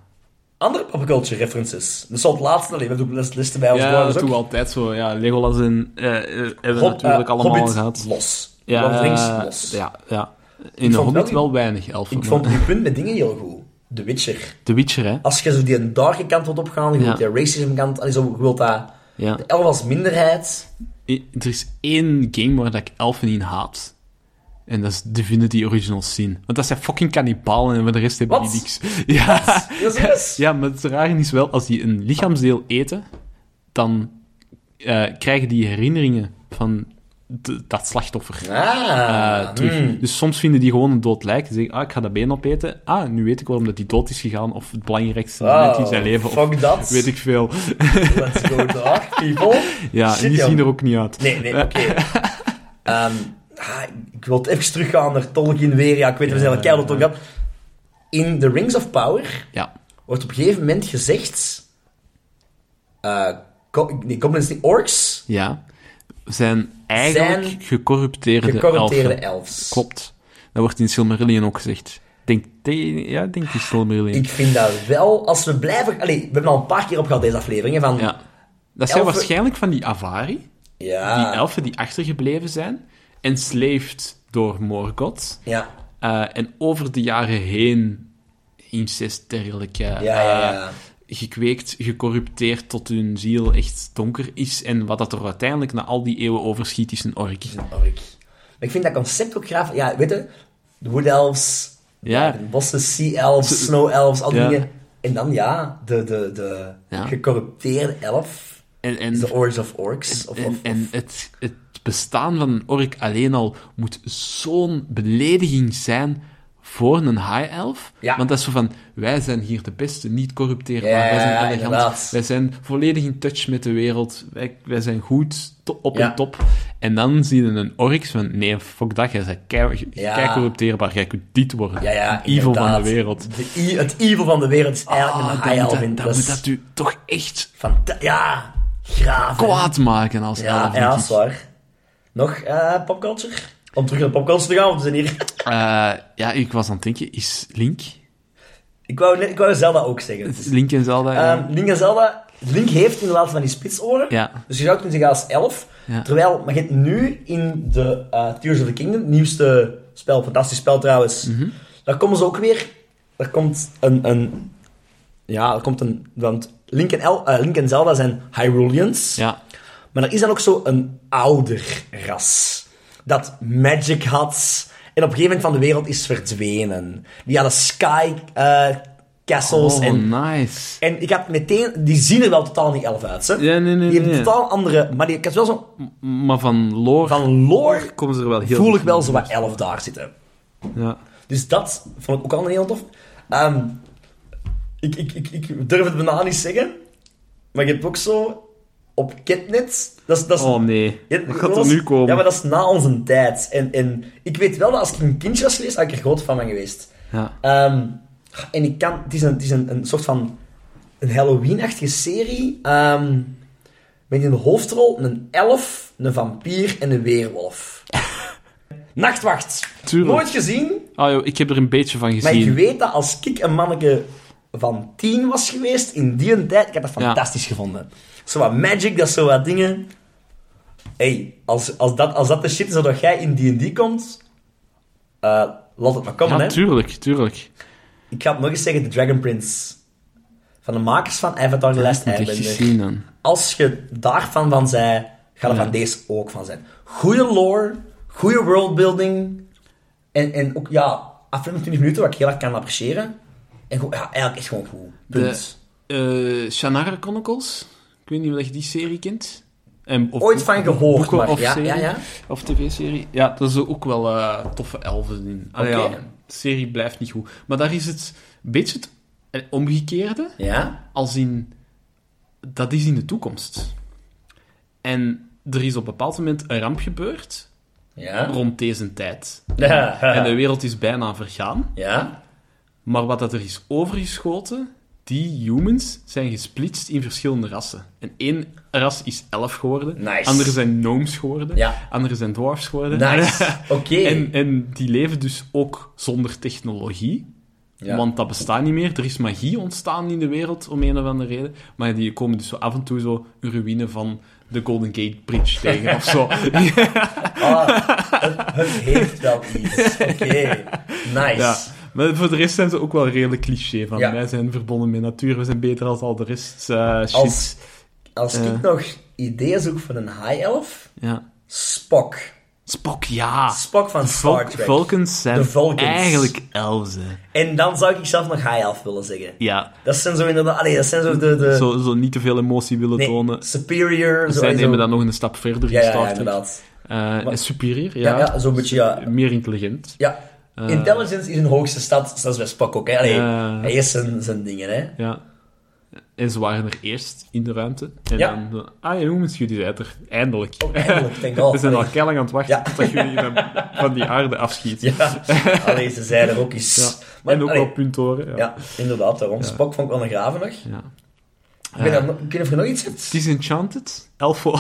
Andere popculture references. Dus al het laatste, alleen we doen les- listen bij ons
Ja,
blog,
dat
dus
doen we
ook.
altijd zo. Ja, Legolas en eh, eh, hebben we
Hob-
natuurlijk
eh,
allemaal
Hobbit,
gehad.
los.
Ja,
Lord of the Rings,
eh,
los.
Ja, ja. In
vond
de Hobbit
wel-
wel weinig elfen.
Ik vond die punt met dingen heel goed. The Witcher.
The Witcher, hè?
Als je zo die darke kant wilt opgaan, je
Ja.
wilt die racism kant, allee, zo, je wilt dat...
Ja.
De elf als minderheid.
I- Er is één game waar dat ik elfen in haat. En dat is Divinity Original Sin. Want dat zijn fucking kannibalen en voor de rest hebben
Wat?
die niks. Ja.
Dat is alles.
ja, maar het rare is wel, als die een lichaamsdeel eten, dan eh, krijgen die herinneringen van de- dat slachtoffer. eh,
Ah,
terug.
hmm.
Dus soms vinden die gewoon een dood lijk. Ze zeggen, ah, ik ga dat been opeten. Ah, nu weet ik waarom dat die dood is gegaan. Of het belangrijkste moment in zijn
Oh,
leven. Of
Fuck dat.
weet ik veel.
Let's go dark, people.
Ja, en
Shit,
die
jong.
zien er ook niet uit.
Nee, nee, oké. Ehm, ah, ik wil even teruggaan naar Tolkien weer. Ja, ik weet, we zijn wel keihard op Tolkien. In The Rings of Power
Ja.
wordt op een gegeven moment gezegd... eh go- nee, goblins, niet orks.
ja. Zijn eigenlijk
Zijn
gecorrupteerde,
Gecorrupteerde
elfen.
elves.
Klopt. Dat wordt in Silmarillion ook gezegd. Ik Denk, de- ja, ik denk die Silmarillion.
Ah, Ik vind dat wel... Als we blijven... Allee, we hebben al een paar keer op gehad deze afleveringen van...
Ja. Dat
Elfen-
zijn
Ah.
waarschijnlijk van die Avari.
Ja.
Die elfen die achtergebleven zijn. Enslaved door Morgoth.
Ja.
Eh, en over de jaren heen incest dergelijke
Ja, ja,
eh,
ja.
gekweekt, gecorrupteerd tot hun ziel echt donker is. En wat dat er uiteindelijk na al die eeuwen overschiet is een ork.
Ork. Maar ik vind dat concept ook graaf. Ja, weet je, de Wood Elves,
Ja.
de bossen, Sea Elves, Snow Elves, al die
Ja.
dingen. En dan ja, de, de, de
Ja.
gecorrupteerde elf,
En, en,
is de Orcs of Orcs. Of,
en,
of,
en het, het bestaan van een ork alleen al moet zo'n belediging zijn voor een high elf.
Ja.
Want dat is zo van, wij zijn hier de beste, niet corrupteerbaar,
Ja,
wij zijn
ja,
elegant,
inderdaad.
wij zijn volledig in touch met de wereld, wij, wij zijn goed, to- op
Ja.
en top. En dan zien we een orks van, nee, fuck dat, jij bent kei,
Ja.
kei corrupteerbaar, jij kunt dit worden.
ja, ja,
Het evil van de
inderdaad.
wereld.
De e- het evil van de wereld is eigenlijk
Ah,
een
dan
high
moet
elf.
dat-
in. dus-
dan
Dat
moet
is
dat u toch echt
fanta- Ja, graaf. hè.
kwaad maken als elf.
Ja,
denk
ja, dat
ik.
is waar. Nog eh, popculture? Om terug naar popculture te gaan, want we zijn hier...
Eh, ja, ik was aan het denken, is Link...
Ik wou, net- ik wou Zelda ook zeggen. Dus
Link en Zelda, eh, ja.
Ehm, Link en Zelda, Link heeft inderdaad van die spitsoren.
Ja.
Dus je zou kunnen zeggen als elf.
Ja.
Terwijl, maar je hebt nu in de eh, Tears of the Kingdom, nieuwste spel, fantastisch spel trouwens.
Mhm.
Daar komen ze ook weer. Er komt een. een ja, er komt een. Want Link en, El, eh, Link en Zelda zijn Hyruleans.
ja.
Maar er is dan ook zo een ouder ras. Dat magic had. En op een gegeven moment van de wereld is verdwenen. Die hadden sky eh, castles
Oh,
en
nice.
en ik heb meteen... Die zien er wel totaal niet elf uit, hè?
Ja, nee, nee,
Die
nee.
hebben totaal andere... Maar die, ik heb wel zo...
Maar van lore
Van lore
komen ze er wel Oh, heel
voel
goed
ik wel
in.
zo wat elf daar zitten.
Ja.
Dus dat vond ik ook al heel tof. Ehm, ik, ik, ik, ik durf het bijna niet zeggen. Maar je hebt ook zo... Op Ketnet... Dat is... Dat is
Oh nee,
je hebt-
wat gaat er
was-
nu komen?
Ja, maar dat is na onze tijd. En, en ik weet wel dat als ik een kindje was geweest, had ik er groot van ben geweest.
Ja.
Ehm, en ik kan... Het is een, het is een, een soort van... Een Halloween-achtige serie. ehm, met in de hoofdrol een elf, een vampier en een weerwolf. Nachtwacht.
Tuurlijk.
Nooit gezien.
Ah, joh, ik heb er een beetje van
Maar
gezien.
ik weet dat als ik een manneke van tien was geweest, in die een tijd, ik heb dat
Ja.
fantastisch gevonden. Zo wat magic, dat is zo wat dingen. hey, als, als, dat, als dat de shit is dat jij in D&D komt, eh, laat het maar komen,
ja,
hè.
tuurlijk, tuurlijk.
Ik ga het nog eens zeggen, The Dragon Prince. Van de makers van Avatar The Last
Dat heb ik
Airbender.
gezien dan.
Als je daarvan van zei, ga er
Ja.
van deze ook van zijn. Goeie lore, goede worldbuilding. En, en ook, ja, 25 minuten, wat ik heel erg kan appreciëren. En gewoon, ja, eigenlijk is gewoon goed. Punt.
eh Shannara Chronicles. Ik weet niet of je die serie kent. En, of,
Ooit van gehoord,
boeken
maar
of
ja,
serie,
ja, ja.
Of tv-serie. Ja, daar zijn ook wel eh, toffe elfen in. Allee,
Oké.
ja, de serie blijft niet goed. Maar daar is het een beetje het eh, omgekeerde.
Ja?
Als in... Dat is in de toekomst. En er is op een bepaald moment een ramp gebeurd
Ja?
rond deze tijd.
Ja?
En de wereld is bijna vergaan.
Ja?
Maar wat dat er is overgeschoten, die humans zijn gesplitst in verschillende rassen. En één ras is elf geworden,
Nice.
anderen zijn gnomes geworden,
Ja.
anderen zijn dwarfs geworden.
Nice. Oké.
en, en die leven dus ook zonder technologie,
Ja.
want dat bestaat niet meer. Er is magie ontstaan in de wereld, om een of andere reden. Maar die komen dus zo af en toe zo een ruïne van de Golden Gate Bridge tegen of zo.
Ah, het, het heeft wel iets. Oké. Nice.
Ja, maar voor de rest zijn ze ook wel redelijk cliché van.
Ja.
Wij zijn verbonden met natuur, we zijn beter als al de rest. eh, shit.
Als, als
Eh.
ik nog ideeën zoek van een high elf,
Ja.
Spock.
Spock, ja.
Spock van Star
Vol-
Trek.
Vulcans zijn
De Vulcans.
eigenlijk elzen.
En dan zou ik zelf nog high elf willen zeggen.
Ja,
Dat zijn zo inderdaad... Allee, dat zijn zo de... de
zo, zo niet te veel emotie willen
nee,
tonen.
superior. zo,
Zij
en zo.
nemen dat nog een stap verder in
Ja, ja,
Star
ja,
Trek.
inderdaad.
Eh, en superieur, ja. Eh.
Ja, ja, zo'n beetje, ja.
Meer intelligent.
Ja. Intelligence is een hoogste stad, zoals bij Spock ook. Hè. Allee,
Ja.
Hij is zijn, zijn dingen, hè.
Ja. En ze waren er eerst in de ruimte. En
Ja.
dan, eh, ah ja, jongens, jullie zijn er. Eindelijk.
Oh, eindelijk, thank God.
We zijn al
Allee.
keilang aan het wachten
Ja.
totdat jullie van, van die aarde afschieten.
Ja. Allee, ze zijn er ook eens.
Ja.
Maar,
en ook
allee,
wel puntoren. Ja.
Ja, inderdaad, daarom. Spock vond ik wel een graven nog. Ik
Ja.
weet dat- Ik weet niet of je nog iets hebt.
Disenchanted, Elfo.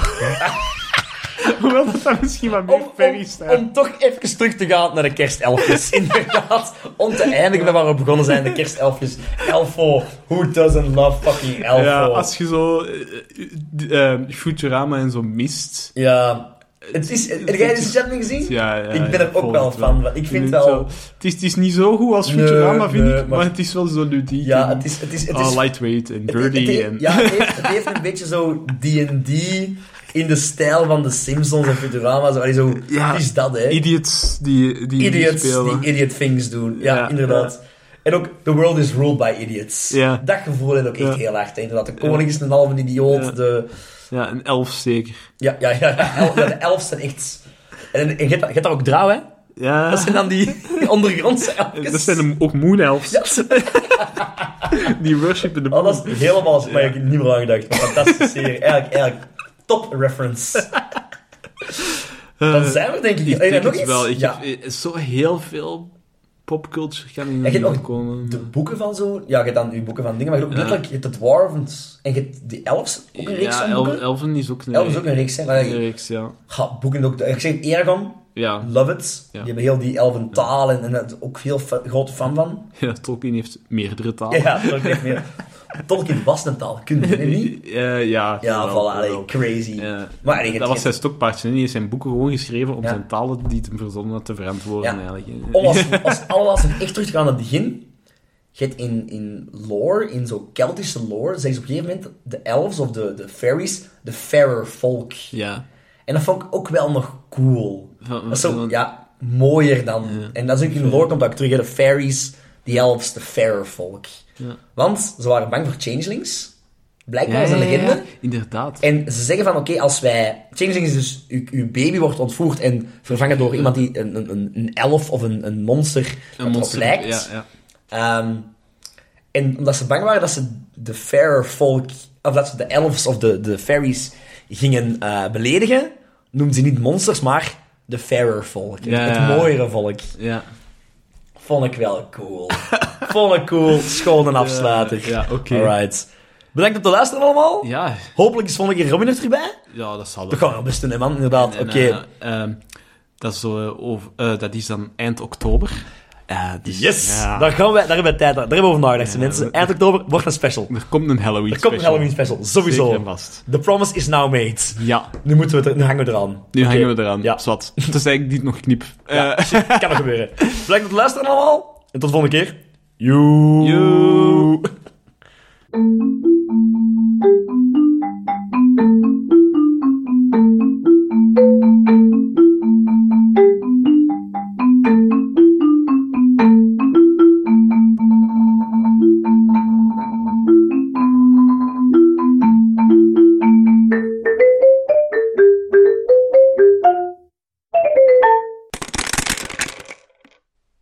Hoewel dat dan misschien wat meer
Om,
ferry
om,
staat.
om toch even terug te gaan naar de kerstelfjes, inderdaad. Om te eindigen met waar we begonnen zijn, de kerstelfjes. Elfo, who doesn't love fucking Elfo?
Ja, als je zo eh, eh, eh, Futurama en zo mist.
Ja. Het is, heb jij de chat niet gezien?
Ja, ja,
Ik ben
ja,
er ook
volg
wel
het
fan van. Ik vind wel-
Het is, het is niet zo goed als
Nee,
Futurama, vind
nee,
ik, maar...
maar-
het is wel zo ludiek.
Ja,
en-
het is... Het is, het
ah,
is
lightweight en
het- het-
dirty.
het-
en...
ja, het heeft, het heeft een beetje zo D&D in de stijl van de Simpsons en Futurama. Zo, allee, zo
Ja,
het is dat, hè.
Idiots die, die
idiots
spelen.
die idiot things doen. Ja,
Ja,
inderdaad. En ook, the world is ruled by idiots.
Ja.
Dat gevoel heb ik echt
Ja.
heel hard. hè. Inderdaad, de koning is een halve idioot.
Ja.
De,
Ja, een elf zeker.
ja, ja, ja, el- ja, de elfs zijn echt... En, en je hebt daar- je hebt daar ook drauw, hè?
Ja,
Dat zijn dan die, die ondergrondse elfjes.
dat zijn hem ook moon elves.
Ja, dat zijn-
Die worshipen de moon.
Oh, dat is helemaal... Maar ik heb niet meer aan gedacht. Maar Fantastische serie. Eigenlijk, eigenlijk top reference. Dan zijn we denk Eh, ik...
Eh, Ik
Hey,
denk
nog
het
iets?
wel. Ik
ja.
heb eh, zo heel veel popculture kan in
je hebt
nog
nog
komen.
De
maar-
boeken van zo... Ja, je hebt dan je boeken van dingen, maar je hebt ook
Ja.
letterlijk... Je hebt de dwarves en je hebt die elfs. Ook een reeks
Ja,
van
Elf-
boeken.
Elven is ook een
Elf is ook een reeks, hè. Maar
een
je-
reeks, ja.
ha, boeken ook... Ik zeg Eragon,
Ja.
love it.
Ja.
Die hebben heel die elven taal en, en daar ook heel fa- grote fan van.
ja, Tolkien heeft meerdere talen.
Ja, ja dat is echt meer... Tolkien was een taal, kun je niet?
Eh, ja,
Ja,
jawel,
voilà, allee,
jawel.
crazy.
Ja.
Maar allee, je
dat was
hebt-
zijn stokpaardje. hè. Die heeft zijn boeken gewoon geschreven om
Ja.
zijn talen die het hem verzonnen had te verantwoorden.
Ja.
Eigenlijk. hè.
Om als, als allerlaatste echt terug te gaan naar het begin. Je hebt in, in lore, in zo'n Keltische lore, zeggen ze op een gegeven moment de elves of de, de fairies, de fairer folk.
Ja.
En dat vond ik ook wel nog cool.
Van-
Dat is zo,
van-
ja, mooier dan. En dat is ook in lore komt dat ook terug, hè, de fairies, de elves, de fairer folk.
Ja.
Want ze waren bang voor changelings. Blijkbaar
Ja,
is dat
ja,
een legende.
ja, inderdaad.
En ze zeggen van, oké, als wij... Changeling is dus, uw, uw baby wordt ontvoerd en vervangen door iemand die een, een- een, een elf of een, een monster
Een
erop
monster.
lijkt.
Ja, ja.
Ehm, en omdat ze bang waren dat ze de fairer folk, of dat ze de elves of de, de fairies gingen eh, beledigen, noemden ze niet monsters, maar de fairer folk. Het-
Ja,
het,
ja.
mooiere volk.
ja.
Vond ik wel cool. Vond ik cool. Schoon en afsluiter.
Ja, oké.
Alright. Bedankt op de luisteren allemaal.
Ja.
Hopelijk is volgende keer Robin er terug bij.
ja, dat zal wel.
Dat gaan we best doen, hè, man. Inderdaad.
En,
Oké.
eh, ehm, dat, is zo, eh, over- eh, dat is dan eind oktober. Eh, dus,
Ah, Yes!
ja.
Daar, gaan we, daar hebben we tijd aan. Daar hebben we over nagedacht, mensen. Eind oktober wordt een special.
Er komt een Halloween
Er komt een Halloween special, sowieso.
Zeker en vast.
The promise is now made.
Ja,
Nu, moeten we het er, nu hangen we eraan.
nu
Oké.
hangen we eraan.
Ja.
Ja. Zwat. Het is eigenlijk niet nog knip.
Ja,
Eh,
shit, kan nog gebeuren. Bedankt voor het luisteren allemaal. En tot de volgende keer. Joe.
joe.